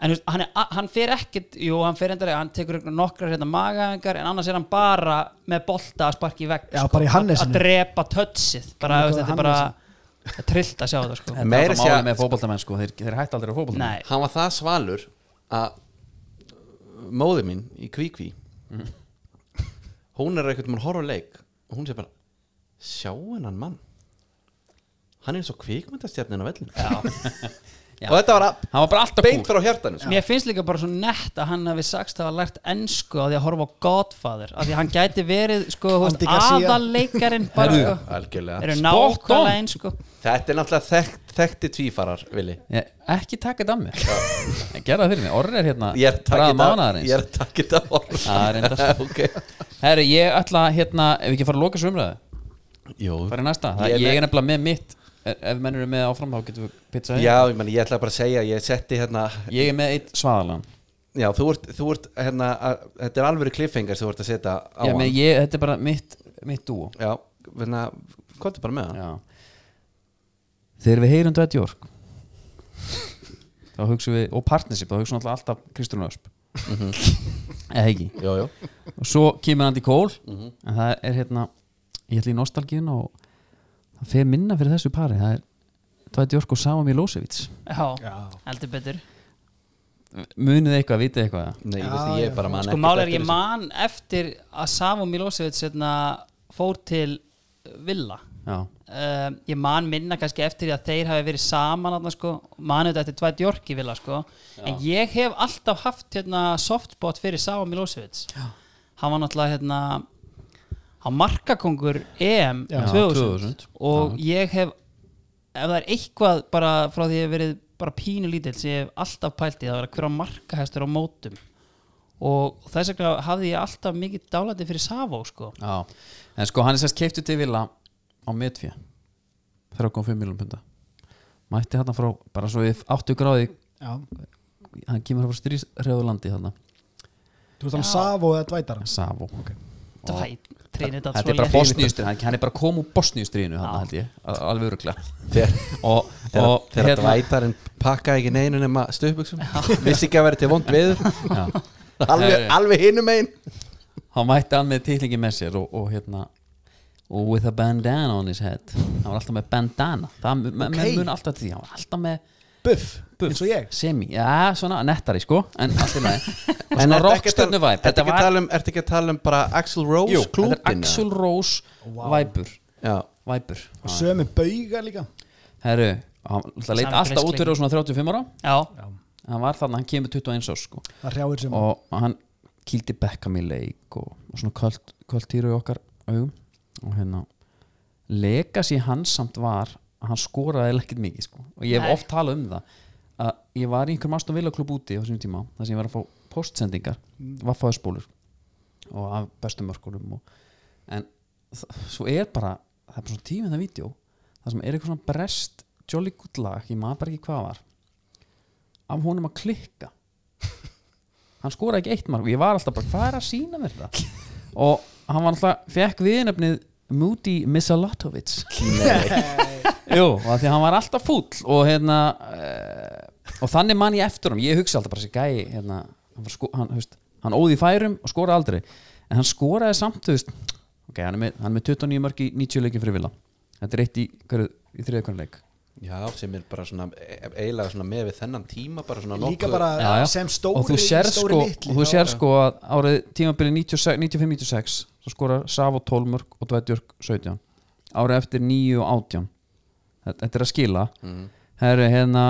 C: en þú veist, hann, er, a- hann fer ekkit jú, hann fer endara, hann tekur einhver- nokkrar hérna, magaðingar, en annars er hann bara með bolta að sparki í vegg sko.
D: Já, bara í
C: að, að
D: Hannesinu.
C: drepa tötsið bara,
D: Gamla
C: þú veist, þetta er bara trillt að sjá þetta sko.
A: þetta er
B: Meira
A: alltaf málið
B: sé-
A: með fótboltamenn sko, þeir, þeir hætti aldrei á fótboltamenn
C: nei,
B: Hann var það svalur að móði mín í kvíkví hún er einhvern mann horf á leik og hún sé bara sjá hennan mann hann er eins og kvíkmyndastjarnin á vellinu og þetta var að-
A: hann var bara alltaf
B: beint
A: kúl
B: frá hjartanu sko.
C: mér finnst líka bara svo nett að hann hafi sagst að hafa lært ennsku á því að horfa á Godfather af því að hann gæti verið sko, þú veist,
D: Andy Garcia.
C: aðalleikarin bara sko,
B: Algjörlega
C: eru
A: Spot on.
C: nákvæmlega eins sko.
B: Þetta er náttúrulega þekkt, þekkti tvífarar, Vili
A: ég, ekki taka þetta af mér En gera það fyrir mig, orri er hérna
B: Ég er að taka
A: bragð
B: þetta
A: mánaðarins.
B: Ég er að taka þetta
A: Já, reyndar.
B: okay.
A: Herru, ég ætla hérna, ef ekki að fara að loka svo umræðu
B: Jú
A: Fara í næsta, það, ég,
B: Ég er með-
A: er nefnilega með mitt Ef- Ef menn eru með áfram þá getum við pizza
B: Já, ég, meni, ég ætla bara að segja Ég setti hérna
A: Ég er með eitt svaðalan
B: Já, þú ert, þú ert hérna að, Þetta er alvöru kliffengar sem þú ert að setja á
A: ég,
B: hann
A: með, ég, Þetta er bara mitt, mitt dúo
B: Já, hérna Kvartu bara með hann
A: Já. Þegar við heyrum Dred York þá hugsa við og partnership, þá hugsa við alltaf Kristrún Ösp eða ekki
B: Jú, jú
A: og svo kemur Andy Cole en það er hérna, ég ætla í nostalgíun og það fer minna fyrir þessu pari það er Dred York og Sama Milosevic
C: já, heldur betur
A: munið þið eitthvað, vitið þið eitthvað
B: Nei,
D: Já,
B: ég veist, ég
D: já.
B: er bara mann
C: sko mál er ég man eftir að Savo Milosevic hérna, fór til Villa
A: já,
C: uh, ég man minna kannski eftir því að þeir hafi verið saman þarna sko, manu þetta eftir tvætt Jorki vilja sko, en ég hef alltaf haft hérna softbot fyrir Sava Milosevic Já. hann var náttúrulega hérna hann markakongur EM
A: Já.
C: 2000,
A: 2000.
C: og ég hef ef það er eitthvað bara frá því að ég hef verið bara pínu lítill sem ég hef alltaf pælt í það var að hverja markahæstur á mótum og þess vegna hafði ég alltaf mikið dálandi fyrir Savo sko.
A: Já, en sko hann er sérst keiftu til vila á metfjö 3,5 miljonum punda mætti hann frá, bara svo við 80 gráði
D: Já.
A: hann kemur frá stríðsrefðu landi hann
D: Þú veist hann Savo eða Dvætar
A: Savo okay.
C: Dvæ, Trinidad
A: Þetta er bara bosníustrið, hann, hann er bara kom úr bosníustriðinu hann held ég, al- alveg öruglega
B: þegar,
A: og, hérna-
B: þegar,
A: og
B: þegar dvætarinn pakkaði ekki neinu nema stöðbuksum vissi ekki að vera til vond viður alveg,
A: Nei.
B: alveg hinum einn
A: hann mætti hann með titlingi með sér og, og hérna og with a bandana on his head hann var alltaf með bandana það okay. menn
D: Ok.
A: mun alltaf til því, hann var alltaf með
D: Buff, eins og ég
A: semi, já svona nettari sko en allt í lagi og svona
B: En ertu ekki að tala-
A: rockstönnu væp
B: ertu ekki að tala um- ertu ekki að tala um bara Axl Rose
A: Jú, þetta er
B: klútinn,
A: Axl
B: eða?
A: Rose væpur
B: Já.
A: væpur
D: og sömu bauga líka
A: herru, hann það leit
C: Samgreisling.
A: alltaf út fyrir á svona 35 ára
C: Já,
A: hann var þarna, hann kemur 21 árs sko
D: það hrjáir sem
A: og hann kýldi Beckham í leik og, og svona kvöld, kvöldtýru í okkar augum og hérna legacy hans samt var að hann skoraði eiginlega ekkert mikið sko og ég hef
C: Nei.
A: oft talað um það að ég var í einhverjum Aston Villa klub úti á þessum tíma þar sem ég var að fá postsendingar vaffaðspólur og af bestum mörkurum og, en þ- svo er bara það er bara svona tímið það vídeo það sem er eitthvað svona brest jolly good lag, ég maður bara ekki hvað var af honum að klikka hann skoraði ekki eitt mark og ég var alltaf bara, hvað er að sína mér það og hann var alltaf, fekk viðnefnið Moody Misalotovic Jú, og af því að hann var alltaf fúll og hérna uh, og þannig man ég eftir hann, ég hugsa alltaf bara þessi gæi, hérna, hann, var sko, hann, þú veist, hann óði í færum og skoraði aldrei en hann skoraði samt, þú veist ok, hann er með, hann er með 29 mörg í 90 leikin fyrir vila þetta er eitt í, hverju, í þriðakonu leik
B: Já, sem er bara svona e- eiginlega svona með við þennan tíma bara svona
D: líka
B: nokkuð-
D: bara
A: Já, já.
D: sem stóri,
A: og þú sér
D: stóri
A: sko,
D: litli
A: og þú
D: Já.
A: sér sko að árið tímabili 95-96 svo skorar Savo 12 mörg og Dvætjörg 17 árið eftir 9 og 18 Þetta- þetta er að skila
B: Mhm.
A: það eru hérna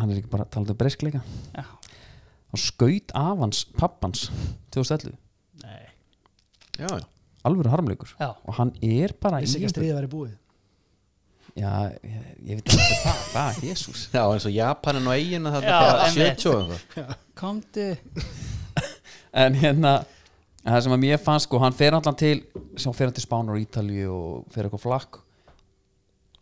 A: hann er ekki bara talað um breyskleika
C: já.
A: og skaut af hans pappans 2011
B: Já, já.
A: alvöru harmleikur
C: Já.
A: og hann er bara
D: vissi ekki að
A: einhver-
D: stríða væri búið
A: já, ég, ég veit ekki það, það, jésús
B: já, eins og Japanin og eigin að það
C: Já,
B: er bara
C: einmitt.
B: 70 og eitthvað.
C: komdu
A: en hérna það sem að mér fannst sko, hann fer allan til sem fer hann til Spánar og Ítalju og fer eitthvað flakk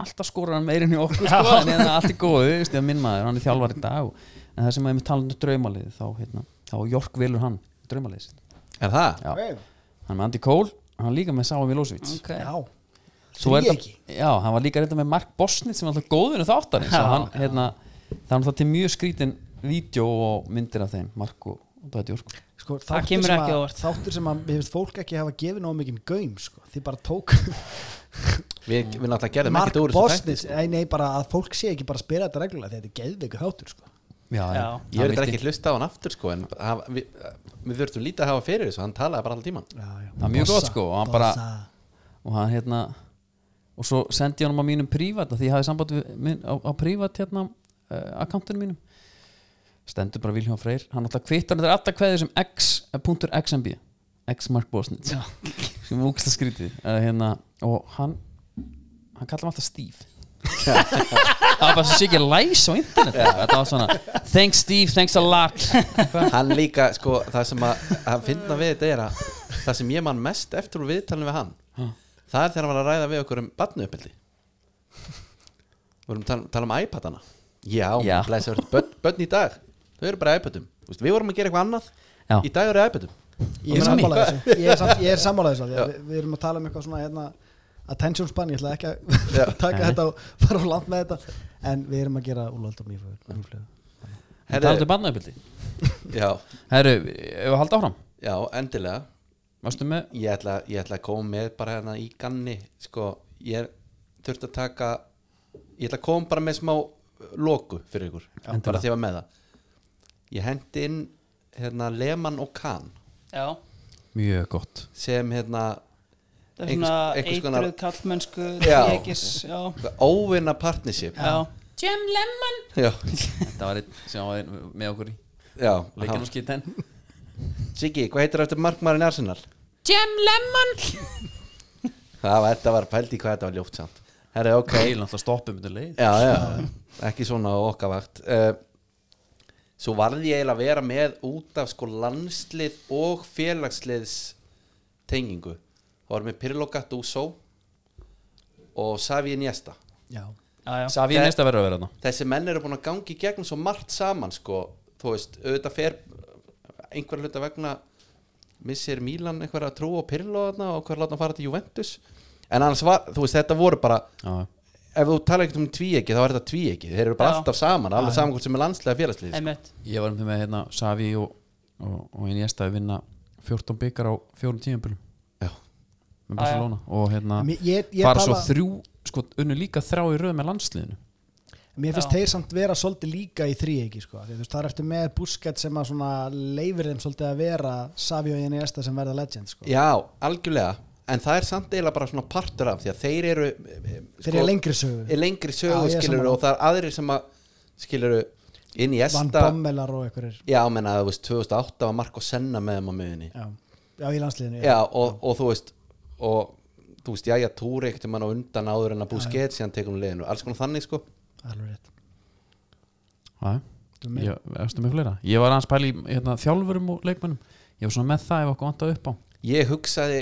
A: alltaf skorar hann meirinn í okkur sko, en hérna allt er góðu, veist, ég minn maður, hann er þjálfar í dag og, en það sem að ég með talandi um draumalið þá, hérna, þá Jork velur hann draumalið sitt,
B: Er það?
A: já,
D: Hey.
A: hann er með Andy Cole hann er líka með Sáa Milosevic
C: Ok.
D: já,
A: Svo er
D: Því
A: þetta-
D: ekki.
A: já, hann var líka reynda með Mark Bosnit sem er alltaf góðinu þáttarins og hann, hérna, það er alltaf til mjög skrítin vídeo og myndir af þeim Mark og, og Dæti Jork
D: sko,
C: Það
D: þáttur
C: kemur
D: sem
C: ekki á
D: að-
C: óvart.
D: þáttur sem að mér finnst fólk ekki hafa gefið nóg mikinn gaum sko. þið bara tók
B: Við, við náttúrulega gerðum
D: Mark
B: ekkert úr þessu þætti, sko.
D: Bosnitz nei, nei, bara að fólk sé ekki bara að spila þetta reglulega því að þetta er geðveiku þáttur sko.
A: já,
C: Já.
B: Ég verður ekki hlusta á hann aftur sko en hafa- við, við þurftum lítið að hafa fyrir þessu hann talaði bara allan tíman
A: Það er mjög gott, sko, og hann bara- og hann hérna og svo sendi ég hann á mínum prívat því ég hafi samband við, minn, á, á prívat hérna uh, akkantinu mínum stendur bara Vilhjón Freyr hann alltaf kvittar þetta er alltaf kveðið sem eh, x.xmb x mark bosnitz sem úksta skrítið uh, hérna, og hann hann kallar hann alltaf Steve það var bara svo sé ekki læs á internet þetta var svona thanks Steve, thanks a lot
B: Hann líka sko það sem að hann finna við þetta er að það sem ég man mest eftir úr viðtalinu við hann það er þegar hann var að ræða við okkur um batnuuppildi Við vorum að tala, tala um iPadana Já, Já.
A: Já.
B: Blæsar, börn, börn í dag þau eru bara í iPadum Vist, Við vorum að gera eitthvað annað
A: Já.
B: í dag eru í iPadum
D: ég er sammálaðið þessu ég er, sam, ég er sammála þessu af því að við, við erum að tala um eitthvað svona hérna, attention span, ég ætla ekki
B: Já.
D: að taka þetta og fara á land með þetta en við erum að gera úlöld á mýflöðu
A: það er aldrei barnaðubildi
B: Já,
A: herru, ef við halda áfram
B: já, endilega
A: varstu með
B: ég ætla, ég ætla að koma með bara hérna í ganni sko, ég er- þurfti að taka ég ætla að koma bara með smá loku fyrir ykkur, bara því að ég var með það ég hendi inn hérna Lehmann og Kahn
C: Já,
A: mjög gott
B: sem hérna
C: það er
B: Einhvers-
C: svona
B: einhvers konar-
C: eitruð kallmennsku
B: Já.
C: tekis, já,
B: óvinna partnership
C: já,
F: Jim Lemon.
B: já,
A: Þetta var einn sem var einn með okkur í
B: já
A: leikinu skiten
B: Siggi, hvað heitir eftir markmarin Arsenal?
F: Jim Lemon.
B: það var, þetta var pældi hvað þetta var ljóft samt herri, ok,
A: um Keil alltaf stoppum þetta leið
B: já, já, ekki svona á okkar vakt uh, Eh, svo varði ég eiginlega að vera með út af sko landslið og félagsliðs tengingu þá var með Pirlo Gattuso og Savi Niesta
D: já,
C: já, já.
A: Savi
B: Þe-
A: næsta verður að vera þarna
B: þessi menn eru búin að gangi í gegnum svo margt saman sko, þú veist, auðvitað fer einhver hluta vegna missir Mílan einhverja trú og Pirlo þarna og hver láta hann fara til Juventus en annars var, þú veist, þetta voru bara
A: Já.
B: ef þú tala ekkert um tvíegi þá er þetta tvíegi þeir eru bara
C: Já.
B: alltaf saman, alveg saman hvort sem er landslega félagslið sko.
C: Einmitt.
A: Ég var með hérna Savi og, og, og einn jæsta að vinna 14 byggar á fjórum tíðanbjörnum
B: Já.
A: með Barcelona og hérna
D: Mér- ég, ég
A: fara svo
D: tala,
A: þrjú sko, unnu líka þrá í röð með landsliðinu
D: mér finnst
C: Já.
D: þeir samt vera svolítið líka í þríegi sko. Því, þú veist, það er eftir með Busquets sem að svona leifir þeim svolítið að vera Savi og Iniesta sem verða legend sko.
B: já, algjörlega en það er samt eiginlega bara svona partur af því að þeir eru eh,
D: þeir eru lengri sögu,
B: er lengri
D: Já,
B: sögu
D: ég er
B: skilur
D: sammála.
B: og það er aðrir sem að skilur inn í
D: Van
B: esta
D: Bommelar og einhverjir
B: já, menna, þú veist, 2008 var Marko Senna með þeim á miðunni
D: já, já, í landsliðinu
B: já, og, og þú veist og þú veist, jæja, túri ekkert um hann á undan áður en að búið skeið síðan tekum við liðinu alls konar þannig sko
D: alveg rétt
A: Já,
D: Þú með-
A: ég, erstu með fleira Ég var aðeins pæli í hérna, þjálfurum og leikmönnum Ég var svona með það ef okkur vantaði upp á
B: ég hugsaði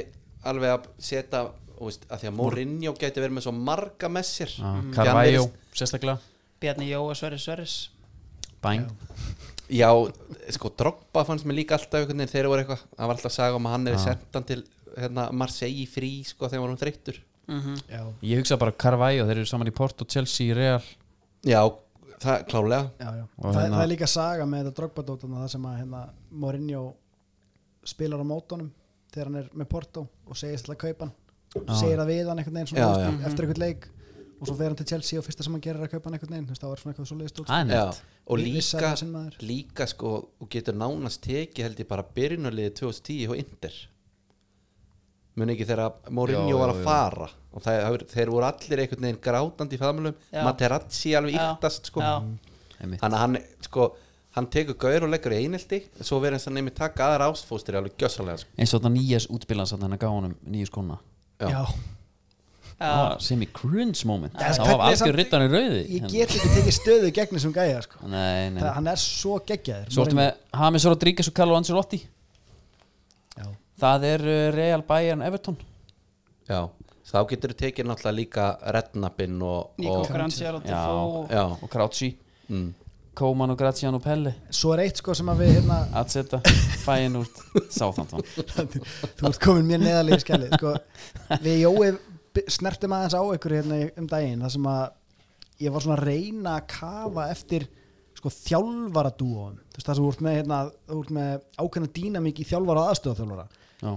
B: alveg að setja þú veist, að því að Mourinho gæti verið með svo marga með sér
A: Já,
B: Því hann
A: Ah, Carvalho,
B: virðist-
A: sérstaklega
C: Bjarni Jóa Sverris Sverris
A: Bæn,
B: já, sko Drogba fannst mér líka alltaf einhvern veginn þegar voru eitthvað, hann var alltaf að saga um að hann er sendan til hérna, Marseille í frí sko þegar hann var þreyttur Mhm.
D: já,
A: ég hugsa bara Carvalho þeir eru saman í Porto, Chelsea, Real
B: já, það klálega
D: já, já.
A: Og
D: Það,
A: hérna-
D: það er líka saga með þetta drogbadótana það sem að hérna, Mourinho spilar á mótunum þegar hann er með Porto og segist alltaf kaupan
A: Já.
D: segir það við hann einhvern
B: Já,
D: veginn svona,
B: já.
D: já, eftir einhvern leik og svo fer hann til Chelsea og fyrsta sem hann gerir er að kaupa hann einhvern veginn þú veist, það var svona eitthvað svo leiðist út
A: Það er
B: Já,
A: neitt
B: og
D: Vi-
B: líka,
D: vissara sinn maður.
B: líka sko, og getur nánast tekið held ég bara byrjunarliði 2010 og Inder mun ekki þegar Mourinho
A: Já,
B: var
A: já,
B: að
A: já.
B: fara og það, það, voru- þeir voru allir einhvern veginn grátandi í faðmjölum,
C: Já.
B: Materazzi alveg
C: Já.
B: yktast sko,
C: Já.
A: Einmitt.
B: hann, hann sko hann tekur gaur og leggur í einelti svo verður hann nefnir taka aðra ástfóstir alveg gjössalega sko.
A: eins og þetta nýjas útbílan satt hann að gá honum nýju skóna
B: Já.
D: sko. já.
A: Það
C: Já.
A: var semi cringe moment
D: Já,
A: það
D: hvernig
A: var algjör
D: samt-
A: rittan í rauði
D: ég get ekki tekið stöðu gegn þessum gæja sko.
A: Hérna. nei, nei,
D: það,
A: nei.
D: hann er svo geggjaður
A: svo ertu
D: Mourinho.
A: með Hamis Rodríguez og Carlo Ancelotti
D: Já.
A: það er uh, Real Bayern Everton
B: Já. þá getur þú tekið náttúrulega líka Rednabin og,
C: Nico
B: og
C: Grandsjár og
A: Já.
C: Defoe
B: já,
A: og Krautschi,
B: mm.
A: Koman og Graziano Pelle
D: svo er eitt sko sem að við hérna,
A: að setja fæin úr Southampton
D: þú ert komin mér neðarlega í skelli sko, við Jói b- snertum aðeins á ykkur hérna í- um daginn þar sem að ég var svona að reyna að kafa eftir sko þjálfaradúum þú veist það sem þú ert með, hérna, þú ert með ákveðna dýnamík í þjálfara og
A: Já.
D: aðstöðaþjálfara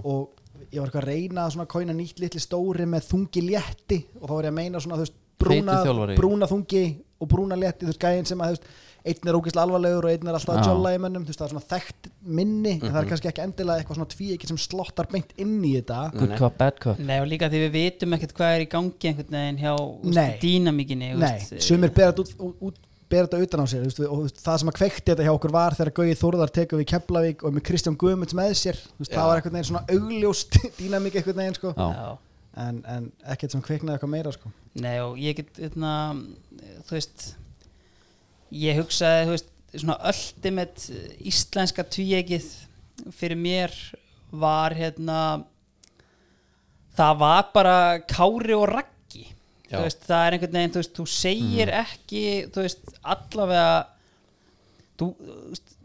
D: og ég var eitthvað að reyna að svona kóina nýtt litli stóri með þungi létti og þá var ég að meina svona þú veist brúna,
A: Heitur þjálfari.
D: brúna þungi og brúna létti þú veist gæðin sem að þú veist einn er ógeðslega alvarlegur og einn er alltaf að
A: Já.
D: jolla í mönnum þú veist það er svona þekkt minni en það
C: Mhm.
D: er kannski ekki endilega eitthvað svona tví sem slottar beint inn í þetta
A: good cup, bad cup
C: Nei og líka því við vitum ekkert hvað er í gangi einhvern veginn hjá úst,
D: Nei.
C: dýnamíkinni þú
D: Nei,
C: veist.
D: sumir bera þetta út, út, bera þetta utan á sér þú veist, og þú veist, það sem að kveikti þetta hjá okkur var þegar Gauði Þórðar tekur við Keflavík og með Kristján Guðmunds með sér þú veist,
B: Já.
D: það var einhvern veginn svona augljóst dýnamík einhvern veginn sko.
A: Já.
C: Já.
D: en, en ekkert sem kveiknaði eitthvað meira sko.
C: Nei og ég get hérna, eitna, þú veist ég hugsaði þú veist, svona ultimate íslenska tvíegið fyrir mér var hérna það var bara Kári og Raggi
B: Já.
C: þú veist, það er einhvern veginn þú, veist, þú segir ekki þú veist, allavega þú, þú veist,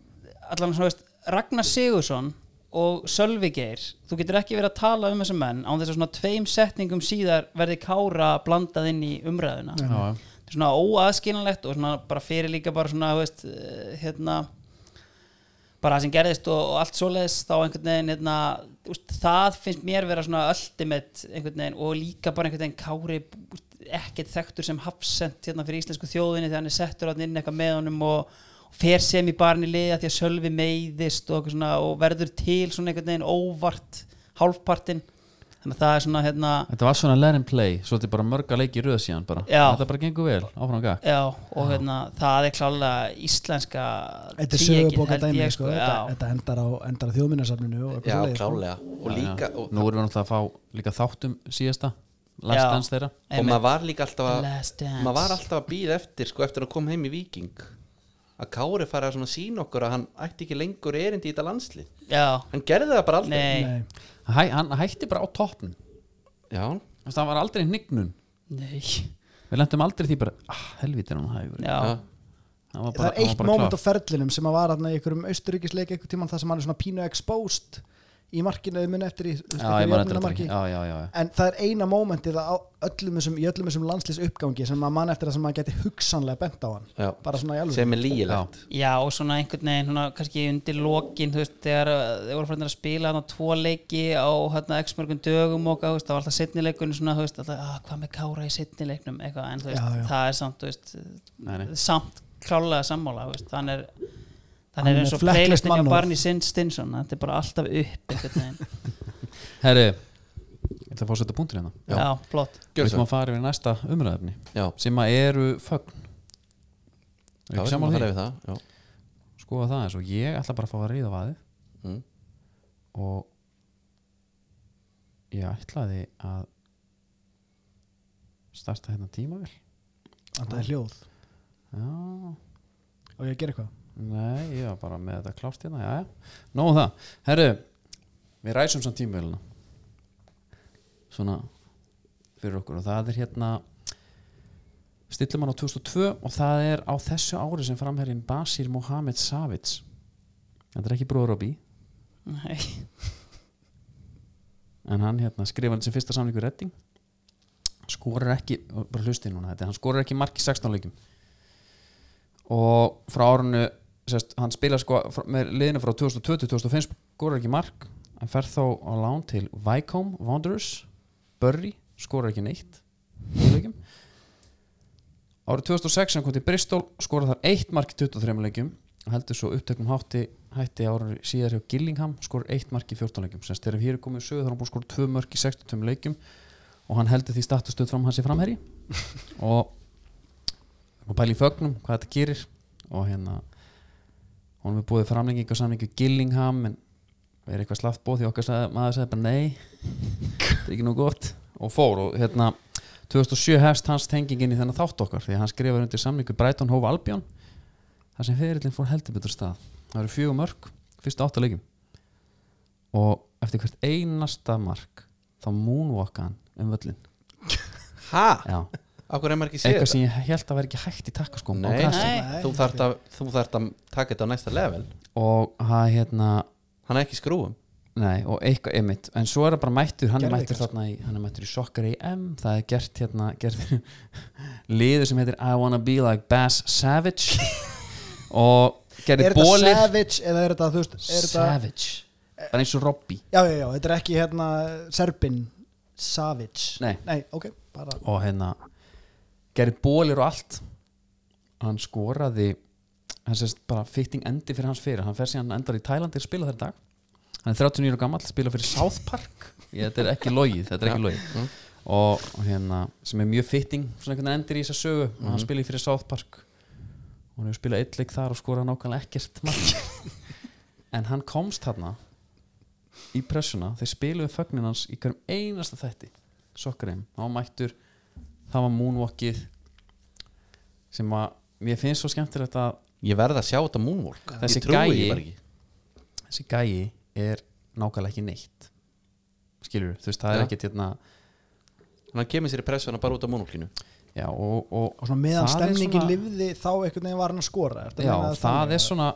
C: allavega svona þú veist, Ragnar Sigursson og Sölvi Geir þú getur ekki verið að tala um þessum menn án þess að svona tveim setningum síðar verði Kára blandað inn í umræðuna
A: Já, já.
C: Þetta er svona óaðskiljanlegt og svona bara fyrir líka bara svona þú veist, eh, hérna bara það sem gerðist og, og allt svoleiðis þá einhvern veginn hérna, úst, það finnst mér vera svona ultimate einhvern veginn og líka bara einhvern veginn kári úst, ekkert þekktur sem hafsend hérna fyrir íslensku þjóðinni þegar hann er settur hann inn eitthvað með honum og, og fer sem í barni liða því að sölvi meiðist og, eitthvað svona, og verður til svona einhvern veginn óvart hálfpartin þannig að það er svona hérna
A: þetta var svona let and play svo þetta er bara mörga leiki í röð síðan bara.
C: Já.
A: þetta bara gengur vel áfram gag
C: Já, og hérna, það er klálega íslenska
D: Þetta er
C: tvíeggið,
D: sögubóka
C: held
D: dæmi
C: ég,
D: sko.
C: já.
D: þetta, þetta endar á, endar á þjóðminnarsafninu og eitthvað
B: já,
D: svoleiðis, sko.
B: klálega og líka, og,
A: nú erum við náttúrulega að fá líka þáttum síðasta last
C: Já.
A: dance þeirra
B: og
C: Einmitt.
B: maður var líka alltaf að
C: Last Dance.
B: maður var alltaf að býða eftir sko eftir að koma heim í Viking að Kári fara að svona sína okkur að hann ætti ekki lengur erindi í þetta landslið
C: Já,
B: hann gerði það bara aldrei
C: nei,
D: Nei.
A: Hæ, hann hætti bara á toppn
B: já,
A: það var aldrei hnignun
C: nei
A: við lentum aldrei því bara, ah, helvítið er hún hægur
C: Já,
B: já.
A: það var
D: það
A: bara,
D: er eitt
A: hann var bara
D: moment á ferlinum sem að var þarna í einhverjum austuríkisleik einhver tíman það sem hann er svona pínu exposed í markinu eða minn eftir í, þú veist,
A: já, ég
D: einhverju
A: man eftir þetta
D: jöfnunarmarki.
A: ekki. já, já, já, já.
D: en það er eina momentið á öllum þessum, í öllum þessum landslýs uppgangi sem maður mann eftir það sem maður geti hugsanlega bent á hann
B: Já.
D: bara svona í alveg
B: sem er lígilegt
C: já og svona einhvern veginn svona, kannski undir lokin þú veist, þegar uh, þeir voru fyrir að spila hann á tvo leiki á hérna, x mörgum dögum og hvað, þú veist, það var alltaf setnileikun svona, þú veist, alltaf, ah, hvað með kára í setnileiknum eitthvað, en þú veist,
D: Já, já.
C: það er samt þú veist,
A: Nei, nei.
C: samt klálega sammála, þú veist, hann er hann
D: Hann
C: er
D: er
C: eins og
D: flekklaust
C: playlistin hjá
D: mannorð.
C: Barney Sin- Stinson þetta er bara alltaf upp einhvern veginn,
A: herri, ég ætla að fá að setja punktur hérna
B: Já.
C: já, flott
A: við ætlum að fara yfir í næsta umræðefni
B: já,
A: sem að eru fögn er ekki
B: já, við erum að
A: saman
B: fara
A: því
B: yfir það já.
A: skoða það eins og ég ætla bara að fá að ríða vaði
B: Mm.
A: og ég ætlaði að starta hérna tímavel
D: en það er hljóð
A: já
D: og ég að gera eitthvað
A: Nei, ég var bara með þetta klárt hérna, já, já. Nóðum það. Herru, við ræsum samt tímavélina. Svona fyrir okkur og það er hérna stillum hann á 2002 og það er á þessu ári sem framherrin Basir Mohamed Savic. Þetta er ekki bróður á bí,
C: Nei.
A: en hann hérna skrifaði sem fyrsta samlingu redding skorar ekki, og bara hlusti núna þetta, hann skorar ekki mark í 16 leikum og frá árunu sest, hann spila sko fr- með liðinu frá 2020-2005 skorar ekki mark en fer þá á lán til Vicombe Wanderers Burry, skorar ekki neitt í leikum árið 2006 hann kom til Bristol skorar þar eitt mark í 23 leikum og heldur svo upptökum hátti hætti árið síðar hjá Gillingham skorar eitt mark í 14 leikum sem styrir hér er komið sögur þar hann búið skorar tvö mörk í 62 leikum og hann heldur því statustöð fram hans í framherji og og pæli í fögnum hvað þetta gerir og hérna honum er búið framlenging og samlingu Gillingham en er eitthvað slaft bóð því okkar sagði, maður sagði bara nei þetta er ekki nú gott og fór og hérna 2007 hefst hans tenging inn í þennan þátt okkar því að hann skrifar undir samlingu Brighton Hove Albion þar sem fyrirlin fór heldur betur af stað það eru fjögur mörg, fyrstu átta leikum og eftir hvert einasta mark þá moonwalka hann um völlin
B: ha,
D: Ah,
A: Já,
B: okkur er maður ekki séð
A: eitthvað sem ég held að vera ekki hægt í takkaskóm
B: Nei,
C: Nei.
B: þú þarft að, þú þarft að taka þetta á næsta level
A: og það hérna
B: hann er ekki skrúum
A: nei, og eitthvað einmitt, en svo er það bara mættur hann er
D: Gerðu
A: mættur
D: eitthvað,
A: þarna í, hann er mættur í sokkar í M það er gert hérna gert liður sem heitir I wanna be like Bass Savage og
D: er
A: gerði
D: þetta
A: bólir
D: Savage eða er þetta þú veist er þetta,
A: Savage, bara eins og Robbie
D: já, já, já, þetta er ekki hérna Serbin Savage
A: Nei.
D: ok, bara
A: og hérna gerði bólir og allt hann skoraði hann sérst bara fitting endi fyrir hans fyrir hann fer síðan endar í Tælandi að spila þær dag hann er 39 og gammal, spila fyrir South Park ég, þetta er ekki logið, þetta er ekki logið
B: Mm.
A: og og hérna, sem er mjög fitting svona einhvern veginn endir í þessa sögu og
D: Mhm.
A: hann spila fyrir South Park og hann hefur spilað eitt leik þar og skorað nákvæmlega ekkert mark en hann komst þarna í pressuna, þeir spiluðu um fögnin hans í hverjum einasta þætti sokkarinn, hann var mættur það var moonwalkið sem að mér finnst svo skemmtilegt að
B: ég verð að sjá þetta moonwalk
A: Þessi
B: ég trúi
A: gæi-
B: því bara ekki.
A: þessi gæi er nákvæmlega ekki neitt skilur, þú veist, það er
B: Já.
A: ekkert hérna
B: hann kemur sér í pressuna bara út á moonwalkinu
A: já, og, og,
D: og svona meðan
A: það er
D: stemningin
A: svona-
D: lifði þá einhvern veginn var hann að skora ertu að
A: já,
D: meina
A: það
D: þannig?
A: er svona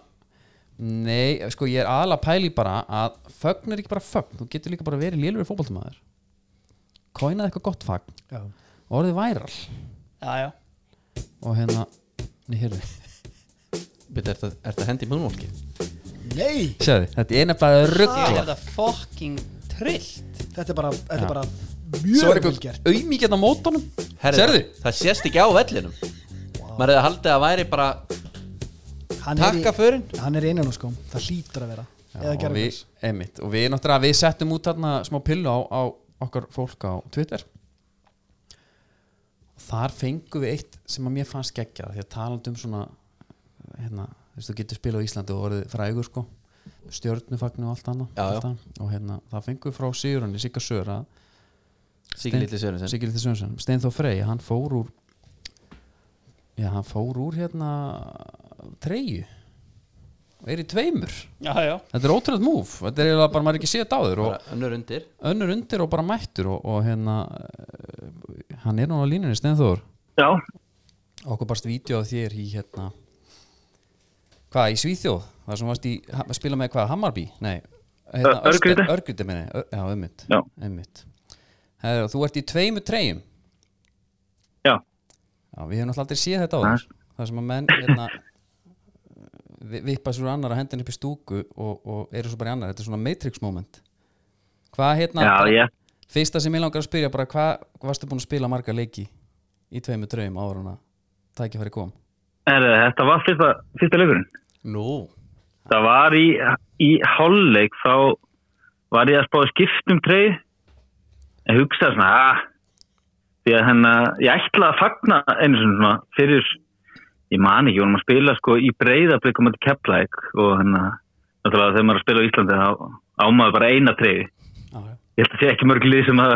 A: nei, sko, ég er aðalega pæli bara að fögn er ekki bara fögn, þú getur líka bara verið lélur fótboltamaður kóinað eitthvað gott fagn
D: já.
A: og orðið væral
C: já, já
A: og hérna, nei, hérna
B: Byrja, er þetta hendi í moonwalkið?
D: nei,
A: Sjáðu, þetta er
D: Ah.
A: nefnilega
C: Ég
A: ruggla
C: er þetta fucking trillt
D: þetta er bara, þetta
A: Já.
D: er bara
A: Svo er
D: mjög vel
A: eitthvað
D: gert
A: auðmíkjarn á mótunum
B: Herri,
A: Sérðu?
B: það- Það sést ekki á vellinum maður hefði haldið að væri bara
D: hann er,
B: takka
D: í,
B: förinn
D: hann er í einan og skóm það hlýtur að vera eða sko.
A: og
D: gerði
A: við, einmitt, og við náttúrulega við settum út þarna smá pillu á, á okkar fólk á Twitter þar fengum við eitt sem að mér fannst geggja því að talandi um svona hérna, þú veist, þú getur spilað á Íslandi og orðið frægur sko, stjörnufagnu og allt annað
B: Já, já.
A: allt annað. og hérna, það fengum við frá Sigurunni Sigga Söra,
B: Sigil Lítli Sörunsen
A: Sigurði Sjónsson Steinþór Frey, hann fór úr já, hann fór úr hérna treyju og er í tveimur
C: já, já,
A: þetta er ótrúlega múf, þetta er eiginlega bara maður er ekki séð dáður og
B: bara önnur undir
A: önnur undir og bara mættur og, og hérna eh, hann er núna á línunni Steinþór
G: Já,
A: okkur barst vídeo af þér í hérna hvað, í Svíþjóð það sem varst í, ha- að spila með hvað, Hammarby nei, hérna,
G: Ö- Örgryte.
A: Örgryte minni, Ör, já, ummitt
G: Já.
A: ummitt Her, þú ert í tveimu treyjum
G: já,
A: já, við hefum alltaf aldrei séð þetta á þér það sem að menn hérna vi- vippa sér úr annar að hendin upp í stúku og, og eru svo bara í annar, þetta er svona matrix moment hvað hérna
G: já,
A: bara-
G: ég,
A: Fyrsta sem ég langar að spyrja bara hvað hvað varstu búin að spila marga leiki í tveimu draum ára hana tækifæri kom
G: er, þetta var fyrsta, fyrsta leikurinn.
B: nú,
G: Það var í, í hálfleik, þá var ég að spá að skipta um treyð, en hugsaði svona, að, því að henn að, ég ætlaði að fagna einu sinni svona, fyrir, ég man ekki, hún var að spila sko í breyðablikum að kepplæk og henn að, náttúrulega þegar maður er að spila á Íslandi, þá ámaður bara eina treyði.
A: Já,
G: ég held að sé ekki mörg lið sem að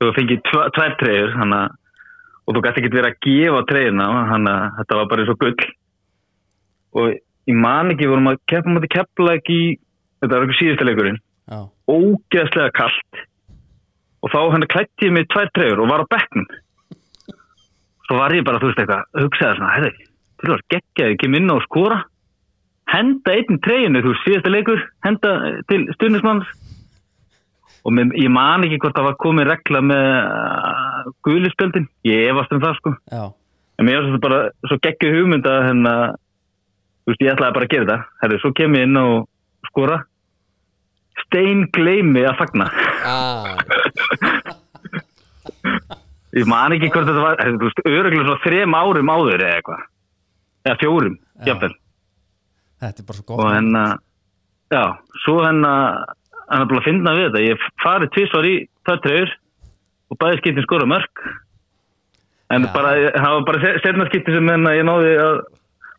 G: þú fengið tva- tvær treyjur þannig að og þú gæti ekki verið að gefa treyjuna þannig að þetta var bara eins og gull og ég man ekki vorum að keppa mútið keppla ekki þetta var ekki síðustu leikurinn
A: já,
G: ógeðslega kallt og þá hann klætti ég mig í tvær treyjur og var á bekknum svo var ég bara, þú veist eitthvað, hugsaði svona heyrðu, þú veist, geggjaði, ég kem inn á að skora henda einn treyjunu, þú veist, síðasta leikur henda eh, til stundismanns og með, ég man ekki hvort það var komið regla með uh, guðlispöldin, ég efast um það sko
A: já,
G: en mér var þetta bara svo geggju hugmynd að hérna, þú veist, ég ætlaði bara að gera þetta herru, svo kem ég inn á að skora stein gleimi að fagna
B: að
G: Ég man ekki hvort þetta var, þú veist, öruglega svona þrem árum áður eða eitthvað. Eða fjórum,
A: Já.
G: jafnvel.
A: þetta er bara svo
G: Og
A: gott
G: henn að, já, svo hérna, henn að, henn að bara finna við þetta. Ég farið tvísvar í tötreyur og bæði skiptin skora mörg. En
A: Já.
G: bara, það var bara setna skipti sem henn að ég náði að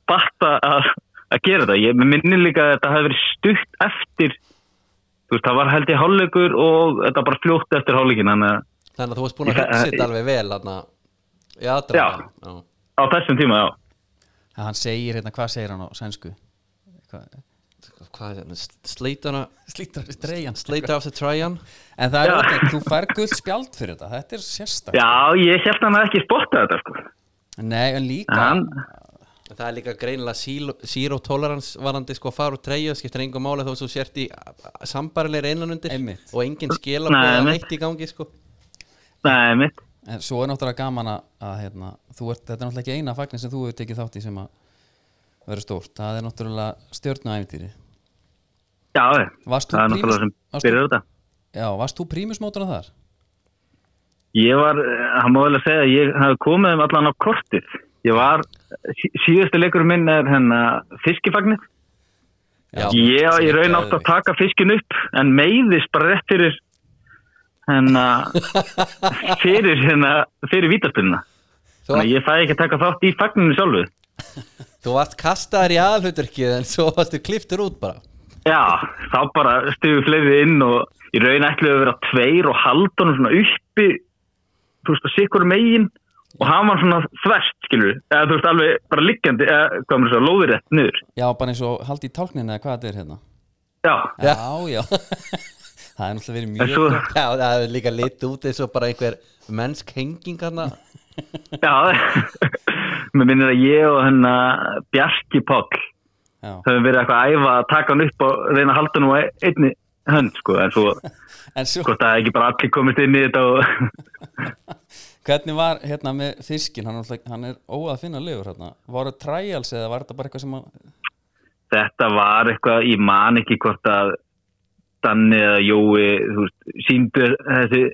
G: batta að, að gera þetta. Ég minni líka að þetta hafi verið stutt eftir, þú veist, það var held í hálfleikur og þetta bara fljótt eftir hálfleikin, þannig að
B: Þannig að þú varst búin að hugsa
G: eh,
B: þetta alveg vel þarna í aðdraganda. Já,
G: á þessum tíma, já.
A: að hann segir hérna, hvað segir hann á sænsku
B: Hvað er þetta? Sleitana
A: slítur þessi dreyjan
B: Sleita af þessi træjan
A: en það er
G: Já.
A: ótrúlega, þú fær gull spjald fyrir þetta þetta er sérstak
G: Já, ég held hann að ekki spotta þetta sko.
A: nei, en líka
G: Hann,
B: Það er líka greinilega zero- zero tolerance varandi sko að fara úr treyju skiptir engum máli þó sem þú sért í sambarilegri einan undir
A: Einmitt.
B: og engin
G: Nei,
B: skilabóða
G: einmitt.
B: neitt í gangi sko
G: nei, mitt.
A: en svo er náttúrulega gaman að, að hérna, þú ert, þetta er náttúrulega ekki eina fagnin sem þú hefur tekið þátt í sem að vera stórt, það er náttúrulega stjörnuæfintýri
G: Já, já.
A: Varst þú
G: það er
A: prímus-
G: náttúrulega sem
A: varst þú-
G: byrjar þetta.
A: já, varst þú prímusmótuna þar?
G: Ég var, eh, hann má vel að segja, að ég hafði komið um allan á kortið. Ég var, sí- síðustu leikur minn er hennar fiskifagnir.
B: Já,
G: Ég, ég
B: sem er
G: raun átt að
B: geðveikt.
G: taka fiskin upp en meiðist bara rétt fyrir hennar, fyrir hennar, fyrir vítaspilna.
B: Þú,
G: Þannig að ég fæði ekki að taka þátt í fagninu sjálfu.
B: þú varst kastaðar í aðhluturkið en svo varstu kliftur út bara
G: Já, þá bara stuðu fleiri inn og í raun ætluðu að vera tveir og halda honum svona uppi þú veist, sikkur megin og hann var svona þvert, skilur eða þú veist, alveg bara liggjandi eða hvað maður svo, lóðir rétt niður
A: Já, bara eins og haldi í tálkninu eða hvað þetta er hérna
G: Já,
B: Já.
A: Já, já Það er náttúrulega verið
G: en
A: mjög
G: svo,
B: Já, það hefur líka litið út eins og bara einhver mennsk henging hana
G: já mér minnir að ég og hennar Bjarki Páll
A: Já.
G: höfum verið eitthvað að æfa að taka hann upp og reyna að halda hann á einni hönd, sko, en svo
A: En svo,
G: hvort það ekki bara allir komist inn í þetta og
A: hvernig var hérna með fiskin hann, er náttúrulega- hann er óað að finna lögur hérna Var það trials eða var þetta bara eitthvað sem að
G: þetta var eitthvað, ég man ekki hvort að Danni eða Jói þú veist, síndu þessi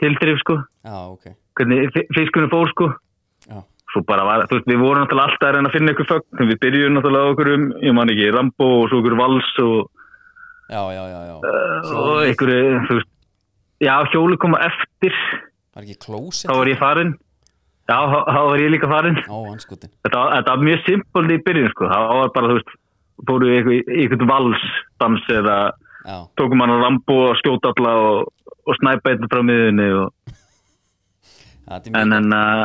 G: tildrif sko,
A: Já, ok
G: hvernig fi- fiskunum fór sko
A: Já,
G: svo bara var, þú veist, við vorum náttúrulega alltaf að reyna að finna ykkur fögn, við byrjum náttúrulega á okkur um, ég man ekki, Rambo og svo okkur Vals og,
A: já, já, já, já.
G: og ykkur, þú veist já, hjóli koma eftir
A: Var ekki klósett?
G: þá var ég farin já, þá- þá var ég líka farin
A: Ó, anskutin
G: þetta, var- þetta var mjög simpult í byrjun sko, þá var bara, þú veist fóru í ykkur, ykkur valsdans eða
A: Já,
G: tókum hann að rambu og skjóta alla og, og snæpa einn frá miðunni og,
A: þetta er
G: en
A: mjög
G: hann að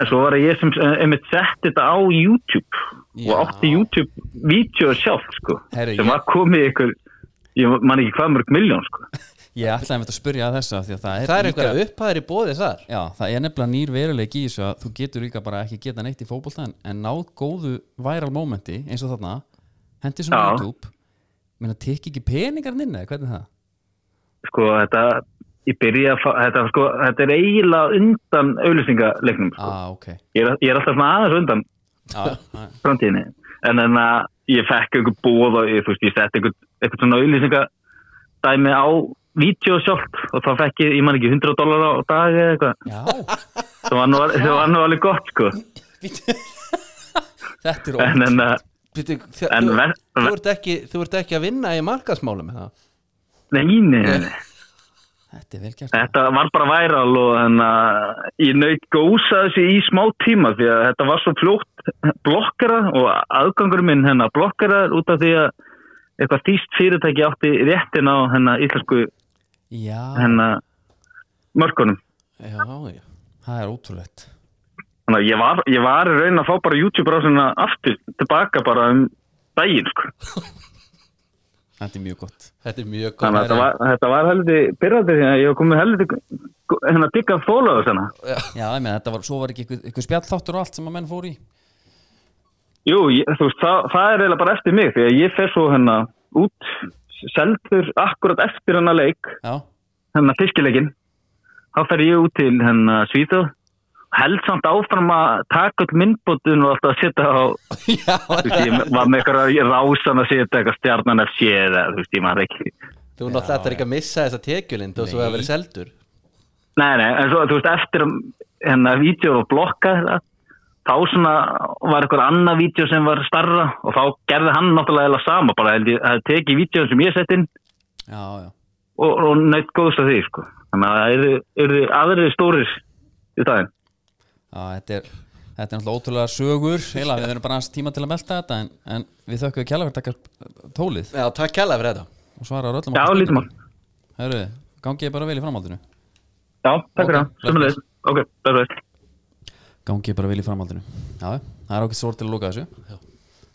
G: en svo var ég sem eh, einmitt sett þetta á YouTube
B: Já.
G: og átti YouTube-vídeó sjálf sko,
A: Herri,
G: sem
A: ég-
G: var komið ykkur ég man ekki hvað mörg miljón sko.
A: Ég ætlaði einmitt að spyrja að þessu af því að það er,
B: Það er
A: líka-
B: einhverja upphæðir í bóði þar
A: Já, það er nefnilega nýr veruleik í þessu að þú getur líka bara ekki geta neitt í fótbolta en, en náð góðu viral momenti eins og þarna, hendi svona
G: Já.
A: á YouTube menn að tekja ekki peningarn inn eða hvernig er það?
G: sko þetta ég byrja að fá, þetta, sko, þetta er eiginlega undan auðlýsingaleiknum sko.
A: Ah, ok
G: ég, er, ég er alltaf svona aðeins undan
A: ah,
G: framtíðinni en en að ég fekk einhver bóð og ég, þú veist, ég sett einhver, einhver svona auðlýsinga dæmi á vídeo sjálf og þá fekk ég, ég man ekki 100 dólar á dag eða eitthvað
A: Já,
G: það var nú, það var nú alveg gott sko
A: þetta er
G: en en eh, að
B: Býtu, þjá,
G: En
B: þú,
G: ver-
B: þú, ert ekki, þú ert ekki að vinna í markasmálum eða?
G: Nei, nei, nei.
A: Þetta er vel gert
G: Þetta var bara væral og þannig að ég naut gósa þessi í smá tíma því að þetta var svo fljótt blokkara og aðgangur minn hennar blokkara út af því að eitthvað þýst fyrirtæki átti réttin á hennar íslensku
A: Já,
G: hennar hérna, mörkunum.
B: Já, já
A: það er ótrúlegt
G: Þannig að ég var, ég var í raun að fá bara YouTube rásina aftur tilbaka bara um daginn sko.
A: Þetta er mjög gott
B: Þetta er mjög góð
G: Þannig að þetta var, þetta var heldur byrjandi því að ég var komið hérna, heldur hennar diggað þólaðu þess hennar.
A: Já, ég meina, þetta var, svo var ekki ykkur, ykkur spjallþáttur og allt sem að menn fór í
G: Jú, ég, þú veist, það, það er eiginlega bara eftir mig því að ég fer svo hérna út seldur akkurat eftir hennar leik
A: Já,
G: hennar fiskileikin hérna, þá fer ég út til hennar Svíþjóð held samt áfram að taka upp myndbótun og alltaf að setja á
B: Já,
G: þú veist, ég var með eitthvað rásan að setja eitthvað stjarnan að sé eða, þú veist, ég maður ekki
B: Þú náttúrulega ætlar ekki að missa þessa tekjulind og svo
A: Nei.
B: að verið seldur
G: Nei, nei, en svo, þú veist, eftir að hennar vídeo var blokkað þetta, þá svona var eitthvað annað vídeo sem var starra og þá gerði hann náttúrulega eða sama, bara held ég að teki vídeoin sem ég sett inn
A: já, já
G: og, og neitt góðs að því, sko. Þannig að það yrðu- yrðu aðrið stórir í daginn.
A: Já, þetta er, þetta er náttúrulega ótrúlega sögur heila, við verðum bara aðeins tíma til að melta þetta en, en við þökkum við kjæla fyrir að taka tólið
B: Já, takk kjalla fyrir þetta
A: og svara öllum
G: Já, lítum á.
A: Hörru, gangi ég bara vel í framhaldinu
G: Já, takk
A: Ok,
G: fyrir það. Sumulegis. Ok, bæðið.
A: Gangi ég bara vel í framhaldinu Já, það er ákveðt svo til að lóka þessu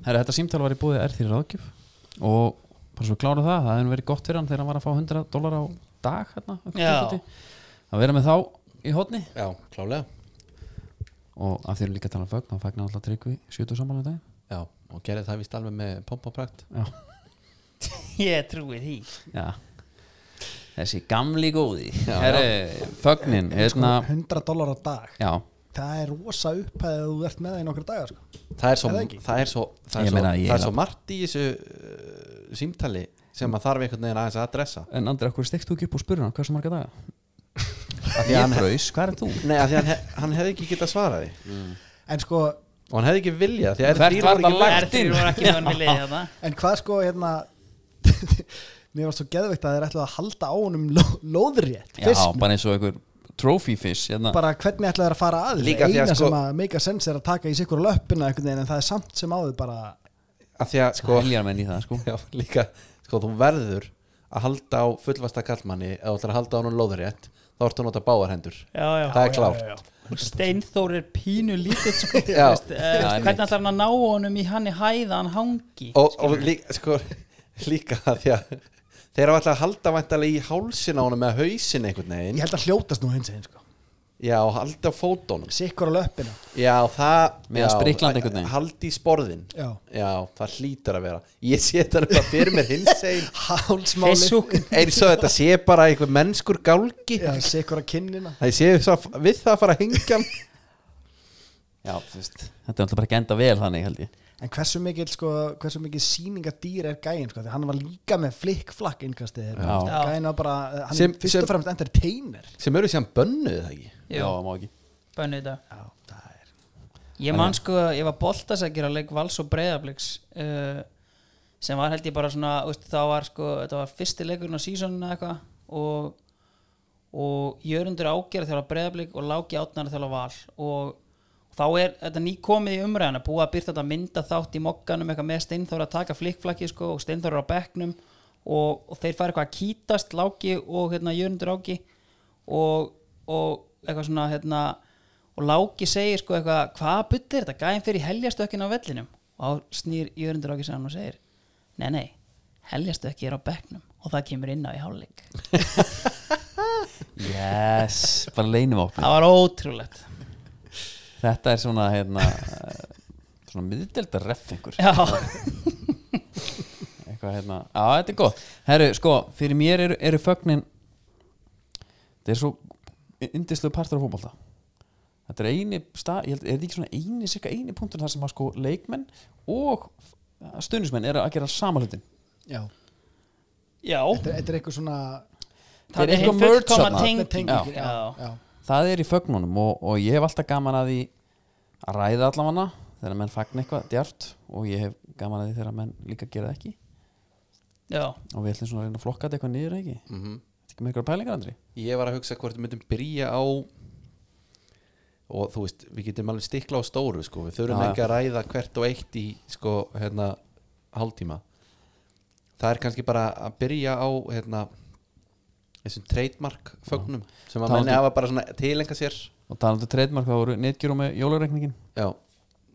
A: Herru, þetta símtal var í búið R3 ráðgjöf og bara svo klára það, það hefur verið gott fyrir hann þegar hann var að fá 100 dólar á dag hérna, upp á
C: Já.
A: Íslandi. að vera með þá í hotni
B: Já, klálega
A: og af því erum líka að tala um fögn, þá fagnar alltaf tryggvi 70 samanlega dag
B: Já, og gerði það vist alveg með pomp og prakt
A: Já,
C: Ég trúi því
A: Já Þessi gamli góði
B: Já.
A: Herri, fögnin hérna,
D: 100 dólar Sko, á dag
A: Já,
D: það er rosa upphæðið að þú ert með það í nokkra daga sko.
B: Það er svo,
D: Er það ekki?
B: það er svo, það
A: Ég
B: er svo,
A: meina, ég
B: það er
A: er
B: svo margt í þessu uh, símtali sem að þarf einhvern veginn aðeins að adressa
A: en Andri, okkur stekst þú ekki upp og spurði hann hversu marga daga? Af því hann fraus, hvað er þú?
B: Nei, af því hann, he- hann hefði ekki getað svarað því
D: en sko
B: og hann hefði ekki viljað því að
A: Hvert
B: R3
A: var
B: ekki
A: það
B: með.
A: lagt?
C: Er því voru ekki með hann vilja þetta
D: En hvað sko hérna Mér var svo geðveikt að þeir ætlaði að halda á honum ló, lóðrétt
A: Já,
D: Fisknum
A: bara eins og einhver trophy fish hérna.
D: bara hvernig ætlaði þeir að fara að
B: Líka því
D: þessu
B: að
D: eina
B: sko-
D: sem að make a sense er að taka í sikur löppina einhvern veginn en það er samt sem áður bara
B: Af því að sko,
A: Heljar menn í það, sko
B: já, líka, sko, þú verður að halda á fullvasta kallmanni eða þú ætlar að halda á hann lóðurétt þá ertu að nota báðar hendur
C: Já, já
B: Það er klárt
C: Og Steinþór er pínu lítið sko Þú
B: Já.
C: veist, eh,
A: Já,
C: Hvernig ætlar hann að ná honum í hann í hæða hann hangi
B: og, og líka, sko, líka af því að þeir eru alltaf að halda væntalega í hálsin á hann með hausin einhvern
D: Ég
B: veginn
D: held að hljótast nú hins einn sko
B: já, og halda á fótónum
D: Sikur á löppina
B: Já, það
A: Með
B: já,
A: að spriklandi einhvern veginn.
B: Haldi í sporðin
D: Já.
B: það hlýtur að vera Ég sé þetta bara fyrir mér hins einn
D: Hálsmáli
C: Facebook
B: eins og þetta sé bara einhver mennskur gálgi
D: Já, sikur á kinnina
B: Það sé svo, við það að fara að hengja hann.
A: Já, þú veist Þetta er alltaf bara ekki enda vel þannig, held ég
D: En hversu mikil sko, hversu mikil sýningadýr er gæinn sko, því hann var líka með flick-flack innkastið þeirra,
A: Já.
D: þú veist, gæinn var bara eh, hann
B: Sem-
D: er fyrst
B: sem-
D: og fremst entertainer
B: sem eru síðan bönnuð það ekki
A: Já,
C: Jú,
A: má ekki
C: bönnu þetta
D: Já, það er
C: Ég man sko, ég var boltasækir að leik vals og breyðabliks uh, sem var held ég bara svona veist, þá var sko, þetta var fyrsti leikurinn á sísoninu eitthvað og, og Jörundur ágerð þjálfa breyðablík og Láki átnar þjálfa val og þá er þetta nýkomið í umræðana búið að byrta þetta mynda þátt í mokkanum eitthvað með Steinþóra að taka flikkflakki sko, og Steinþóra á bekknum og, og þeir fara eitthvað að kýtast Láki og hérna, Jörundur áki og, og eitthvað svona hérna, og Láki segir sko eitthvað hvað buttir þetta, gæðin fyrir heljastökkin á vellinum og þá snýr Jörundur Láki sér hann og segir nei nei, heljastökki er á bekknum og það kemur inn á í hálfleik
A: yes, bara leinum opni
C: það var ótrúlegt
A: þetta er svona hérna, eh, svona miðdeldar reffingur
C: já,
A: eitthvað hérna, á þetta er gott herru, sko, fyrir mér eru, eru fögnin þetta er svo yndislu partur af fótbolta þetta er eini stað, ég held, er þetta ekki svona eini, cirka eini punktur þar sem að sko leikmenn og stuðnismenn eru að gera sama hlutin
D: Já,
C: já
D: þetta er- þetta er eitthvað svona
A: er
C: það er
A: eitthvað
C: heil
A: merge
C: fullkoma
A: þarna.
D: með
C: tenging
D: tengingir,
C: já. Já.
D: já.
A: það er í fögnunum og, og ég hef alltaf gaman að því að ræða allafanna þegar menn fagna eitthvað djart og ég hef gaman að því þegar menn líka gera það ekki
C: Já.
A: og við ætlum svona að reyna að flokka þetta eitthvað niður ekki mm
B: Mhm.
A: -hmm. ekki með eitthvað pælingar andri
B: Ég var að hugsa hvort við myndum byrja á og þú veist, við getum alveg stikla á stóru sko, við þurfum
A: Já, já.
B: ekki að ræða hvert og eitt í sko, hérna, hálftíma það er kannski bara að byrja á hérna, þessum trademark fögnum sem að
A: Talandi-
B: menni hafa bara svona tilenga sér
A: og talandu treyðmark þá voru netgjur og með jólareikningin
B: já,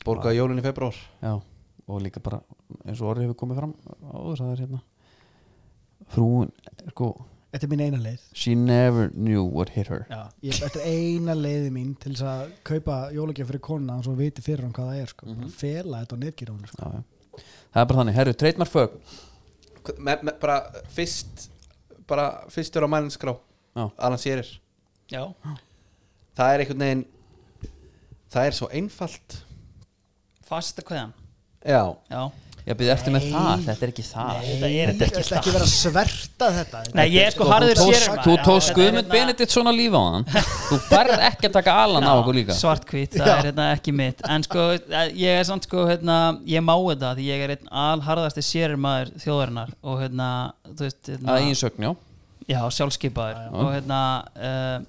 B: borgaði jólun í februar
A: Já, og líka bara eins og orðið hefur komið fram áður það er hérna frúin, sko
D: Þetta er mín eina leið
A: she never knew what hit her
D: Já, ég, þetta er eina leiði mín til þess að kaupa jólagjöf fyrir konuna og svo viti fyrir hann hvað það er sko. mm fela þetta á netgírónu sko.
A: já, já. það er bara þannig, herru, treytmar fög
B: me, me, bara fyrst bara fyrstur á mælinskrá
A: Já.
B: Alan Sérir
C: Já.
B: það er einhvern veginn það er svo einfalt
C: fasta kveðan
B: já,
C: já.
A: ég byrði eftir með það, þetta er ekki það
C: þetta er
D: Ég ætla ekki að vera að sverta þetta
C: Nei, ég er sko harður
A: þú
C: sér hérna-
A: tókst- þú tókst Guðmund Benedikt svona lífa á hann þú færð ekki að taka Alan á okkur líka
C: svartkvít, það er hérna ekki mitt en sko, eh, ég er samt sko hérna, ég má þetta, því ég er einn alharðasti sérmaður þjóðarinnar og hérna, þú veist hérna,
A: að eigin sögn, já
C: já, sjálfskipaður og hérna uh,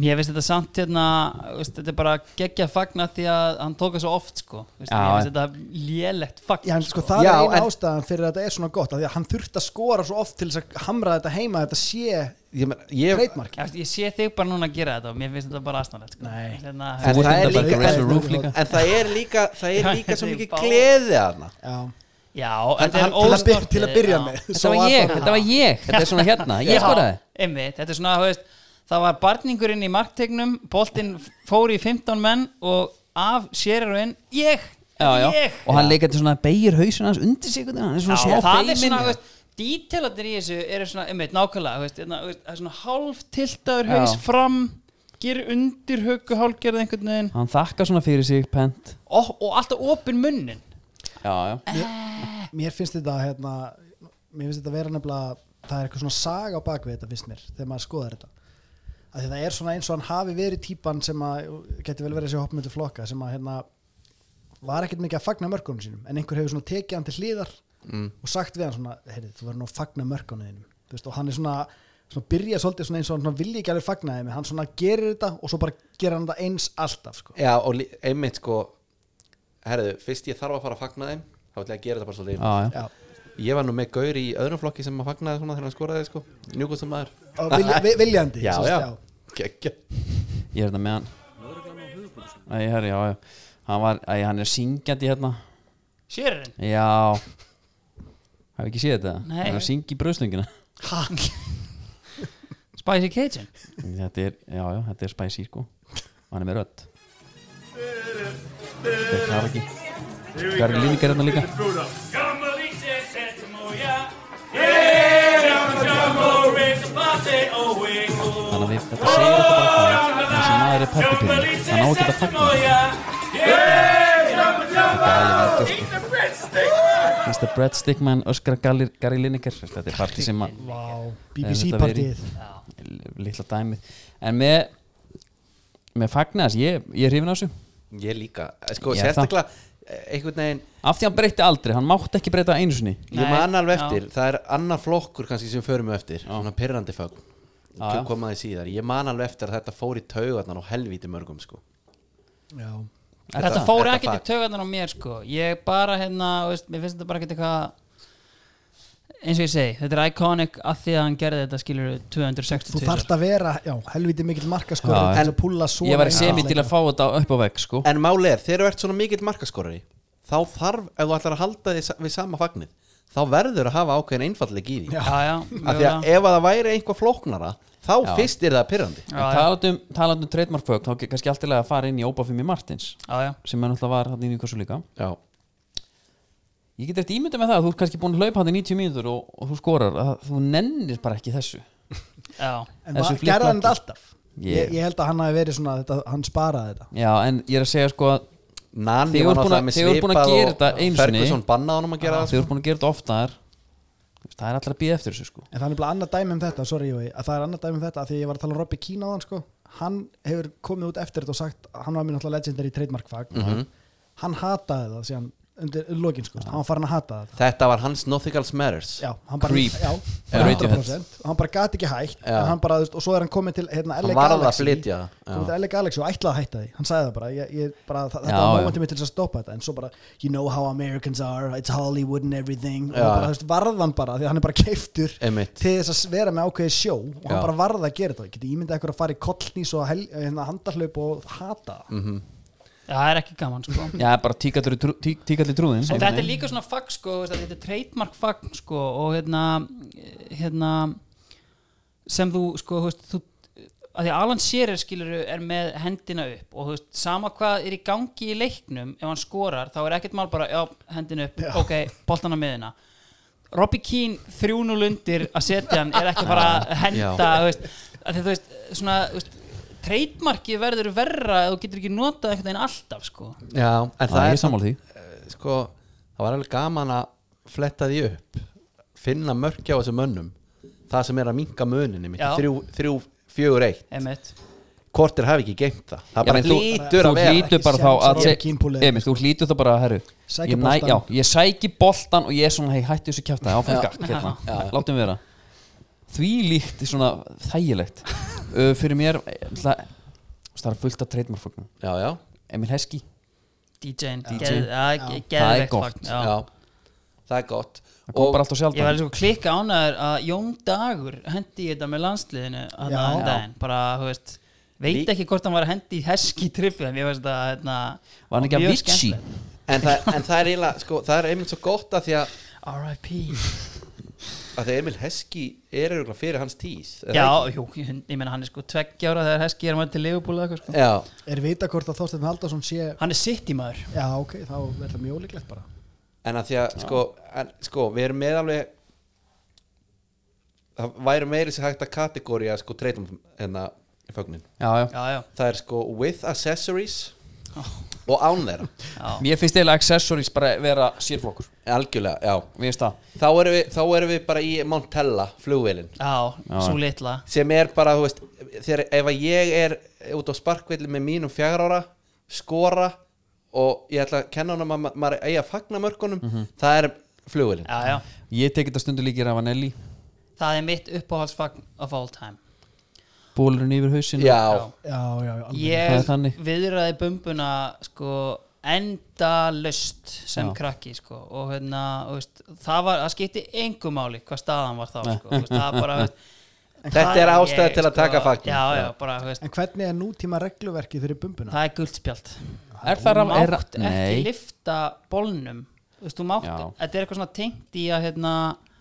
C: mér finnst þetta samt hérna þú veist, þetta er bara geggja fagna því að hann tóka svo oft sko, þú veist,
A: Já,
C: mér finnst þetta lélegt fagn
D: Já, en sko, það
B: Já,
D: er eina
B: en-
D: ástæðan fyrir að þetta er svona gott af því að hann þurft að skora svo oft til þess að hamra þetta heima að þetta sé
B: ég, men, ég
D: treytmark
C: Ég, ég sé þig bara núna að gera þetta og mér finnst þetta bara aðstæðanlegt sko.
D: Nei.
C: hérna,
A: Þú
B: En
A: ert
B: það er
A: hérna bara
B: líka-
A: raise the
D: en-
A: roof líka
B: en það er líka það er
C: Já,
B: líka svo
C: þetta er
B: mikið
C: bá-
B: gleði hana
D: Já,
C: já,
D: en,
C: þetta er
D: hann, til, að byr,
C: ósnortið,
D: til að byrja
C: já.
D: með
A: þetta
D: svo
A: var ég,
B: hérna.
D: bara-
A: þetta var ég þetta er svona hérna, ég
C: Já,
A: skoraði
C: einmitt, þetta er svona, þú veist, það var barningurinn í marktegnum, boltinn fór í 15 menn og af sérir og inn, ég,
A: já, já.
C: ég
A: og hann leikar til svona beigir hausin hans undir sig einhvern veginn, hann er
C: já,
A: svona smá
C: það er
A: feiminn.
C: svona, þú veist, dítelarnir í þessu eru svona, einmitt, nákvæmlega, þú veist, hérna, þú veist, það er svona hálf tiltaður
A: Já.
C: haus fram gerir undir höggu hálfgerð einhvern veginn
A: hann þakkar svona fyrir sig pent
C: og, og alltaf opin munnin
A: já, já.
D: Mér finnst þetta hérna, mér finnst þetta vera nefnilega það er eitthvað svona saga á bakvið þetta finnst mér þegar maður skoðar þetta að það er svona eins og hann hafi verið típan sem að, geti vel verið þessi hoppmyndu flokka sem að hérna var ekkert mikið að fagna mörkunum sínum en einhver hefur svona tekið hann til hlýðar og sagt við hann svona, heyrðu, þú verður nú að fagna mörkunum þínum Þú veist, og hann er svona, svona byrja svolítið svona eins og hann svona vilji ekki alveg fagna þeim en hann svona gerir þetta og svo bara gerir hann þetta eins alltaf sko.
B: já og lí- einmitt sko herðu, fyrst ég þarf að fara að fagna þeim þá ætla ég að gera þetta bara svolítið
A: Já, já.
D: Já.
B: ég var nú með gaur í öðrum flokki sem að fagnaði svona þegar hann skoraði sko njúkvæmstum maður
D: og vilja, vi- viljandi
B: já,
D: sem sagt,
B: já, geggja
A: ég er þetta með hann Æ, herri, já, já. Hann, var, æ, hann er syngjandi hérna
C: sérinn
A: já hafði ekki séð þetta
C: Nei.
A: hann er að syngja í bröðstöngina
C: Spicy Cajun
A: þetta er, já, já, þetta er spicy sko og hann er með rödd þetta er karaoke Gary Lineker er hérna líka þannig að við þetta segir okkur bara það að þessi maður er perkupinni hann á að geta fagna Mr. Brad Stickman öskra Gary Gary Lineker þetta er partí sem að
D: já.
A: Þetta
D: BBC
A: verið-
D: partíð
A: litla dæmið en með með fagnas, ég, ég er hrifin á þessu
B: ég líka, Eh, sko
A: Ég er það.
B: sérstaklega eh, einhvern veginn,
A: af því hann breytti aldrei, hann mátti ekki breyta einu sinni
B: ég
C: Nei,
B: man alveg
C: já.
B: eftir það er annar flokkur kannski sem förum við eftir svona pyrrandi fagn
A: Já, já.
B: komaði síðar, ég man alveg eftir að þetta fór í taugarnar og helvíti mörgum sko
D: já.
C: Þetta, fór
B: þetta
C: ekkert í
B: fag.
C: taugarnar á mér sko Ég bara hérna, þú veist, mér finnst þetta bara ekkert eitthvað eins og ég segi, þetta er iconic að því að hann gerði þetta skilur 260
D: Þú þarft að vera, já, helviti mikill markaskor
A: Já,
D: til
A: en
D: að púlla svona
A: Ég var í
D: inn
A: semi
D: alla
A: til að
D: leikina.
A: fá þetta upp á vegg sko
B: En máli er, þegar þú ert svona mikill markaskorari þá þarf, ef þú ætlar að halda því við sama fagnið, þá verður að hafa ákveðin einfallegi í því
C: já, já,
B: af því að
C: mögulega.
B: ef að það væri einhvað flóknara þá fyrst er það pyrrandi
C: Já, já.
A: Talandum, talandum trademarkfögg um þá er kannski allt í lagi að fara inn í Óbafimi Martins
C: já, já.
A: sem er náttúrulega var hann í Newcastle líka
B: já.
A: Ég get eftir ímynda með það að þú ert kannski búin að hlaupa hann í 90 mínútur og, og þú skorar að þú nennir bara ekki þessu
C: Já.
A: þessu
D: En var-
A: flikkmarki.
D: gerði hann þetta alltaf?
A: Ég-
D: Ég, ég held að hann hafi verið svona, þetta, hann sparaði þetta
A: Já, en ég er að segja sko að
B: Nanni
A: Þegar
B: var
A: þú ert búin að-
B: náttúrulega með
A: þegar þú ert búin að
B: svipað
A: gera
B: og
A: þetta einu sinni-
B: Ferguson bannaði honum að gera
A: þegar þú
B: það
A: ert búin að gera þetta oftaðar það er allra að býða eftir þessu sko
D: En það er nefnilega annað dæmi um þetta, sorry Jói, að það er annað dæmi um þetta að því að ég var að tala um Robby Keane á þann sko, hann hefur komið út eftir þetta og sagt, hann var mér náttúrulega legendary trademark fag,
A: Mhm.
D: hann hataði það síðan undir lokin sko, hann var farin að hata það.
B: Þetta var hans Nothicals Matters
D: Já, hann bara,
A: Creep.
D: já,
A: Já, Radiohead.
D: 100%, hann bara gati ekki hægt,
B: Já.
D: en hann bara, þú veist, og svo er hann komið til hérna, LA
B: Hann varð að
D: Galaxy,
B: flytja það, já.
D: komið til LA Galaxy og ætlaði að hætta því, hann sagði það bara, ég, ég bara það, þetta
A: Já,
D: var
A: já.
D: momentið mitt til þess að stoppa þetta, en svo bara, you know how Americans are, it's Hollywood and everything,
B: Já.
D: og bara, þú veist, varðan bara, því að hann er bara keiftur
B: Einmitt.
D: til þess að vera með ákveði sjó og hann
B: Já.
D: bara varða að gera þetta, ég geti ímyndað ekkur að fara í kollnís og hel, hérna, handahlaup og hata það.
B: Mhm.
C: Já, það er ekki gaman sko
A: Já, bara tíkallir trú, tí, tíkallir trúðin
C: og þetta er líka svona fag sko þú veist að þetta er trademark fag sko og hérna, hérna sem þú sko þú veist, þú, að því að Alan Shearer skilur er með hendina upp og þú veist sama hvað er í gangi í leiknum ef hann skorar þá er ekkert mál bara já, hendina upp, ok, boltan á miðina Robbie Keane 3-0 undir að setja hann er ekki bara að henda þú veist, að því, þú veist, svona, þú veist trademarki verður verra ef þú getur ekki notað einhvern veginn alltaf sko
B: Já, en
A: Það er
B: samt-
A: sammála því
B: sko, það var alveg gaman að fletta því upp finna mörkja á þessum mönnum það sem er að minka möninni mitt
C: Já.
B: þrjú, þrjú, fjögur eitt
C: emitt
B: kortir hafi ekki geimt það það
A: Já,
B: bara
A: menn þú-
B: lítur
A: þú
B: að vera
A: hlýtur bara
D: Ekki
A: þá
D: séns að
A: að
D: Robbie
A: seg-
D: Keane púlið.
A: Emil, þú hlýtur þá bara að herru
D: Sækja
A: ég, næ,
D: boltann.
A: já, ég sæki boltan og ég er svona hei, hættu þessu kjæfta áfram gakk hérna, látum vera því líkt svona þægilegt uh, fyrir mér eh, ætla- það er fullt af treytmarfóknum
B: já, já,
A: Emil Heski,
C: DJ-in
A: DJ. Það er
C: Það
A: gott.
B: já.
C: Já.
B: það er gott
A: það kom bara alltaf
C: Ég var
A: sjaldan
C: sko klikka ánæður að Jón Dagur hendi í þetta með landsliðinu hann
D: Já.
C: að daginn, bara, þú veist veit ekki hvort hann var að hendi í heski trippi en ég veist að hérna,
A: var hann ekki að
C: mjög
A: vitsi
C: skemmtilegt.
B: en það, en það er eiginlega sko, það er einmitt svo gott að því að,
C: R.I.P.
B: að því að Emil Heski er eiginlega fyrir hans tís er
C: Já,
B: það
C: jú, ég ég meina hann er sko tveggja ára þegar heski er maður til Liverpool eða eitthvað
B: ekki?
C: sko
B: já,
D: Er vita hvort að Þorsteinn Haldarsson sé,
C: Hann er sitt í maður
D: já ok, þá er það mjög ólíklegt bara.
B: en að því að sko, en, sko, við erum með alveg það væri meiri sem hægt að kategóri að sko treytum hérna fögnin
A: já, já.
C: Já, já,
B: það er sko with accessories og án þeirra
C: já
A: mér finnst eiginlega accessories bara vera sérflokkur
B: algjörlega, já
A: við veist það
B: þá erum við, þá erum við bara í Montella flugvélin
C: Já, svo litla
B: sem er bara, þú veist þegar, ef að ég er út á sparkvelli með mínum fjagra ára, skora og ég ætla að kenna honum að ma- maður eigi að fagna mörkunum það er flugvélin
C: Já, já,
A: ég tekið þetta stundu líkir af Anelli
C: það er mitt uppáhaldsfagn of all time
A: bólurinn yfir hausinu
B: já,
D: Já, já, já, alveg.
A: Það er
C: ég
A: þannig.
C: viðraði bumbuna sko enda löst sem
A: Já.
C: krakki sko og hérna, þú veist, það var, það skipti engu máli hvað staðan var þá sko, þú veist, það bara, þú veist,
B: Þetta
C: það sko,
B: er ástæða til að taka fagnið.
C: já, já,
B: Já.
C: bara, þú veist,
D: En hvernig er nútíma regluverkið fyrir bumbuna?
C: það er guldspjald
A: er það raf, er,
C: mátt ekki
A: nei,
C: lifta bólnum þú veist, þú mátt,
A: Já.
C: þetta er eitthvað svona tengt í að hérna,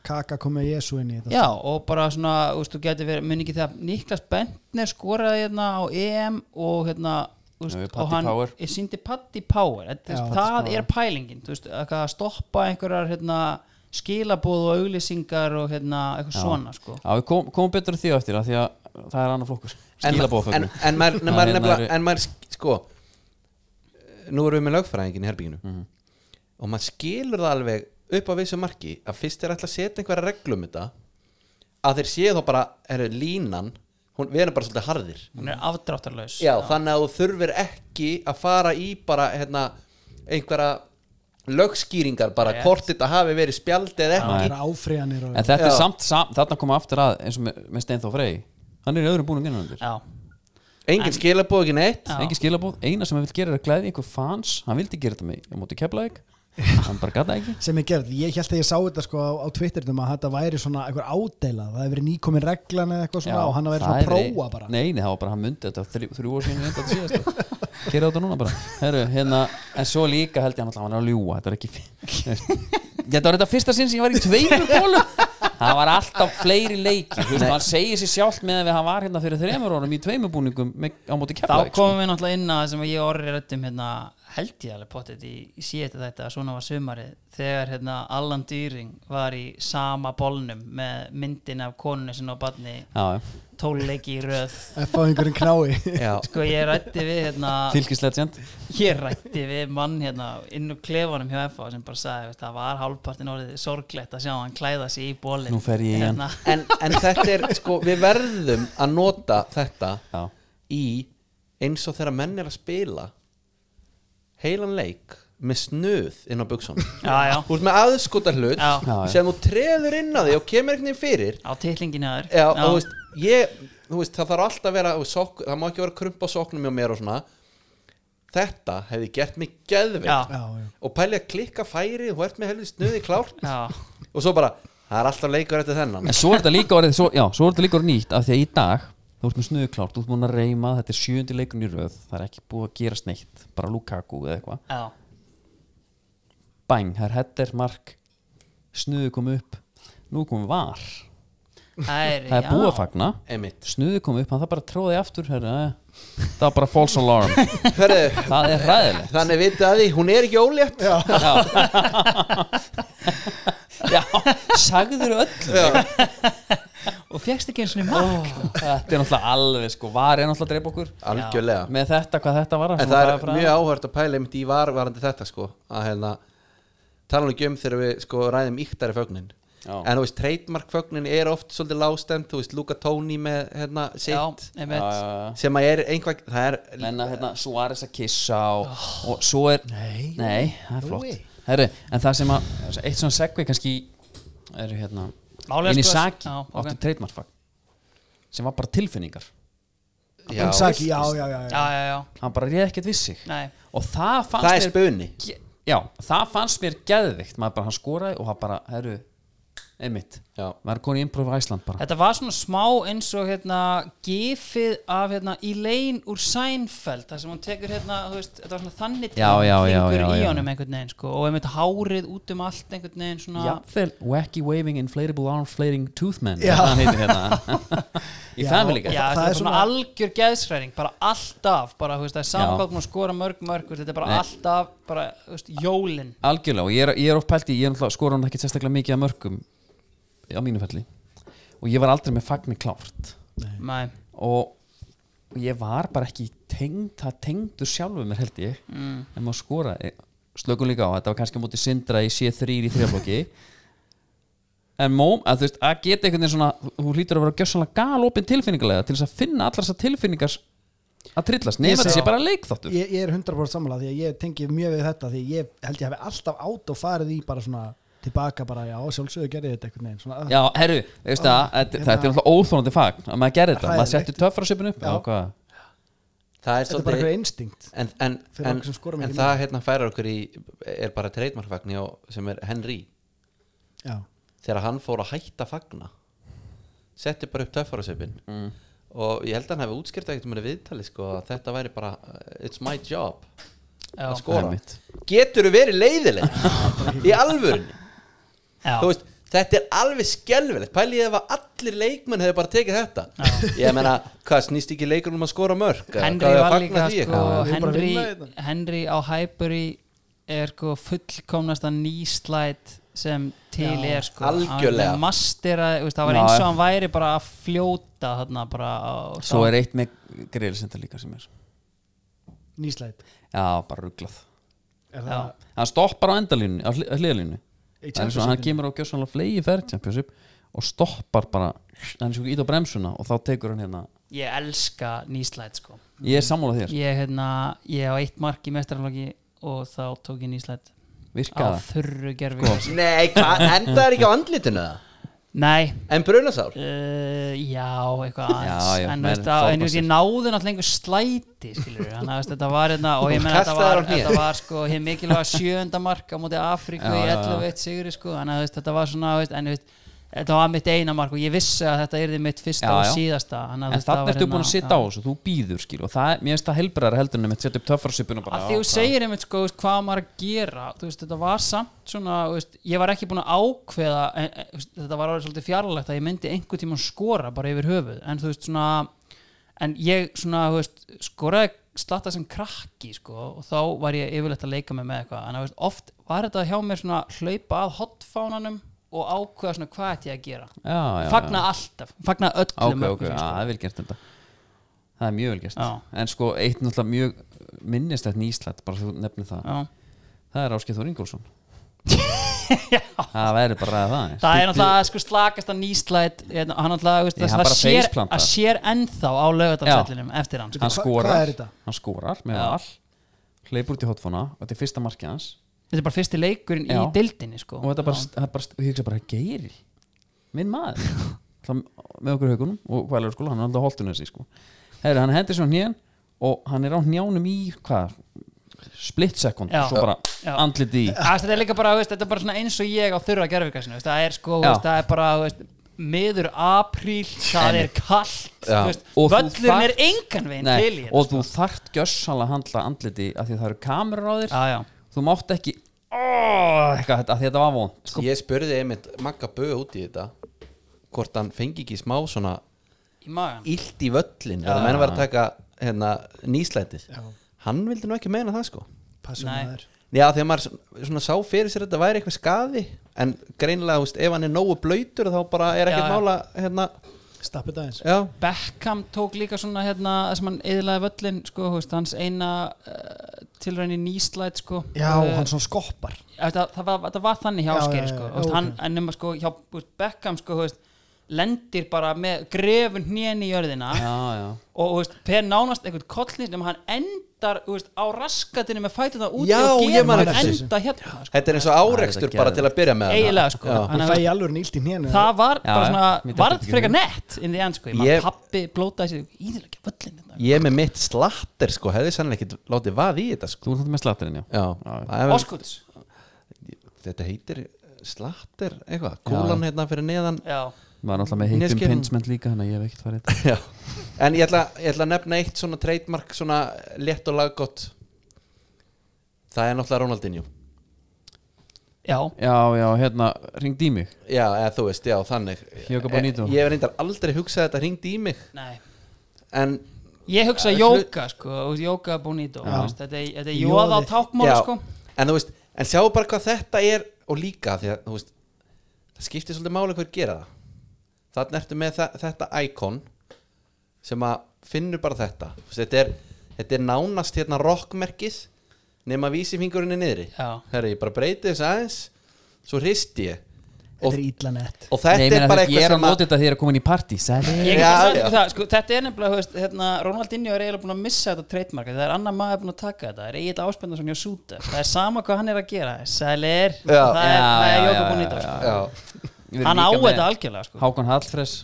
D: Kaka komið Jésu inn í þetta.
C: já, og bara svona, þú veist, þú getur verið, mun ekki þegar Niklas Bentner skoraði hérna á EM og hérna, þú
A: Já,
C: veist,
A: við Paddy
C: og hann
A: Power.
C: ég síndi Patti Power þetta,
D: Já,
C: já, það
D: Paddy
C: er pælingin, þú veist, eitthvað að stoppa einhverjar, hérna, skilabóð og auglýsingar og hérna, eitthvað svona, sko
A: já, við komum kom betur að því á eftir að því að það er annar flokkur
B: en,
A: skilabóðfögnu
B: en, en maður,
A: Það
B: en maður
A: er
B: nefnilega
A: nærri-
B: en maður sk- sko nú erum við með lögfræðingin í herbygginu og maður skilur það alveg upp á vissu marki að fyrst er alltaf að setja einhverja reglum þetta að þeir séu þá bara er línan, hún, við erum bara svolítið harðir
C: hún er afdráttarlaus
B: já, þannig að þú þurfir ekki að fara í bara hérna, einhverja lögskýringar bara
C: Rétt.
B: hvort þetta hafi verið spjald eða
D: sko. Það
B: ekki
D: er áfriðanir og...
A: En þetta er
B: Já.
A: samt, samt þarna koma aftur að eins og með, með Steinþó Frey hann er í öðrum búnum innanundir
C: já,
B: engin skilabóð, ekki neitt
C: Já.
A: engin skilabóð, eina sem hann vil gera er að glæði einhver fans hann vildi gera þetta með á móti keflæk hann bara gata ekki
D: sem er gerð, ég held að ég sá þetta sko á, á Twittertum að þetta væri svona einhver ádela það hefur verið nýkomin reglan eða eitthvað svona og hann hefur verið
A: það
D: svona að
A: er-
D: prófa bara
A: Nei, nei, það var bara hann myndi þetta þrjú, þrjú ár síðan ég reyndi þetta síðast Gerið þetta núna bara Heru, hérna, En svo líka held ég hann alltaf hann er að ljúga Þetta er ekki Þetta var þetta fyrsta sinn sem ég var í tveimur bólum Það var alltaf fleiri leiki Þú veist, hann segir sér sjálft með að hann var hérna fyrir þreimur árum í tveimur búningum með, á móti sko.
C: þá
A: kefla
C: komum við náttúrulega inn að það sem ég og orri rættum hérna, held ég alveg pottet í, í síðan þetta að svona var sumarið þegar hérna, Allan Dýring var í sama bólnum með myndin af konunni sinna og barni tóluleiki í röð
D: F á einhverjum knái
B: Já,
C: sko ég rætti við hérna,
A: Fylgis legend
C: ég rætti við mann hérna, inn úr klefanum hjá FA sem bara sagði veist, það var hálfpartin orðið sorglegt að sjá hann klæða sig í Hérna. bólin
A: Nú fer ég í hann.
B: en, en þetta er sko, við verðum að nota þetta
A: Já.
B: í eins og þegar menn er að spila heilan leik með snuð inn á buksum
C: já, já,
B: þú ert með aðskota hlut
C: Já.
A: Já, já.
B: sem þú treður inn á því og kemur einhvern veginn fyrir
C: á titlinginu aður
B: Já, og þú veist, ég, þú veist, það þarf alltaf að vera þú veist, sok, það má ekki vera krump á soknum hjá mér og svona þetta hefði gert mig geðveikt
D: Já, já.
B: og pæli að klikka færi, þú ert með helvið snuði klárt
C: já,
B: og svo bara, það er alltaf leikur eftir þennan
A: En svo er þetta líka orðið svo, Já, svo er þetta líka orðið nýtt Af því að í dag, þú ert með snuðuklárt Þú ert múin að reyma, þetta er sjöundi leikurinn í röð Það er ekki búið að gerast neitt Bara Lukaku eða eitthvað
C: já,
A: bang, það er header, mark snuðu kom upp nú kom var,
C: það er,
A: það er búið að fagna
B: Einmitt.
A: snuðu kom upp, hann það bara tróði aftur herra, eh. það var bara false alarm
B: Hörðu,
A: það er ræðilegt
B: þannig vitið að því, hún er ekki ólétt já.
A: já, sagður öll
C: og fékkst ekki eins og mark
A: þetta er náttúrulega alveg sko, var er náttúrulega að drepa okkur
B: algjörlega
A: með þetta, hvað þetta var
B: en það er mjög áhört að pæla einmitt í varvarandi þetta sko að hérna tala nú ekki um þegar við sko ræðum íktari fögnin
A: Já.
B: en þú veist, trademark fögnin er oft svolítið lágstemt, þú veist, Luka Tóni með hérna sitt,
C: já, einmitt
A: áhuga
B: sem að er einhvað, það er
A: menna hérna Suárez að kissa og,
C: Ah,
A: og svo er nei, það er flott Herri, en það sem að, eitt svona segvi kannski er hérna
C: Málega
A: inn í
C: sko-
A: Saki,
C: Já, ok.
A: áttu treytmarfag sem var bara tilfinningar
B: já,
D: En Saki, já, já, já, já.
C: já, já, já,
A: hann bara réð ekkert við sig
C: nei
A: og það fannst
B: það er
A: mér-
B: spuni
A: Ge- já, það fannst mér geðvikt maður bara hann skoraði og hann bara, herru einmitt,
B: Já.
A: maður er konið improv í Ísland bara
C: Þetta var svona smá eins og hérna gifið af hérna Elaine úr Seinfeld þar sem hún tekur hérna, þú veist, þetta var svona þannig
A: Já, já, já,
C: hringur
A: já,
C: í
A: já.
C: honum einhvern veginn sko og einmitt hárið út um allt einhvern veginn svona
A: Jafnvel, wacky waving inflatable arm flaring tooth man það heitir hérna í
D: Já.
A: family
C: Já,
A: guy
C: þetta
D: það
C: er
D: er
C: svona
D: svona-
C: algjör geðsræring bara alltaf, bara, þú veist, það er samkvæmt og skora mörg mörg, þú veist, þetta er bara
A: Nei.
C: alltaf bara, þú veist, jólin
A: algjörlega og ég er, ég er of pælt í ég er náttúrulega skora hann ekki sérstaklega mikið að mörgum á mínu felli og ég var aldrei með fagni klárt
C: Nei,
A: og, og ég var bara ekki tengd, það tengdur sjálfur mér held ég mm. en maður skora slökun líka á, þetta var kannski á móti sindra í C3 í þrjaflokki en móm, að þú veist, að geta einhvern veginn svona þú- þú hlýtur að vera gjössanlega galopin tilfinningarlega til þess að finna allar þessar tilfinningar að trillast, nema
D: Ég segi-
A: þessi bara leikþáttur
D: Ég, ég er 100% sammála því að ég tengi mjög við þetta því að ég held ég hafi alltaf átt og farið í bara svona tilbaka bara já, sjálfsögðu gerði þetta einhvern veginn svona,
A: Já, herru, veist það,
D: Ah, hérna.
A: þetta þetta er náttúrulega óþólandi fagn að maður gerir þetta, maður
D: Hræðilegt.
A: settur töffrasöpun upp
D: Já.
A: og hvað,
B: það er
D: þetta er bara
B: svolítið
D: einhver instinkt
B: en, en,
D: Fyrir
B: en,
D: okkur sem skorum
B: en
D: ekki
B: það hérna færar okkur í er bara trademark fagni og, sem er Henry
D: já,
B: þegar hann fór að hætta fagna setti bara upp töffarasöpinn mm. og ég held að hann hefði útskýrt ekkert um þetta viðtali sko að þetta væri bara uh, it's my job
C: já,
B: að skora
A: Einmitt.
B: getur þú verið leiðileg í alvörunni
C: já,
B: þú veist Þetta er alveg skelfilegt, pælið ef að allir leikmenn hefur bara tekið þetta Ég meina, hvað snýst ekki leikur um að skora mörk? Eða
C: Henry
B: hvað er að
C: var
B: fagna
C: líka
B: því
C: sko,
B: eitthvað?
D: við erum bara að
C: Henry,
D: vinna hérna. þetta.
C: Henry á Highbury er sko fullkomnasta nýslæt sem til er sko
B: Algjörlega.
C: Hann mastera, veist, það var
A: Já,
C: eins og
A: já.
C: hann væri bara að fljóta þarna bara á,
A: Svo er eitt með grillisenda líka sem er
D: nýslæt
A: Já, bara rugglað
D: er
C: Já.
D: það
A: Hann stoppar á endalínu, á hliðalínu
D: Í
A: Það er svo, hann kemur á gjössanlega flegi ferð Championship og stoppar bara hann er svo ít á bremsuna og þá tekur hann hérna
C: ég elska nýslæt sko
A: Ég er sammála þér,
C: ég, hérna, ég á eitt mark í mestarflokki og þá tók ég nýslæt á
A: virkaða
C: þurru gerfi
D: Sko.
B: Nei, hvað, endaðir ekki á andlitinu það?
C: Nei,
B: En brunasár
C: uh, já, eitthvað aðeins
B: já,
C: En
B: menn
C: veist að, en
B: fórna
C: veist, ég
B: sér.
C: náði náttúrulega einhver slæti skilur, hann veist, þetta var hérna og ég
B: Þú
C: meina þetta
B: kastaðir
C: var,
B: á hnéð.
C: þetta var sko hér mikilvæga sjönda mark á móti Afríku
A: Já,
C: í
A: já,
C: 11-1 sigri sko en veist, þetta var svona, veist, en veist þetta var mitt eina mark og ég vissi að þetta yrði mitt fyrsta
A: Já,
C: og
A: já.
C: síðasta þannig að
A: en
C: þetta
A: þannig
C: var
A: ertu búin að
C: hérna-
A: sitja á þessu, þú býður skil og það, mér finnst það helbræðar heldur en að mitt setja upp töffarsipun og bara
C: að því
A: já,
C: þú
A: hvað-
C: segir einmitt sko þú veist, hvað á maður að gera þú veist, þetta var samt svona þú veist, ég var ekki búin að ákveða en, en, þú veist, þetta var alveg svolítið fjarlægt að ég myndi einhvern tímann skora bara yfir höfuð en þú veist svona en ég svona þú veist, skoraði slatta sem krakki sko og þá var ég yfirleitt að leika mig með eitthvað en þú veist, oft var þetta hjá mér svona hlaupa að hotfánanum og ákveða svona hvað ætti ég að gera
A: já, já,
C: fagna alltaf, fagna
A: já.
C: öllum
A: ok, ok,
C: mörkum,
A: já,
C: sko.
A: það er vel gert þetta það er mjög vel gert
C: Já.
A: en sko, eitt náttúrulega mjög minnistætt nýslætt, bara þú nefnir það
C: Já.
A: það er Áskei Þór Ingólfsson það væri bara að ræða það
C: það er náttúrulega sko slakast að nýslæt hérna, hann náttúrulega veist,
A: Ég, hann
C: það
A: bara
C: sér,
A: faceplantar.
C: að sér ennþá á lögatarsællinum eftir hann sko.
A: hann
D: Hva-
A: skorar,
D: hvað er þetta?
A: hann skorar með
C: Já.
A: all hleypur út í hotfóna og þetta er fyrsta markið hans
C: þetta er bara fyrsti leikurinn í
A: Já.
C: dildinni sko.
A: og þetta bara, það er bara, ég hugsa bara geiri, minn maður það með okkur haugunum og hvaðlega skóla hann er alltaf holtinu þessi sko Heri, hann hendir svona hnjén og hann er á hnjánum í hvað, split second
C: Já.
A: svo bara
C: Já.
A: andliti í
C: Æst, þetta er líka bara, veist, þetta er bara svona eins og ég á þurra gerfikasinu, veist, það er sko
A: Já.
C: veist, það er bara, veist, miður apríl það er kallt
B: Já.
C: veist,
A: Og þú
C: völlurinn er
A: þarft-
C: engan veginn
A: Nei,
C: til í
A: og
C: þetta, sko.
A: þú þarft gjössalega að handla andliti af því að það eru kamerur á þér
C: sko. Já, já.
A: þú mátt ekki oh, eitthvað, af því að þetta var vond
B: sko, Ég spurði einmitt Magga Böð út í þetta Hvort hann fengi ekki smá svona
C: í magan
B: Illt í völlin Það menn var að taka hérna, nýslætið Hann vildi nú ekki meina það sko
D: Passum
C: Nei.
D: maður.
B: Já því að maður svona, svona sá fyrir sér að Þetta væri eitthvað skaði En greinilega þú veist, ef hann er nógu blöytur Þá bara er
C: Já,
B: ekkert
C: já.
B: mála hérna,
D: Stappi það eins
B: Já,
C: Beckham tók líka svona hérna, það sem hann eðlaði völlin sko, þú veist, hans eina uh, tilræni nýslæt sko,
D: Já,
C: eh,
D: hann svona skoppar
C: Þetta, það, var, þetta var þannig hjá
D: Já,
C: Ásgeir
D: já, já,
C: sko.
D: já,
C: já,
D: ok.
C: hann, en nema sko hjá þú veist, Beckham sko, þú veist, lendir bara með grefun hnén í jörðina
A: já, já
C: og þú veist, per nánast einhvern kollnir nema hann endar þú veist, á raskatinu með fætuna út
B: Já,
C: og
B: ég man
C: gerum
B: eftir
C: hann
B: þessu.
C: enda hérna sko.
B: þetta er eins og árekstur bara til að byrja með hana.
C: eiginlega sko.
B: Já.
D: Ég
C: Þannig
D: fæ
C: að
D: í alveg nýlt í hnjénu
C: það var
A: Já, já,
C: bara svona
A: mér datt þetta
C: varð
A: ekki í
C: frekar
A: hug.
C: nett inn í enn sko.
B: Ég-
C: ég... pappi blótaði sér íðurlega hérna. völlin þetta.
B: Ég með mitt slatter sko Hefði sannlega ekki látið vað í þetta sko
A: Þú ert þetta með slatterinn, já.
B: Já, það er-
C: Óskuts
B: þetta heitir slatter eitthvað, kúlan hérna fyrir neðan
C: Já,
A: Maður er alltaf með heitum
B: Neskinn.
A: pinsment líka Þannig að ég hef ekkert farið þetta
B: Já. en ég ætla, ég ætla að nefna eitt svona trademark svona létt og laggott það er náttúrulega Ronaldinho
C: já,
A: Já, já, hérna, ringd í mig
B: já, eða þú veist, já, þannig Eh,
A: Jóka Bonito.
B: ég hef reyndar aldrei hugsað þetta hringdi í mig
C: nei
B: en
C: Ég hugsa
B: Já,
C: jóka sko, þú veist, jóka bonito þú veist, Þetta er- þetta er jóða á
D: Jóði.
C: tákmála
B: já,
C: sko
B: en þú veist, en sjáu bara hvað þetta er og líka því að, þú veist það skiptir svolítið máli hver gera það þannig ertu með þa- þetta íkon sem að finnur bara þetta Þú veist, þetta er, þetta er nánast hérna rockmerkis nema vísifingurinn er niðri
C: Já.
B: Herri, ég bara breyti þess aðeins svo hristi ég
D: Þetta
B: og,
D: er ítla nett
B: og þetta
A: Nei, ég meina
B: er bara
A: þetta- Ég
B: eitthvað
A: er að
B: sem
A: nota
B: að
A: þetta þegar ég er að koma inn í partí Sæli
B: Já,
C: Ég get sagt
B: já.
C: ykkur það, sko, þetta er nefnilega, þú veist, hérna, Ronaldinho er eiginlega búin að missa þetta trademark Það er annar maður búin að taka þetta, það er eiginlega áspennarson hjá Súter Það er sama hvað hann er að gera, sælir,
B: Já.
C: það er,
A: Já,
C: það er
A: já,
C: Jóka
A: já,
C: Bonito
A: já,
C: sko.
B: já,
C: Hann á þetta algjörlega sko.
A: Hákon Hallfres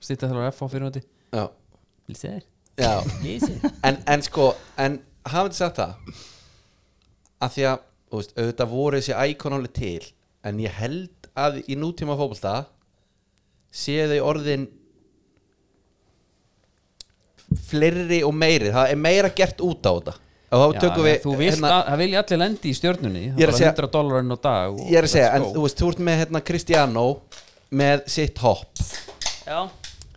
A: Stýttar þar á F á fyrirvændi
B: já,
A: Lýsir
B: já.
A: Lýsir
B: en, en sko en hafði sagt það að því að þú veist, auðvitað voru þessi íkonáli til en ég held að í nútíma fótbolta séu þau orðin fleiri og meiri það er meira gert út á þetta og þá tökum við
A: Þú vilt
B: hérna,
A: að Það vilja allir lendi í stjörnunni Það
B: Ég er að
A: er bara
B: segja-
A: 100 dólarinn á dag og
B: ég er að segja,
A: let's
B: en
A: go.
B: þú veist, þú ert með hérna Cristiano með sitt hopp
C: Já,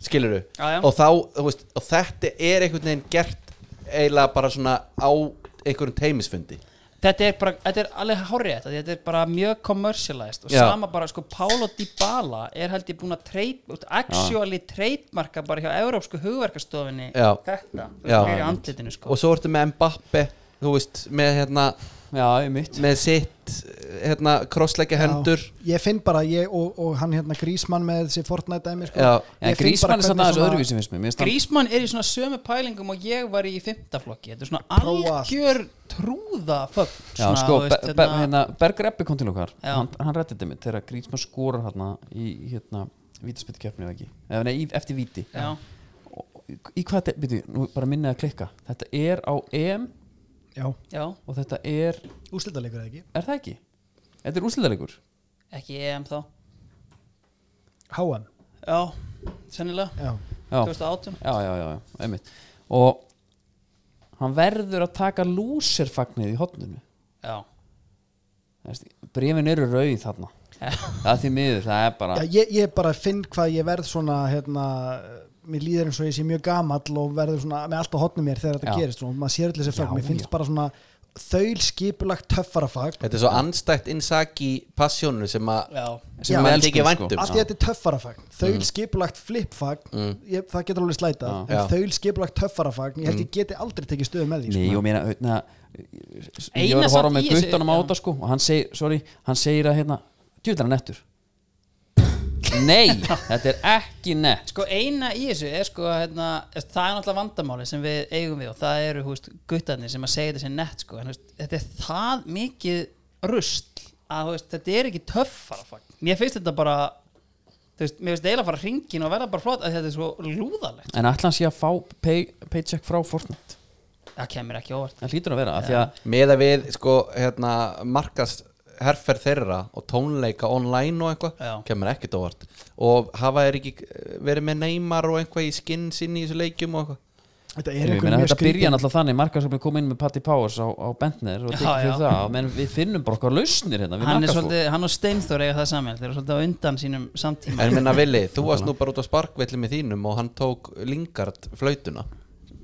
B: skilur
C: Já, já.
B: og þá, þú veist, og þetta er einhvern veginn gert eiginlega bara svona á einhverjum teimisfundi
C: þetta er bara, þetta er alveg hórrið Þetta er bara mjög commercialized Og
B: Já.
C: sama bara, sko, Paulo Dybala er held ég búin að trade, actually trademarka bara hjá Evrópsku hugverkastofinni
B: Já.
C: Þetta, þú
B: Já.
C: veist, fyrir andlitinu sko
B: og svo ertu með Mbappe þú veist, með hérna
A: Já, ég mitt
B: með sitt, hérna, krossleggja hendur
D: Ég finn bara, ég og, og hann hérna Grísmann með þessi Fortnite dæmi sko.
B: Já.
A: En
D: Ég finn bara
A: grísmann er satt
D: hvernig
A: aðeins
D: svona-
A: öðruvísi finnst mér Mér finnst hann-
C: Grísmann er í svona sömu pælingum og ég var í fymtaflokki Þetta er svona
D: Prófa allt.
C: algjör trúða fögn
A: Já,
C: svona,
A: sko,
C: þú
A: Be-
C: veist,
A: Be-
C: hérna-
A: hérna, Berger Ebbi kom til okkar
C: Já.
A: Hann hann reddið þetta mitt Þegar grísmann skorar hérna Í hérna vítaspyttu keppni eða ekki eða nei, í- eftir víti
C: Já.
A: Og- í hvað þetta, byrju, nú bara minna að klikka þetta er á EM
D: Já,
C: Já,
A: og þetta er,
D: úrslitaleikur eða ekki
A: er það ekki? þetta er úrslitaleikur
C: ekki EM þá
D: HM,
C: Já, sennilega
D: já,
A: já,
C: 2018
A: já, já, já, já, einmitt og hann verður að taka lúserfagnið í hotninu
C: Já,
A: brefin eru rauð þarna það er því miður, það er bara
D: já ég, ég bara finn hvað ég verð svona hérna, mér líður eins og ég sé mjög gamall og verður svona með allt á hotnum mér þegar þetta
A: Já.
D: gerist og maður sér allir þessi fag,
A: Já,
D: mér finnst
A: já.
D: bara svona þaul skipulagt töffara fag
B: Þetta er svo anstætt innsaki passjónu sem að
C: já,
A: sem
D: Já,
A: við
B: en þykir
A: elskum
B: vænt
A: sko
B: um.
D: af því að þetta er töffarafagn þaul
A: Mm.
D: skipulagt flipfagn ég, það getur alveg slætað,
B: Já.
D: en
B: Já.
D: þaul skipulagt töffarafagn ég held ég geti aldrei tekið stöðu með því
A: Mm. Nei,
D: sko.
A: og meina, hérna Ég
C: Eina
A: var að horfa
C: samt
A: með
C: í þessu-
A: guttanum á
C: já.
A: þetta sko og hann segir, sorry, hann segir að hérna djúðlega nettur Nei, þetta er ekki nett
C: Sko eina í þessu er sko hérna, það er náttúrulega vandamáli sem við eigum við og það eru húst guttarnir sem að segja þetta sem nett sko en húst, þetta er það mikið rusl að húst, þetta er ekki töffara fagn. Mér finnst þetta bara þú veist, mér finnst eiginlega að fara hringin og verða bara flott að þetta er svo lúðalegt
A: En ætla hann sé að fá pay, paycheck frá Fortnite
C: Það kemur ekki óvart
A: Það hlýtur að vera, af því að
B: meða við sko hérna markast herferð þeirra og tónleika online og
C: Já.
B: eitthvað kemur ekkert óvart og hafa þeir ekki eh, verið með neymar og eitthvað í skinn sinni í þessu leikjum og eitthvað
D: þetta er
A: Ég
D: einhver
A: meina
D: mjög
A: þetta byrja
D: skrýtin
A: náttúrulega þannig markaðsöfnir kom inn með Patti Powers á, á Bentner og
C: Já,
A: tekið
C: já.
A: fyrir það menn við finnum bara okkar lausnir hérna við
C: Hann, er
A: markaðsfólk.
C: svolítið, hann og Steinþór eiga það saman þeir eru svolítið á undan sínum samtíma
B: en minna villi, þú varst nú bara út á sparkvelli með þínum og hann tók Lingard flautuna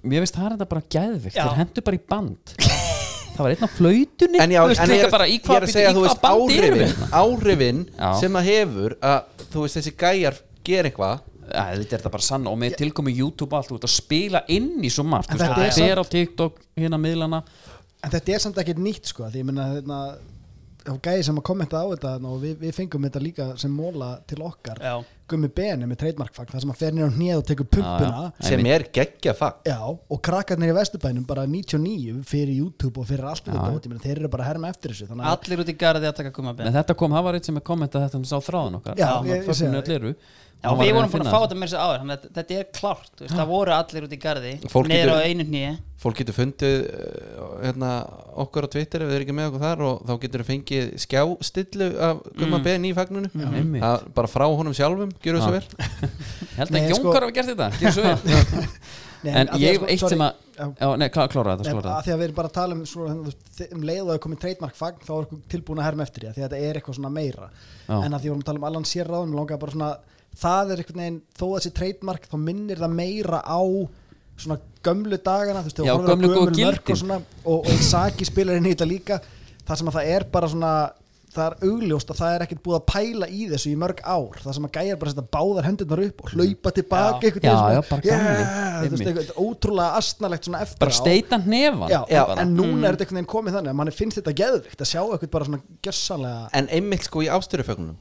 A: Mér veist það er þetta bara gæðvikt
C: Já.
A: Þeir hendur bara í band Það var einn á flautunni
B: en já,
A: Þú veist,
B: en
A: líka
B: ég,
A: bara í
B: ég
A: hvað-
B: er að segja
A: í
B: þú
A: hvað
B: veist
A: bandi erum við?
B: áhrifin, áhrifin
A: Já.
B: sem það hefur að þú veist þessi gæjar ger eitthvað
A: Æ, þetta er þetta bara sann og með tilkomi YouTube og allt út að spila inn í svo margt
D: En
A: þú veist,
D: þetta
A: þetta
D: er
A: er á TikTok hérna miðlana
D: en þetta er samt ekkert nýtt sko, því ég meina þetta þá gæði sem að kommenta á þetta þarna og við, við fengum þetta líka sem móla til okkar
C: Já.
D: gummi beni með trademarkfagn þar sem að fer nýra á hnið og tekur pumpuna
B: sem er geggja fag
D: Já, og krakkarnir í Vesturbænum bara 99 fyrir YouTube og fyrir allt þetta dót, ég meina, þeir eru bara að herma eftir þessu þannig að
C: Allir út í garði að taka
A: en
C: gummabenn
A: þetta kom, það var eitt sem er kommentað þetta um sá þráðan okkar
D: Já,
A: Þannig að
D: ég- ég
A: fögnuðu
D: segi
A: öll eru.
C: Já,
A: Hann var
C: við
A: reyna
C: vorum búin að fá
A: finna
C: þetta með þessi áður þannig að þetta er klárt, þú veist, það voru allir út í garði
B: Fólk
C: neður á
B: getur-
C: einu nýja
B: fólk getur fundið uh, hérna, okkur á Twitter ef þau eru ekki með okkur þar og þá getur þau fengið skjástillu af Guma mm. BN í fagninu
A: Einmitt.
B: Það- bara frá honum sjálfum, gjöru þessu
A: Já.
B: vel
A: það. held að
D: Nei, sko-
A: Jónkar hafa gert þetta gerðu svo vel.
D: Nei,
A: en
D: af því að
A: ég,
D: sko-
A: eitt
D: sorry,
A: sem að
D: já.
A: já, nei, klá- klára þetta,
D: Nei,
A: klára
D: að
A: þetta
D: því að við erum bara að tala um, svona, þú veist, þi- um leið og það er komið trademarkfagn þá er okkur tilbúin að herma eftir því að því að þetta er eitthvað svona meira
A: Já.
D: en að því við vorum að tala um allan sér ráðum langar bara svona, það er einhvern veginn þó að sé trademark þá minnir það meira á svona gömlu dagana þú veist, þegar
A: Já,
D: horfir á
A: gömlu góðu
D: gömul mörk
A: gildin.
D: og, svona, og, og Saki spilar inn í þetta líka þar sem að það er bara svona það er augljóst að það er ekkert búið að pæla í þessu í mörg ár, það sem að gæjar bara setja báðar hendurnar upp og hlaupa tilbaka
C: Já.
D: einhvern
A: Já,
D: veginn
A: já,
D: svona,
A: bara
D: yeah,
A: gamli,
D: þú veist,
A: einmitt.
D: eitthvað ótrúlega astnalegt svona eftir
A: bara
D: á.
A: steita hnefann
D: Já,
B: Já,
A: bara.
D: en
C: Mm.
D: núna er þetta einhvern veginn komið þannig að manni finnst þetta geðvikt að sjá eitthvað bara svona gjössanlega
B: en einmitt sko í ástyrufögnum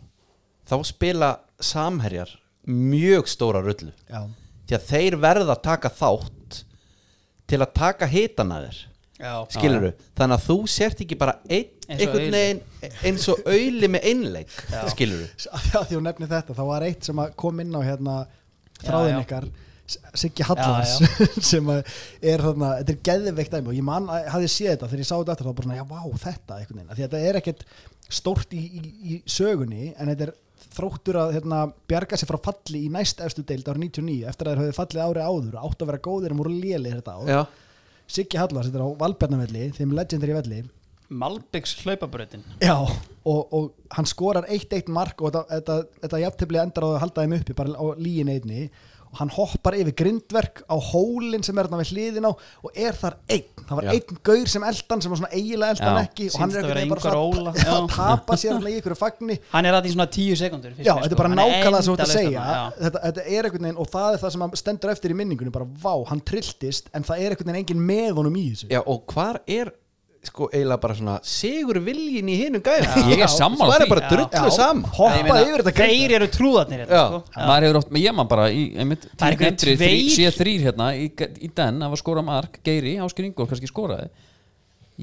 B: þá spila samherjar mjög stóra rullu
D: Já,
B: því að þeir verða að taka þátt til að taka hitana þér
C: Já,
B: skilur þannig að þú sért ekki bara ein,
C: Eins og
B: einhvern
C: auðli.
B: veginn eins og auðli með einleik skilur
D: af því að þú nefnir þetta þá var eitt sem að kom inn á hérna
C: já.
D: þráðin ykkar S- Siggi Hallars
C: Já,
D: sem að er þarna, þetta er geðveikt dæmi og ég man að hafði séð þetta þegar ég sá þetta eftir þá bara svona, já, vá, þetta einhvern veginn, af því að þetta er ekkert stórt í, í, í sögunni en þetta er þróttur að hérna, bjarga sér frá falli í næst efstu deild árið 99 eftir að þeir höfðu fallið árið áður og átt að vera góðir um úr lélir þetta ár
B: já,
D: Siggi Hallars, þetta er á Valbjarnavelli þeim legendary velli
C: Malbyggs hlaupabröðin
D: Já, og, og hann skorar 1-1 mark og þetta, þetta, þetta jafntefli endar á að halda þeim uppi bara á líin einni og hann hoppar yfir grindverk á hólinn sem er þarna við hliðin á og er þar einn, það var
B: Já.
D: einn gaur sem eldan sem var svona eiginlega eldan
A: Já.
D: ekki og hann
C: Sýnist
D: er
C: að vera
D: einhvern veginn bara
C: Ingvar
D: svona
C: Óla.
D: að- að
C: Já.
D: tapa sér hann í ykkur fagni
C: Hann er að í sko. svona tíu sekundur
D: Já, þetta er bara nákvæmlega sem þú ert að segja þetta, þetta er einhvern veginn og það er það sem hann stendur eftir í minningunum bara vá, hann trilltist en það er einhvern veginn engin með honum í þessu
B: Já, og hvar er sko eiginlega bara svona sigur viljin í hinum gæðum
A: Ég er sammála
B: það
A: því.
B: er bara drullu
D: Já,
B: sama
D: hoppaði
C: meina,
D: yfir þetta grindverk.
C: Þeir eru trúðarnir hérna,
B: Já.
C: sko.
A: maður hefur oft, ég man bara í, einmitt,
C: Það er einhverjir tveir.
A: sé þrýr hérna í, í den, það var skorað mark Geiri, Áskir Ingór kannski skoraði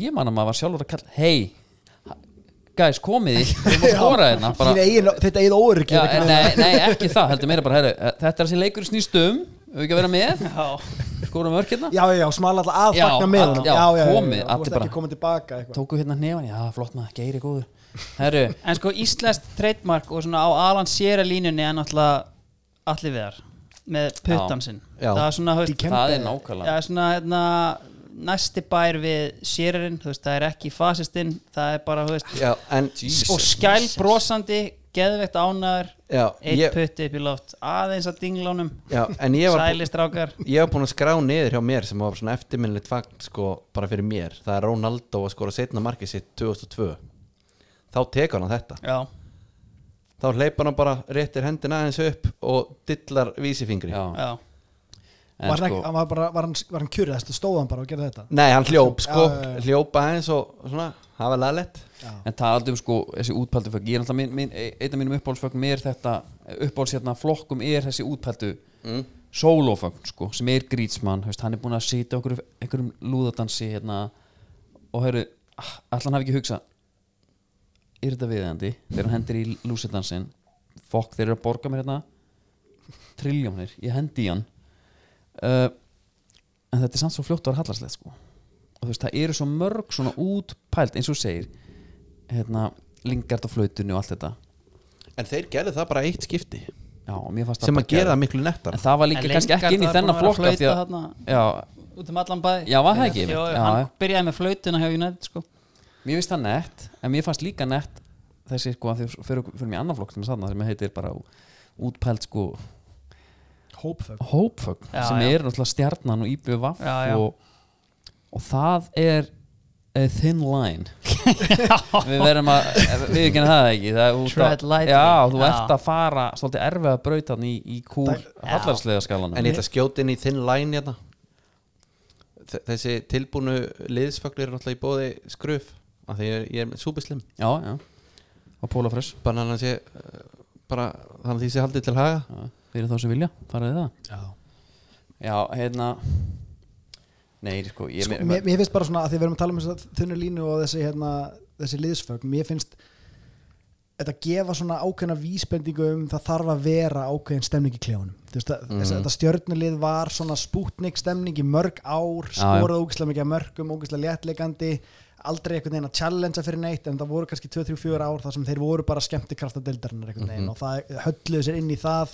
A: ég man að maður var sjálfur að kalla hei, guys komið þið, við múum skora hérna bara,
D: Þín eigin- þetta eigið óöryggi
A: já,
D: er ekki
A: en,
D: með-
A: nei, nei, ekki það, heldur meira bara heru, þetta er þessi leikur snýst um, við ekki að vera með
C: Já,
A: skora mörk hérna,
D: já, já, já, smala alltaf að
A: Já,
D: fagna með
A: all-
D: honum.
A: já,
D: já,
A: komið,
D: já,
A: allir
D: þú ert
A: bara.
D: ekki komin tilbaka eitthvað.
A: tóku hérna nefan já, flott maður, geiri góður herru,
C: en sko íslenskt trademark og svona á Alan Sierra línunni er náttúrulega allir viðar með puttan sinn
B: Já.
C: það er svona, þú
D: Í
C: veist,
D: kemp-
A: það er
C: það
A: nákvæmlega
C: er svona hérna, næsti bær við Sierrainn, þú veist, það er ekki fasistinn, það er bara, þú veist
B: Já, en
C: og skæl brosandi, geðveikt ánæður
B: já,
C: eitt
B: ég,
C: putti upp í loft, aðeins að dinglónum
B: já, en ég var
C: sælistrákar
B: ég var búin að skrá niður hjá mér sem var svona eftirminnilegt fagn sko bara fyrir mér það er Ronaldo að skora setna markið sitt 2002 þá tekur hann þetta
C: já,
B: þá hleypar hann bara réttir hendina aðeins upp og dillar vísifingri
A: já,
C: já,
A: en
D: var, sko,
A: sko
D: hann var, bara, var, hann, var hann kjurið þess, stóð hann bara og gerði þetta
B: nei hann hljóp sko
D: Já, já, já.
B: hljóp aðeins og svona hafa laðlegt
A: en talandi um sko þessi útpældu fögg ég er alltaf, minn, minn, einn af mínum uppáhaldsfögnum er þetta uppáhalds hérna flokkum er þessi útpældu mm. sólófögn sko sem er Grítsmann, hefst, hann er búin að sitja okkur einhverjum lúðadansi hérna og hörru, allan hafi ekki hugsað er þetta viðeigandi þegar hann hendir í lúsidansin fokk þeir eru að borga mér hérna triljónir, ég hendi í hann uh, en þetta er samt svo fljótt að vera hallarslegt sko og þú veist, það eru svo mörg svona útpælt eins og þú segir hérna, lingart og flautunni og allt þetta
B: en þeir gerðu það bara eitt skipti
A: já, og mér fannst
B: sem
A: það
B: að gera
A: bara-
B: það miklu nettar
A: en það var líka
C: En
A: kannski
C: Lingard
A: ekki inn í
C: var búinn
A: þennan
C: að vera að
A: flokk af því
C: flauta
A: að, já,
C: út um allan bæ
A: Já, var það ekki?
C: Jó,
A: Já,
C: hann
A: já.
C: byrjaði með flautuna hjá United sko.
A: mér finnst það nett en mér fannst líka nett þessi sko að þau fyrir, fyrir mér annan flokk sem, sann, sem heitir bara útpælt sko
D: hópfögn
A: hópfögn
C: Já,
A: sem
C: já.
A: er náttúrulega stjarnan og IBVF
C: Já, já.
A: Og, og það er a thin line við verðum að við ekki það ekki það er út
C: Tread
A: að,
C: lightly.
A: já, þú
C: Já.
A: ert að fara svolítið erfið að brauta hann í, í kúr
C: Já.
A: hallarslega skalanum
B: en ég ætla að skjóta inn í þinn line hérna Þ- þessi tilbúnu liðsfaglir er náttúrulega í bóði skruf af því ég, ég er með súbislim
A: já, já. og pólafröss
B: bara hann sé uh, bara þannig að því sé haldið til haga
A: fyrir þá sem vilja, faraði það
D: já
A: já, hérna nei, sko, ég
D: sko, mér, mér finnst bara svona að því við erum að tala um þess að þunni línu og þessi, hérna, þessi liðsfögn mér finnst þetta gefa svona ákveðna vísbendingu um það þarf að vera ákveðin stemning í klefunum þú veist að mm
A: Mhm.
D: -hmm. þetta stjörnulið var svona spútnik stemning í mörg ár
A: Já, já.
D: skorað ógislega mikið að mörgum, ógislega léttleikandi aldrei einhvern veginn að challengea fyrir neitt en það voru kannski 2-3-4 ár þar sem þeir voru bara skemmtikrafta deildarinnar
A: Mhm.
D: einhvern veginn og það hölluðu sér inn í það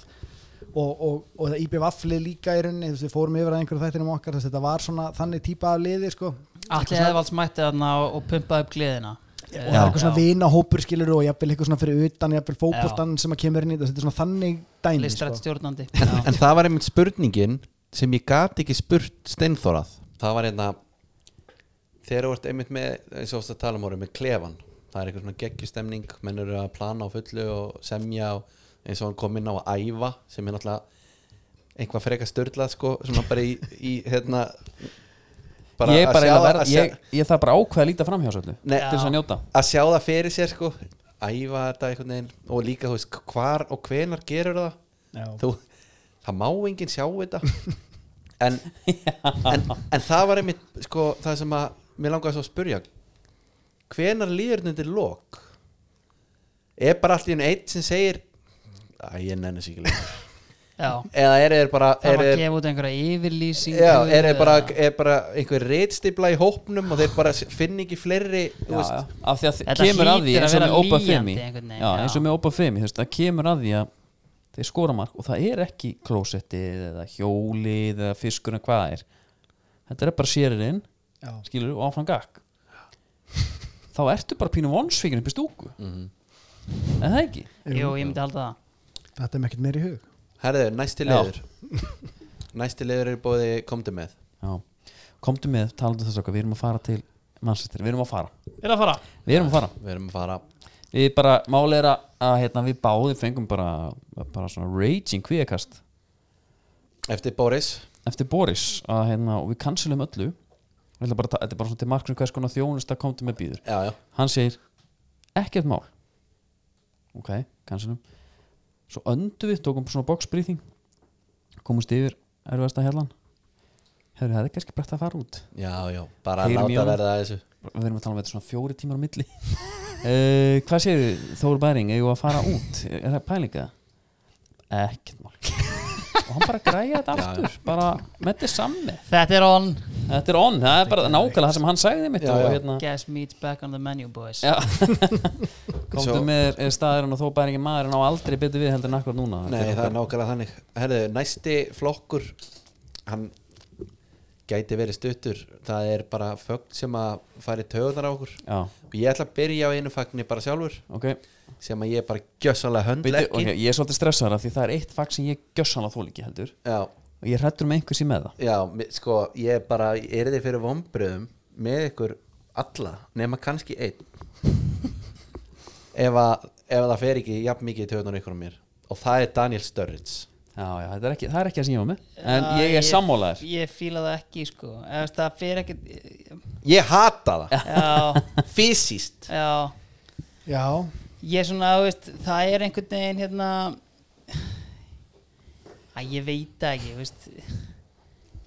D: og, og, og það IB vaflið líka í rauninni, þú veist, við fórum yfir að einhverju þættinum okkar þess að þetta var svona þannig típa af liði sko.
C: Alli Eðvalds mætti þarna og, og pumpaði upp gleðina
D: og það er eitthvað svona vinahópur skilur og jafnvel eitthvað svona fyrir utan, jafnvel fótboltan sem að kemur inn í þetta, þetta er svona þannig dæmi
C: listrætt
D: sko.
C: stjórnandi
B: en,
C: Já.
B: en það var einmitt spurningin sem ég gat ekki spurt steinþórað það var hérna þegar þú ert einmitt með eins og það tala um orðið með klefan það er eitthvað svona geggjustemning menn eru að plana á fullu og semja og eins og hann kom inn á að æfa sem er náttúrulega einhvað freka störlað sko svona bara í, í hérna
A: ég, er bara
B: sjá
A: eiginlega
B: það-
A: verð,
B: sjá-
A: ég, ég þarf bara að ákveða að líta fram hjá svolítið til
B: Nei,
A: þess að njóta
B: að sjá það fyrir sér sko æfa þetta einhvern veginn og líka þú veist hvar og hvenar gerur það
D: Já.
B: þú, það má enginn sjá þetta en, en, en það var einmitt sko það sem að mér langaði svo að spurja hvenar líður þetta til lok er bara allir einu eitt sem segir að ég nenni sig ekki lengur."
C: Já.
B: eða er þeir bara
C: það
B: er
C: var að
B: þeir
C: gefa út einhverja yfirlýsing
B: Já, er, er, bara, er bara einhver reitstibla í hópnum og þeir bara finn ekki fleiri þú
A: já,
B: veist,
A: já, af því að
C: Þetta
A: þið kemur að því
C: hlýtur að
A: eins og
C: vera
A: með Opa
C: lýjandi
A: Femi
C: einhvern
A: já,
C: veginn, já.
A: eins og með Opa Femi, þú veist, það kemur að því að þeir skora mark og það er ekki klósettið eða hjólið eða fiskurinn hvað það er þetta er bara séririnn,
D: Já.
A: skilur og áfram gakk þá ertu bara pínu vonsvíkinn upp í stúku en það ekki
C: jú, ég myndi halda það
D: þetta er með ekkert meir í hug
B: Herðu, næsti
A: Já.
B: liður Næsti liður er bóði komdu með
A: já. komdu með, talaðu þess okkar, við erum að fara til mannsættir, við erum að fara
C: er að fara
A: við erum að fara
B: Við erum að fara
A: við bara málið er að, að hérna, við báði fengum bara, bara svona raging kvíðakast
B: eftir Boris
A: eftir Boris að, hérna, og við cancelum öllu Ég ætla bara, að ta- þetta er bara svona til marknum hvers konar þjónust að komdu með býður
B: Já, já,
A: hann segir ekkert mál ok, cancelum svo öndu við, tókum svona box breathing komumst yfir erfiðasta hellan hefur hefði kannski brett að fara út
B: já, já, bara
A: Heyrum í
B: láta
A: honum.
B: verða að þessu
A: við erum að tala um þetta svona fjóri tímar á milli uh, hvað séu Þóru Bæring eigum við að fara út, er það pælinga ekkert mál og hann bara græja þetta
B: Já, já.
A: aftur bara með þetta sammi
C: Þetta er on
A: þetta er on, það er bara nákvæmlega það sem hann sagði mitt
B: Já,
A: og
B: já.
A: hérna
C: Gas meets back on the menu boys
A: Já.
B: Svo-
A: komdu með er staðurinn og Þóru Bæring er maðurinn á aldrei betur við heldur en akkur núna
B: Nei, það er nákvæmlega þannig Herðu, næsti flokkur hann gæti verið stuttur það er bara fögn sem að fari töðunar á okkur
A: já,
B: og ég ætla að byrja á einu fagni bara sjálfur
A: ok
B: sem að ég bara gjössalega höndla
A: Bíddu,
B: ekki
A: ok, ég er svolítið stressaður af því það er eitt fag sem ég gjössanlega þól ekki heldur
B: Já,
A: og ég hrættur með einhversi með það
B: já, mi- sko ég bara, ég er þið fyrir vombriðum með ykkur alla, nema kannski einn ef, að, ef það fer ekki jafn mikið í töðunar ykkur á mér og það er Daniel Sturridge
A: já, já, þetta er ekki, það er ekki það sem ég var með en
C: Já,
A: ég er sammálaður
C: Ég fíla það ekki sko Eða, veist, Það fyrir ekki
B: Ég hata það,
C: Já,
B: fysiskt
C: já
D: já,
C: Ég er svona, þú veist, það er einhvern veginn hérna Æ, ég veit það ekki, þú veist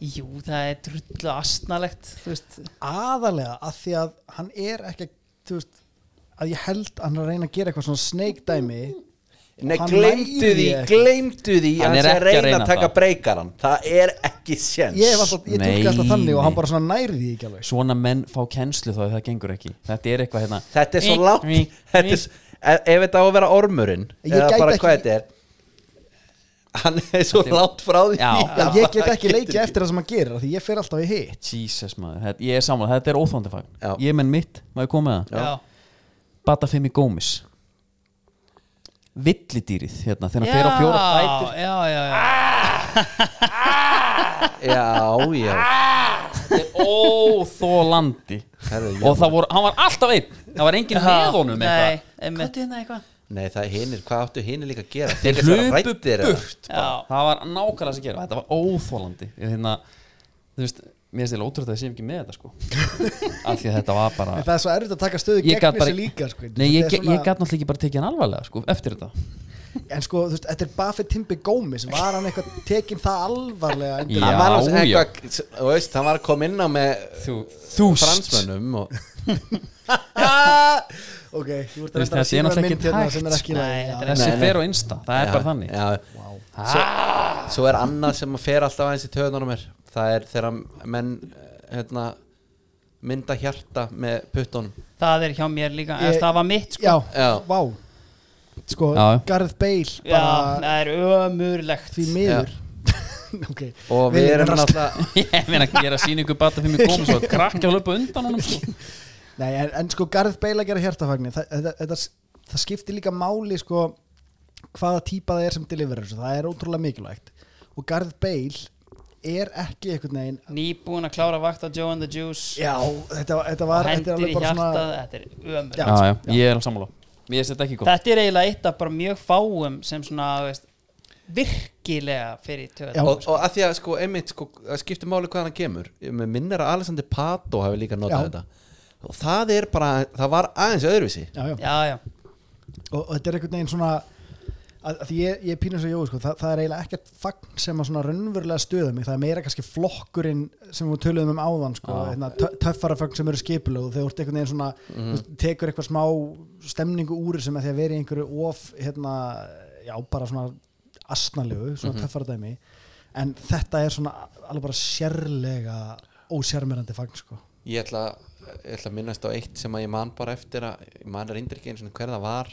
C: Jú, það er drullu astnalegt, þú veist
D: aðalega að því að hann er ekki þú veist, að ég held að hann er að reyna að gera eitthvað svona snake dæmi
B: Nei,
D: Hann
B: gleymdu
D: nægir
B: því,
D: ekki.
B: gleymdu því
A: Hann
B: að
A: er
B: hann sé að
A: ekki að
B: reyna
A: reyna
B: að taka
A: það.
B: breykaran Það er ekki séns
D: ég hef alltaf, ég
A: Nei,
D: tólka alltaf þannig og
A: nei.
D: hann bara svona næri því ekki alveg
A: svona menn fá kennslu þá ef það gengur ekki þetta er eitthvað hérna
B: Þetta er svo
C: Ring,
B: langt
C: ring,
B: þetta er, s- ef, ef þetta á að vera ormurinn
D: Ég
B: Eða
D: gæti
B: bara
D: ekki-
B: hvað þetta er Hann er svo langt frá því
A: Já.
D: Já,
B: að
D: ég
B: það
D: get ekki
B: getur
D: leikið eftir það sem hann gerir af því ég fer alltaf í hitt
A: Jesus maður, þetta, ég er sammálaður, þetta er óþóndi fag
B: Já.
A: ég menn mitt, má ég koma með það
C: Já,
A: Batafemi Gómis villidýrið hérna þegar
C: já,
A: hann fer á fjóra fætur
C: já, já, já.
B: Já, já
A: þetta er óþólandi
B: Herðu, ég
A: og það voru, hann var alltaf einn það var enginn með honum
C: Nei,
A: eitthvað
C: einmitt
A: Köttu hérna eitthvað
B: Nei, það er hinnir, hvað áttu hinnir líka að gera
A: þeir
B: Þykjast vera
A: hlupu
B: hræddir eða?
A: burt bara. það var nákvæmlega sem gera þetta var óþólandi hérna, þú veist, mér finnst þetta ótrúð að það sé ekki með þetta sko af því að þetta var bara
D: En það er svo erfitt að taka stöðu
A: ég
D: gegn
A: gat bara
D: þessu líka sko.
A: nei, ég,
D: Þetta er
A: svona... ég gat náttúrulega ekki bara tekið hann alvarlega sko, eftir þetta
D: En sko, þú veist, þetta er Buffett Timbi Gómez Var hann eitthvað tekinn það alvarlega en,
A: Já,
B: Hann var alveg
A: já.
B: eitthvað, þú veist, hann var að koma inn á með
A: þú, þúst
B: fransmönnum og
D: Ok, þú
A: Þú
D: ert
A: veist,
D: að reynda að
A: þetta er
D: sína
A: náttúrulega
D: mynd
A: ekki sko. hægt.
D: hérna sem er ekki í lagi,
C: Nei,
D: já.
C: þetta
A: þessi
B: Nei, nei.
A: fer á insta, það er bara þannig
B: já. Svo, svo er annað sem að fer alltaf aðeins í töðunar á mér það er þegar menn eh, hérna, mynda hjarta með puttunum
C: Það er hjá mér líka,
D: Ég-
C: ég, það var mitt sko
D: Já,
B: Já.
D: vá Sko,
A: Já.
D: Gareth Bale
C: Já,
D: bara
C: það er ömurlegt
D: því miður Ok
B: og við
D: Viljum
B: erum
D: rasla-
B: náttúrulega
A: ég meina að gera síningu bata fyrir mig komið svo að krakka að löpa undan honum sko.
D: Nei, en, en sko Gareth Bale að gera hjartafagni það, það, það, það skiptir líka máli sko hvaða típa það er sem deliverir þessu, það er ótrúlega mikilvægt og Gareth Bale er ekki einhvern veginn
C: Nýbúin að klára vakt á Joe and the Juice
D: Já, þetta, þetta
C: og
D: var þetta er
C: hendir
D: alveg
C: í
D: bara
C: hjartað,
D: svona
C: þetta er ömurlegt
A: já, já, ég er sammála ég set ekki góð
C: Þetta er eiginlega eitt af bara mjög fáum sem svona, þú veist, virkilega fyrir
D: Já.
C: töðan
B: og, og að því að sko, einmitt, sko, að skipta máli hvað hann kemur með minnir að Alexander Pato hafi líka notað
D: Já.
B: þetta og það er bara, það var aðeins öðruvísi
D: já, já.
C: Já, já,
D: Og, og þetta er einhvern veginn svona að, að því ég, ég pínur svo jói sko, það, það er eiginlega ekkert fagn sem að svona raunverulega stöða mig það er meira kannski flokkurinn sem við töluðum um áðan sko, hérna, tö- töffara fagn sem eru skipulög og þau ert einhvern veginn svona
C: Mhm.
D: mm. tekur eitthvað smá stemningu úr sem að því að vera í einhverju of hérna, já bara svona asnalegu, svona
C: Mhm.
D: töffara dæmi en þetta er svona alveg bara sérlega ósjármerandi fagn sko.
B: ég ætla, ég ætla að minnast á eitt sem að ég man bara eftir að ég man reyndir ekki eins og hver það var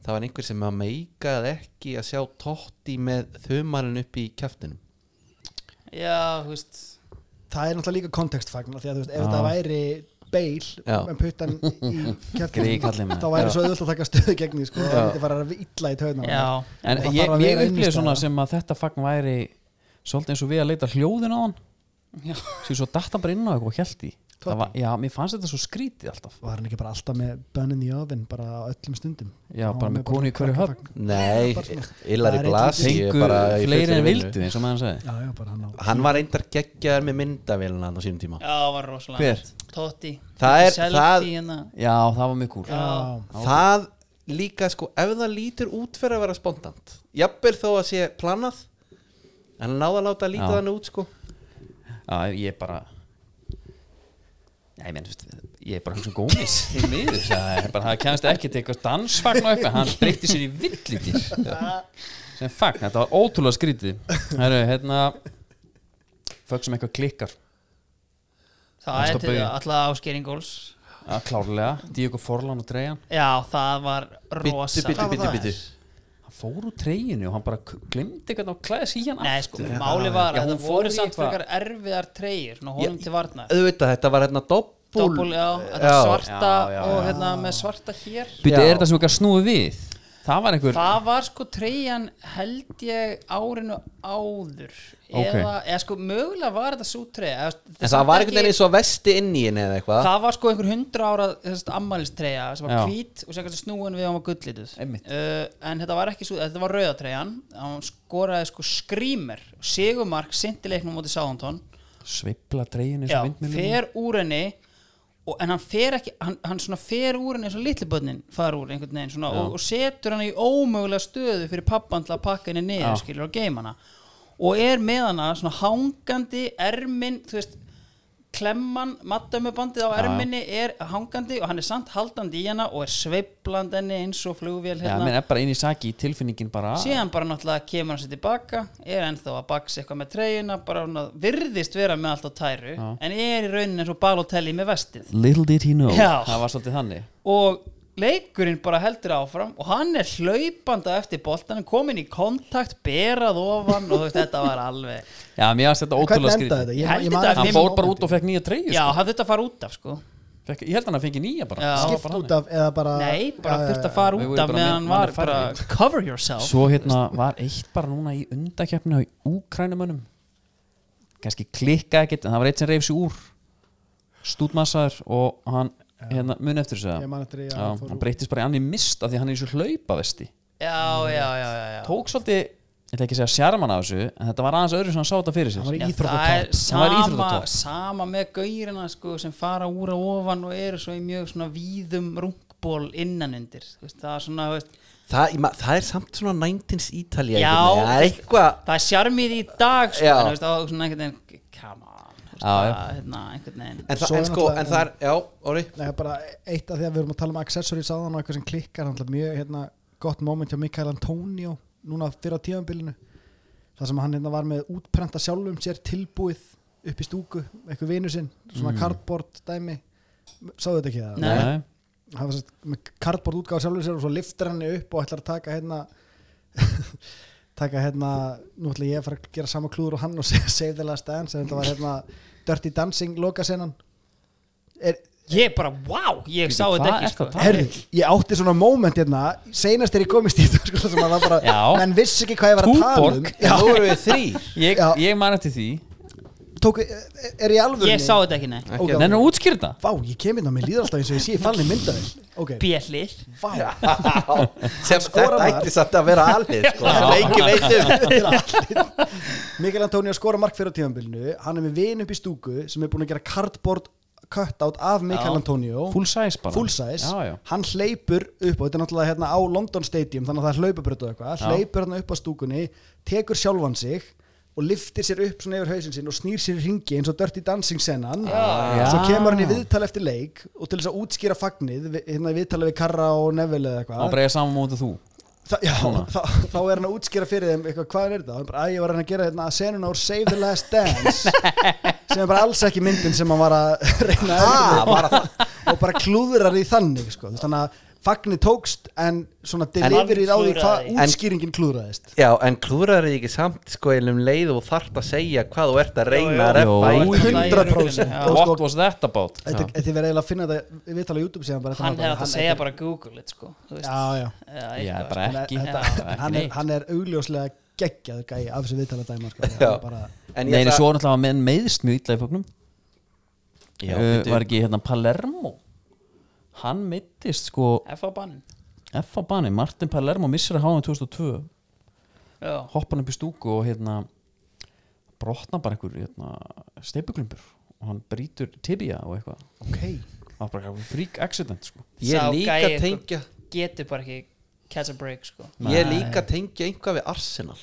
B: það var einhver sem að meikaði ekki að sjá Totti með þumarinn upp í kjaftinum
C: já, þú veist
D: það er náttúrulega líka kontekstfagn af því að þú veist, ef þetta væri beil
B: Já.
D: með puttan í
A: Grey kallinn
D: kjæftin
A: maður.
D: þá væri svo auðvitað að taka stöðu gegn því sko, það myndi fara að illa í töðna
C: Já,
A: en ég,
D: það þarf að
A: ég
D: vera
A: upplýði
D: innistæða.
A: svona sem að þetta fagn væri svolítið eins og við að leita hljóðin á hann
C: Já.
A: sem svo datt hann bara inn á eitthvað og held í Það var, já, mér fannst þetta svo skrítið alltaf
D: var hann ekki bara alltaf með bönnin í ofinn bara á öllum stundum
A: Já,
D: Hann
A: bara
D: var
A: með konu í hverju höfn.
D: krakkafagn.
B: Nei, Ilari
D: Það er
B: Blasi ég er
A: fengu
B: bara
A: fleiri
B: í fullri
A: en
B: vinnu.
A: vildu eins og maður sagði
D: já, já, bara hann á
B: Hann var reyndar geggjaður með myndavélina hann á sínum tíma
C: já, það var rosalega
A: Hver?
C: nett. Totti
B: Það er-
C: Selfie
B: það-
C: hérna.
A: Já, það var mjög kúl
C: Já,
B: Það líka sko, ef það lítur út fyrir að vera spontant Jafnvel þó að sé planað En hann náða að láta að líta
A: Já.
B: þannig út sko
A: Já, ég bara Já, ég meina, þú veist, ég er bara hans og gómis í miður, það er bara, það kemst ekki til eitthvað dansfagn og eitthvað, hann breytti sér í villitir sem fagn, þetta var ótrúlega skrítið Herru, hérna fólk sem eitthvað klikkar
C: Það er
A: Stoppa
C: til
A: í.
C: alltaf áskering góls
A: að klárlega, Díko Forlan og Treyjan
C: Já, það var rosa
B: Bittu, bittu,
D: Hvað var
B: bittu,
D: það?
B: bittu
A: hann fór úr treyjunni og hann bara glimti eitthvað og klæði sig í hann
C: Nei,
A: aftur.
C: sko, máli var
A: Já,
C: að
A: hún
C: það
A: fór
C: voru
A: í
C: samt
A: eitthvað-
C: frekar erfiðar treyjur Nú honum til varnar
B: Auðvitað, þetta var hérna doppul
C: Doppul, já, þetta svarta
A: Já, já,
C: og
A: já.
C: hérna með svarta hér
A: Býttu,
B: Já.
A: er þetta sem eitthvað snúið við? Það var einhver
C: Það var sko treyjan held ég árinu áður
A: Ok.
C: eða, eða sko mögulega var þetta svo treyja
B: En það var einhvern veginn eins og vesti inn í henni eða eitthvað
C: Það var sko einhver hundra ára þessast ammælistreyja sem var
A: Já.
C: hvít og sem kannski snúin við hann var gulllituð uh,
A: Einmitt.
C: en þetta var ekki svo, þetta var rauðatreyjan hann skoraði sko skrýmer sigumark sintileiknum móti sáðantón
A: sveifla treyjunni eins
C: Já,
A: og vindmjölum
C: fer úr henni og, en hann fer ekki hann, hann svona fer úr henni eins og litlibönnin fara úr einhvern veginn svona, og, og setur hann í ómögulega stöðu fyrir pappan til að pakka henni niður
A: Já.
C: skilur og geima hana og er með hana svona hangandi ermin þú veist klemman, maddömmubandið á erminni er hangandi og hann er samt haldandi í hana og er sveiflandi henni eins og flugvél
A: Já,
C: hérna
A: menn er bara inn í saki, tilfinningin bara
C: síðan bara náttúrulega kemur hann sér tilbaka er ennþá að baksa eitthvað með treyjuna bara svona, virðist vera með allt á tæru en er í rauninni eins og balotelli með vestið
A: Little did he know
C: Já.
A: Það var svolítið þannig
C: og leikurinn bara heldur áfram og hann er hlaupanda eftir boltanum komin í kontakt, berað ofan og þú veist, þetta var alveg
A: Já, mér varst þetta ótrúlega
D: Hvernig
A: skrítið
D: endaði þetta? Ég-
C: Held
D: ég
C: þetta
D: man
C: að
A: Hann
D: ekki
A: fór bara
D: mómentið.
A: út og fekk nýja treyju
C: já,
A: sko.
C: hann þurfti að fara út af sko
A: fekk, Ég held hann að fengi nýja bara
C: Já.
A: Það var
D: skipt
A: bara
D: út
A: þannig.
D: af eða bara
C: nei, bara
D: Já, já,
C: þurfti að
D: já.
C: fara
A: Við
C: út
A: vorum
C: af
A: bara
C: meðan hann
A: með-
C: var
A: manni
C: bara
A: færri.
C: cover yourself
A: Svo hérna var eitt bara núna í undakeppninu í úkrænumönnum kannski klikka ekkert en það var eitt sem reyf sig úr stúdmassaður og hann hérna, muni eftir þessu
D: Ég
A: eða?
D: man eftir því að
A: Já,
D: hann fór
A: hann
D: úr.
A: breytist bara í annir mist af því að hann er í þessu hlaupavesti
C: já, já, já, já, já.
A: tók svolítið, ég ætla ekki að segja sjarman af þessu en þetta var aðeins öðru sem hann sá þetta fyrir sér
D: Hann var í
C: Já, það
D: íþróttatopp.
C: er
A: Hann var í
C: sama,
A: íþróttatopp.
C: sama með gaurina sko, sem fara úr að ofan og eru svo í mjög svona víðum rungból innanundir Þú veist, það er svona þú veist,
B: Það, ég ma- það er samt svona 19s Ítalía
C: Já.
B: einhvern veginn. Það er eitthvað
C: það er sjarmið í dag sko,
B: Já.
C: en, þú veist, og svona einhvern veginn come on þú veist,
A: Já, já.
C: það, hérna, einhvern veginn
B: En,
D: Svo
B: það,
D: er
B: en sko,
D: náttúrulega-
B: en það er, já, orði
D: Nei, bara eitt af því að við erum að tala um accessories áðan og eitthvað sem klikkar, hann er mjög hérna, gott moment hjá Mikael Antonio núna fyrir á tíðanbylinu þar sem hann hérna, var með útprenta sjálfum sér tilbúið upp í stúku eitthvað vinu sinn, svona cardboard dæmi sáðu þetta ekki það?
C: Nei.
D: hann var sérst með cardboard útgáð sjálfum sér og svo liftir hann upp og ætlar að taka hérna taka hérna, nú ætla ég að fara að gera sama klúður og hann og segja save the last dance en þetta var hérna Dirty Dancing lokasennan er,
C: ég bara, wow, ég
A: Bíddu,
C: sá þetta
A: hvað
C: ekki
A: ertu
C: sko.
A: að tala
D: Herri, ég átti svona moment hérna Seinast er ég komist í þetta sko, sem að það bara,
A: Já.
D: menn vissi ekki hvað ég var að tala um
A: Túborg.
B: Nú erum við þrý
A: ég,
D: Já.
A: ég man eftir því
D: Tók, Er ég alveg
C: ég sá þetta ekki, nei
D: okay,
A: Nennar að útskýra þetta?
D: Vá, ég kem inn á mig líður alltaf eins og ég sé fallin myndaðil Ok,
C: bjellir
D: vá
B: Sem
D: Skora
B: þetta
D: maður.
B: ætti samt að vera alveg sko. Þetta ekki veitum
D: Mikael Antonio skora mark fyrir á tímanbylnu Hann er með vin upp í stúku sem er búin að gera cardboard cutout af Mikael Antonio
A: Full size bara
D: full size,
A: já, já.
D: hann hleypur upp og þetta er náttúrulega hérna á London Stadium þannig að það er hlaupabrötu og eitthvað, hleypur hérna upp á stúkunni tekur sjálfan sig og liftir sér upp svona yfir hausinn sinn og snýr sér í ringi eins og Dirty Dancing sennan
A: Já.
D: svo kemur hann í viðtal eftir leik og til þess að útskýra fagnið við- hérna í viðtali við Karra og Neville eða
A: Á
D: eitthvað
A: bregja saman mótið þú
D: Þa, já, þá, þá er hann að útskýra fyrir þeim eitthvað, hvað er þetta? Hann bara, að ég var að reyna að gera hérna senuna úr Save the Last Dance sem er bara alls ekki myndin sem hann var að reyna
B: Ha,
D: að erfa og bara klúðrar í þannig sko. Þú veist, þannig að fagnir tókst en svona deliverið á því hvað
C: klúðraði.
D: útskýringin klúðraðist
B: Já, en klúrar þið ekki samt sko um leið og þart að segja hvað þú ert að reyna að reppa
A: Jó.
B: í
A: Jú,
D: 100%
C: Já.
D: og sko,
A: What was that about?
D: þetta þetta er verið eiginlega að finna þetta við tala á YouTube síðan bara þetta
C: hann
D: var bara-
C: hefði átt að segja bara google it sko, þú veist.
D: já, já,
C: Eða
A: Já,
C: eitthvað,
A: bara
C: sko.
D: En
A: ekki
D: þetta-
A: Bara ekki
D: hann, er,
A: neitt.
D: hann er augljóslega geggjaður gæi af þessu viðtala dæma sko. Hann
B: Já.
D: er bara,
B: En
A: Nei,
B: ég
A: en
B: ætla
A: svo var náttúrulega að menn meiðist mjög illa í fóknum
B: Já,
A: uh,
B: bíddu.
A: Var ekki hérna Palermo Hann meiddist sko
C: F.A. bannin
A: F á bani, Martin Palermo missir að háðum 2002
C: Já.
A: Hoppan upp í stúku og hérna Brotna bara einhver hérna, Steipuglumbur Og hann brýtur tibia og eitthvað
D: ok,
A: Það var bara eitthvað freak accident sko
B: Ég
C: Sá
B: líka
C: gæi, sko.
B: tengja
C: getur bara ekki catch a break sko.
B: Ég líka tengja einhvað við Arsenal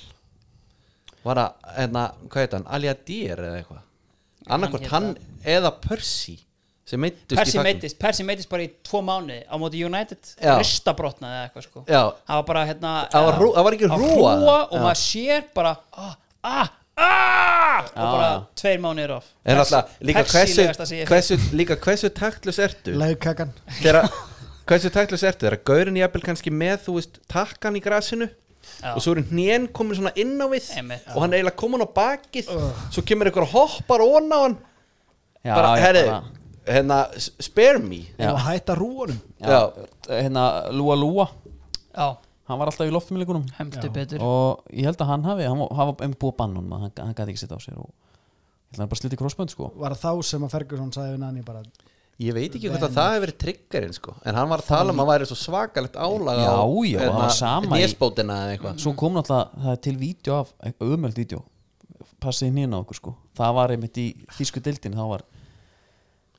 B: Var að, hérna, hvað heit hann, Alja Dýr eða eitthvað annarkvort hann,
C: hann
B: eða Percy sem meittust í
C: Persi
B: taglinu.
C: meittist, Persi meittist bara í tvo mánuði á móti United,
B: Já.
C: ristabrotnaði eða eitthvað sko
B: Já.
C: það var bara hérna
B: Það var hrú- það var ekki
C: það
B: hrúga.
C: og
B: Já.
C: maður sér bara ah, ah, ah, og bara tveir mánuðir of
B: En alltaf, líka hversu,
C: hversu
B: hversu, líka hversu taktlus ertu
D: Legkakan
B: þegar, hversu taktlus ertu þegar gaurin jafnvel kannski með, þú veist, takkan í grasinu
C: Já.
B: og svo eru hnén komin svona inn á við
C: Einmitt.
B: og hann eiginlega komin á bakið svo kemur einhver og hoppar ón á hann
A: Já,
B: bara,
A: já,
B: herri,
A: bara-
B: hérna, s- spare me
A: Já.
D: og að hætta rúanum
B: Já.
A: hérna Lúa Lúa
C: já,
A: hann var alltaf í loftumilikunum
C: hemdu betur
A: og ég held að hann hafi hann hafa um búið að banna honum að hann, hann gæti ekki sitta á sér og ég held að hann bara sliti krossbönd sko
D: var þá sem að Ferguson sagði við Nani bara
B: ég veit ekki hvort að það hefur verið triggerinn sko. en hann var að tala um að væri svo svakalegt álag á
A: Já, já, það var sama í-
B: nésbótina eða eitthvað
A: svo kom náttúrulega það er til vídeo af umöld vídeo passið inn á okkur sko það var einmitt í þýsku deildin þá var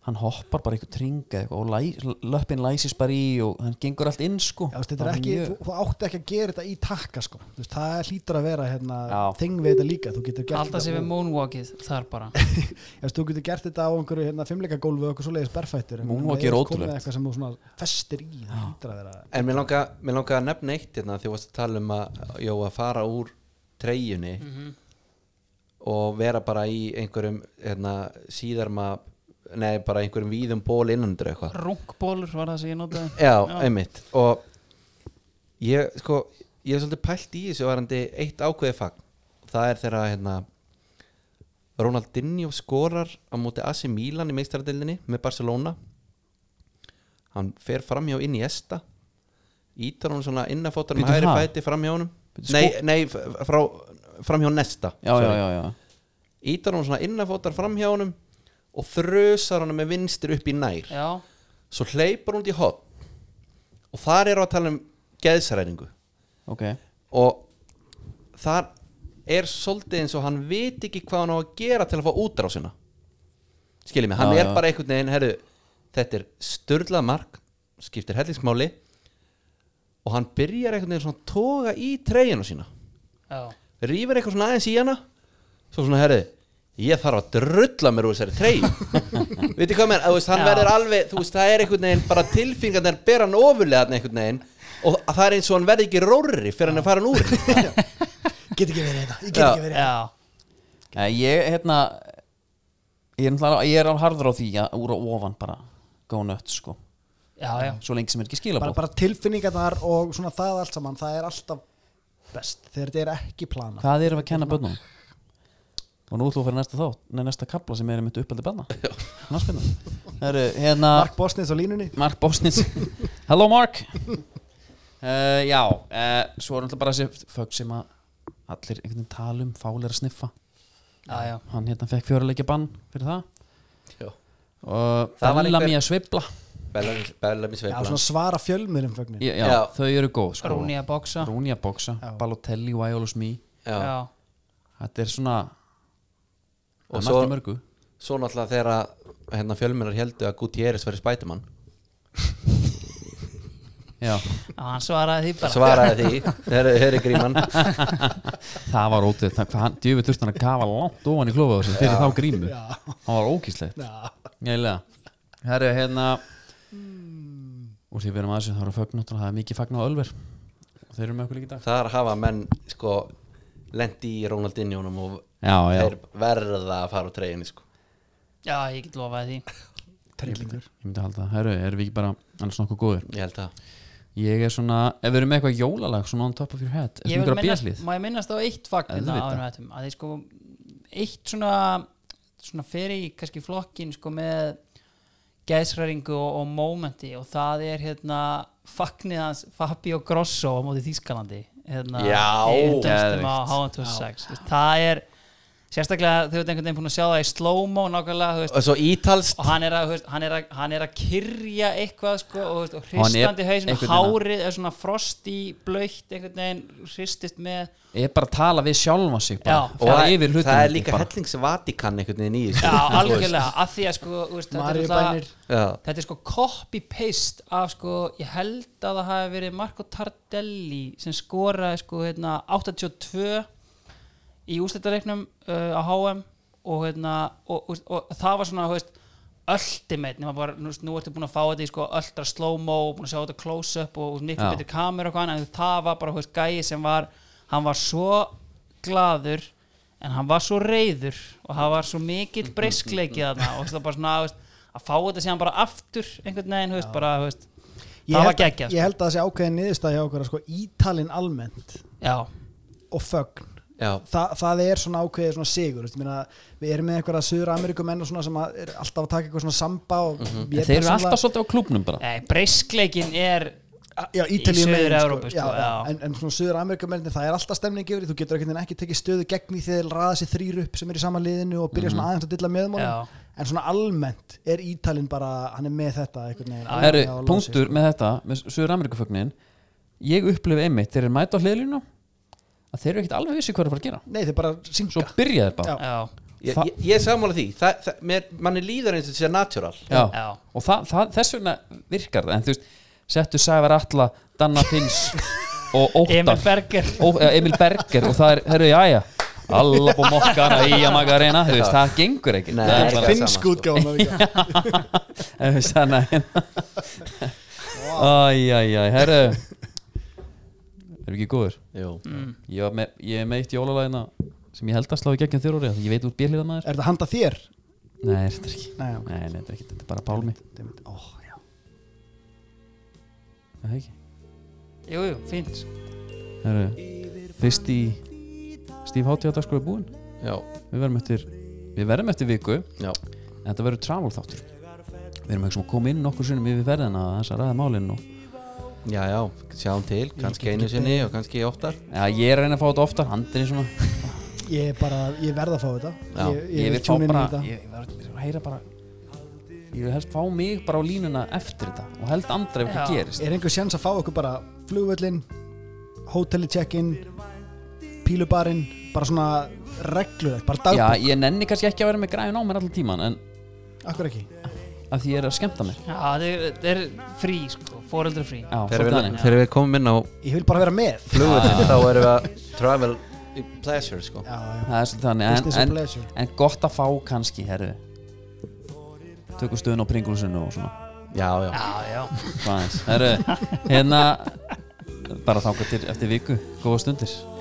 A: hann hoppar bara eitthvað tringa eitthvað og læ, löppin læsist bara í og hann gengur allt inn sko
D: Já, þú veist,
A: Það
D: þetta er
A: var
D: ekki,
A: mjög-
D: þú, þú átti ekki að gera þetta í takka sko. Þú veist, það hlýtur að vera hérna,
A: Já.
D: þing við þetta líka þú getur gert,
C: alltaf sem við
D: þetta,
C: moonwalkið þar bara
D: og- Ef þú getur gert þetta á einhverju hérna, fimmleika og okkur svoleiðis berfættur en
A: Moonwalk
D: um leið
A: er
D: komið
A: ótrúlegt.
D: eitthvað sem þú svona festir í, það hlýtur að vera
B: En mér langa, mér langa að nefna eitt hérna því að varst að tala um að, jó, að fara úr treyjunni og vera bara í einhverjum hérna, síðarma nei, bara einhverjum víðum ból innandur eitthvað
C: runkbólur var það sem ég notaði
B: Já, einmitt og ég, sko, ég er svolítið pælt í þessu varandi eitt ákveði fagn það er þegar að, hérna Ronaldinho skorar á móti AC Milan í meistaradildinni með Barcelona hann fer framhjá inn í Esta ítar hann svona innafótar með
A: Bíddu,
B: hægri
A: ha?
B: fæti framhjá honum
A: Bíddu,
B: nei,
A: sko-
B: nei, f- frá, framhjá Nesta
A: já, já, já, já.
B: ítar hann svona innafótar framhjá honum og þrösar hann með vinstir upp í nær
C: já,
B: svo hleypar hún út í hot og þar eru að tala um geðsræningu
A: ok
B: og þar er svolítið eins og hann veit ekki hvað hann á að gera til að fá útrásina skiljið mig, hann
A: Já,
B: er
A: já.
B: bara einhvern veginn herru, þetta er störlað mark skiptir hellingsmáli og hann byrjar einhvern veginn svona að toga í treyjuna sína
C: já,
B: rýfur eitthvað svona aðeins í hana svo svona herri ég þarf að drulla mér úr þessari trey veitir hvað menn, þú veist, hann
C: Já.
B: verður alveg þú veist, það er einhvern veginn, bara tilfingarnir ber hann ofurlega þarna einhvern veginn og það er eins og hann verði ekki rórri fyrir hann er farin úr
D: get ekki verið þetta, ég get
B: Já.
D: ekki verið
C: já.
A: Nei, ég, hérna ég er, náttúrulega- ég er alveg harður á því að úr og ofan bara go nuts sko
C: já, já.
A: svo lengi sem er ekki
D: bara,
A: skilabóð
D: bara tilfinningarnar og svona það allt saman það er alltaf best þegar þetta er ekki plana
A: Hvað erum við að kenna börnum? Og nú ætlum við að fara í næsta þátt Nei, næsta kapla sem er um þetta uppeldi barna Náspinna Það eru hérna
D: Mark Bosnins á línunni
A: Mark Bosnitz Hello Mark uh, Já, uh, svo er náttúrulega bara þessi Fögg sem að allir einhvern veginn tala um Fálir að sniffa
C: já, já.
B: Sko.
A: Hann hérna fekk fjöruleikja bann fyrir það
B: Já.
A: Og
B: Það var
A: það var
B: einhver-
A: mér að svibla
B: Bellami
D: Já, svona
B: sveiflan
D: svara fjölmiðlum fögnin
A: já, já,
B: Já.
A: þau eru góð sko.
C: Rooney að boxa.
A: Rúni að bóksa Balotelli, Why All Is Me
B: Já.
C: já.
A: Þetta er svona
B: Og
A: Og
B: svo-
A: svo mörgu.
B: svo náttúrulega þegar að hérna, fjölmennar heldu að Gutierrez verið spætumann
A: Já,
C: Já, hann svaraði því bara
B: svaraði því, þeir eru gríman
A: Það var ótrúið, það- hvað hann djöfið þurfti hann að kafa langt ofan í klófa þessu fyrir þá grímu Það var ókíslegt Jælega, herri hérna
B: Hmm.
A: Úr því við erum aðeins þá erum fögn náttúrulega, það er mikið fagn á Ölver og þeir eru með okkur líka í dag
B: þar hafa menn sko lendi í Ronaldinjónum og
A: Já, já,
B: þeir verða að fara á treyjunni sko
C: já, ég get lofaði því
A: ég myndi að halda það Herru, erum við ekki bara annars nokkuð góður
B: ég held það
A: Ég er svona, ef við erum með eitthvað jólalag svona on top of your head, er það
C: ég vil
A: ykkur að
C: minnast,
A: bjöðlið?
C: má ég minnast á eitt fagn hérna
A: Auðvitað.
C: þetta áhættum að þið sko eitt svona, svona fyrir í kannski flokkin sko með gæðsræringu og, og momenti og það er hérna fagnið hans Fabio Grosso á móti Þískalandi hérna,
B: Já,
C: geðveikt á HM26 Þú veist, það er sérstaklega þau veit einhvern veginn búin að sjá það í slow-mo nákvæmlega þú veist,
B: og svo ítalst
C: og hann er, að, þú veist, hann, er að, hann er að kyrja eitthvað sko, og, þú veist, og
A: Og hann er
C: hristandi hausinn,
A: einhvern veginn að-
C: hárið er svona frosti blöytt einhvern veginn hristist með
A: Ég er bara að tala við sjálfa sig bara,
C: Já.
A: og það er yfir hlutum
B: það er líka hellingsvatikan einhvern veginn í
C: já,
B: þessu
C: algjörlega, af því að sko, þú veist, þetta, er
D: Maríubænir.
C: náttúrulega-
B: já,
C: þetta er sko copy-paste af sko, ég held að það hafi verið Marco Tardelli sem skoraði sko, hérna, 82 í úrslitareiknum uh, á HM og, hérna, og, og, og það var svona þú veist, ultimate, nema bara, nú, veist, nú ertu búin að fá þetta í sko, öllra slow-mo búin að sjá þetta close-up og, og miklu
A: Já.
C: betri kamera og hvað annað, en það var bara þú veist, gæi sem var hann var svo glaður en hann var svo reyður og það var svo mikill breyskleiki þarna og þú veist, það var bara svona þú veist, að fá þetta síðan bara aftur einhvern veginn, þú veist, bara, þú veist, það
D: Ég
C: var
D: held að-
C: geggjað
D: Ég
C: sko.
D: held að það sé ákveðin niðurstæði okkur að sko, ítalinn almennt
C: já,
D: og fögn
B: Já,
D: Þa, það er svona ákveðið svona sigur veist, ég meina, við erum með einhverja Suður Ameríkumenn og svona sem að er alltaf að taka eitthvað svona samba og mm
A: En þeir eru alltaf svolítið á klúbnum bara
C: Nei, breyskleikin er
D: já,
C: í
D: Ítalíu megin,
C: Suður-Evrópu,
D: já,
C: sko, já.
D: en, en svona Suður Ameríkumenn það er alltaf stemning yfir því, þú getur einhvern veginn ekki tekið stöðu gegn því þegar þeir raða sér þrýr upp sem er í sama liðinu og byrja svona aðeins að dilla
C: Já.
D: meðmálum en svona almennt er Ítalinn bara hann er með þetta einhvern veginn alveg
A: Herru,
D: á lási,
A: punktur með þetta með Suður Amerikafögnin ég upplifi einmitt, þeir eru mæta á hliðlínu að þeir eru ekkit alveg vissi hvað er að fara að gera
D: sko. nei þeir bara
A: svo
D: synga
A: byrja þeir bara
D: Já.
C: já,
B: ég,
A: Þa-
B: ég, ég er sammála því það, það, mér, manni líður eins og þetta sé natural
A: Já.
C: Já.
A: og það, það, þess vegna virkar það en þú veist, settu Sævar Alla Danna Finns og
C: Emil
A: Óttar
C: Berger
A: Ó, eh, Emil Berger og það er, herru, jæja alla búið mokkana í að maga reyna þú veist, það gengur ekki
B: Nei,
A: það er
B: ekki.
A: bara,
D: finnsk um útgáðum
A: en þú veist, þannig æjæjæ, herru er ekki góður
B: Jú,
A: ég, var með, ég er með eitt jólalæðina sem ég held að slá í gegn þér orðið ég veit út bílíðan maður
D: er þetta handa þér?
A: nei, þetta er ekki,
D: Nei, ok.
A: nei, nei, þetta er ekki, þetta er bara pálmi
D: Ó, já.
A: það er ekki
C: Jú, jú, fínt
A: Herru, fyrst í Stíf Hátíðardagskóla er búinn
B: já,
A: Við verðum eftir, við verðum eftir viku en
B: já
A: þetta verður travel þáttur Við erum ekki sem að koma inn nokkur sinnum yfir verðina þess að ræða málinn og
B: Já, já, sjáum til, kannski einu sinni og kannski oftar
A: ja, ég er að reyna að fá þetta oftar, handinni svona
D: Ég, er bara, ég verð að fá þetta
B: Já,
D: Ég, ég, vil
A: fá
D: tjúna inn í
A: bara,
D: þetta
A: ég, ég verður að heyra bara Ég vil helst fá mig bara á línuna eftir þetta og held andra ef
C: Já.
A: ekki gerist
D: Er einhver sjans að fá okkur bara flugvöllin hóteli check-in pílubarinn bara svona reglur bara
A: Já,
D: dagbúk,
A: ég nenni kannski ekki að vera með græðin á mér allan tíman en
D: akkur ekki
A: að því ég er að skemmta mér
C: Já, það er frí, sko, foreldra frí
A: Já,
B: Þegar
A: svolítið
B: við,
A: þannig.
B: þegar við komum inn á
D: Ég vil bara vera með Já,
B: flugvöldin þá erum við að travel í pleasure sko
D: já,
A: Það er svolítið þannig
D: Business
A: en,
D: and
A: en,
D: pleasure.
A: en gott að fá kannski, herru Tökum stöðun á pringulsinu og svona
B: Já, já,
C: Já, já,
A: Hvað aðeins, herru Hérna, bara þáka til eftir viku Góða stundir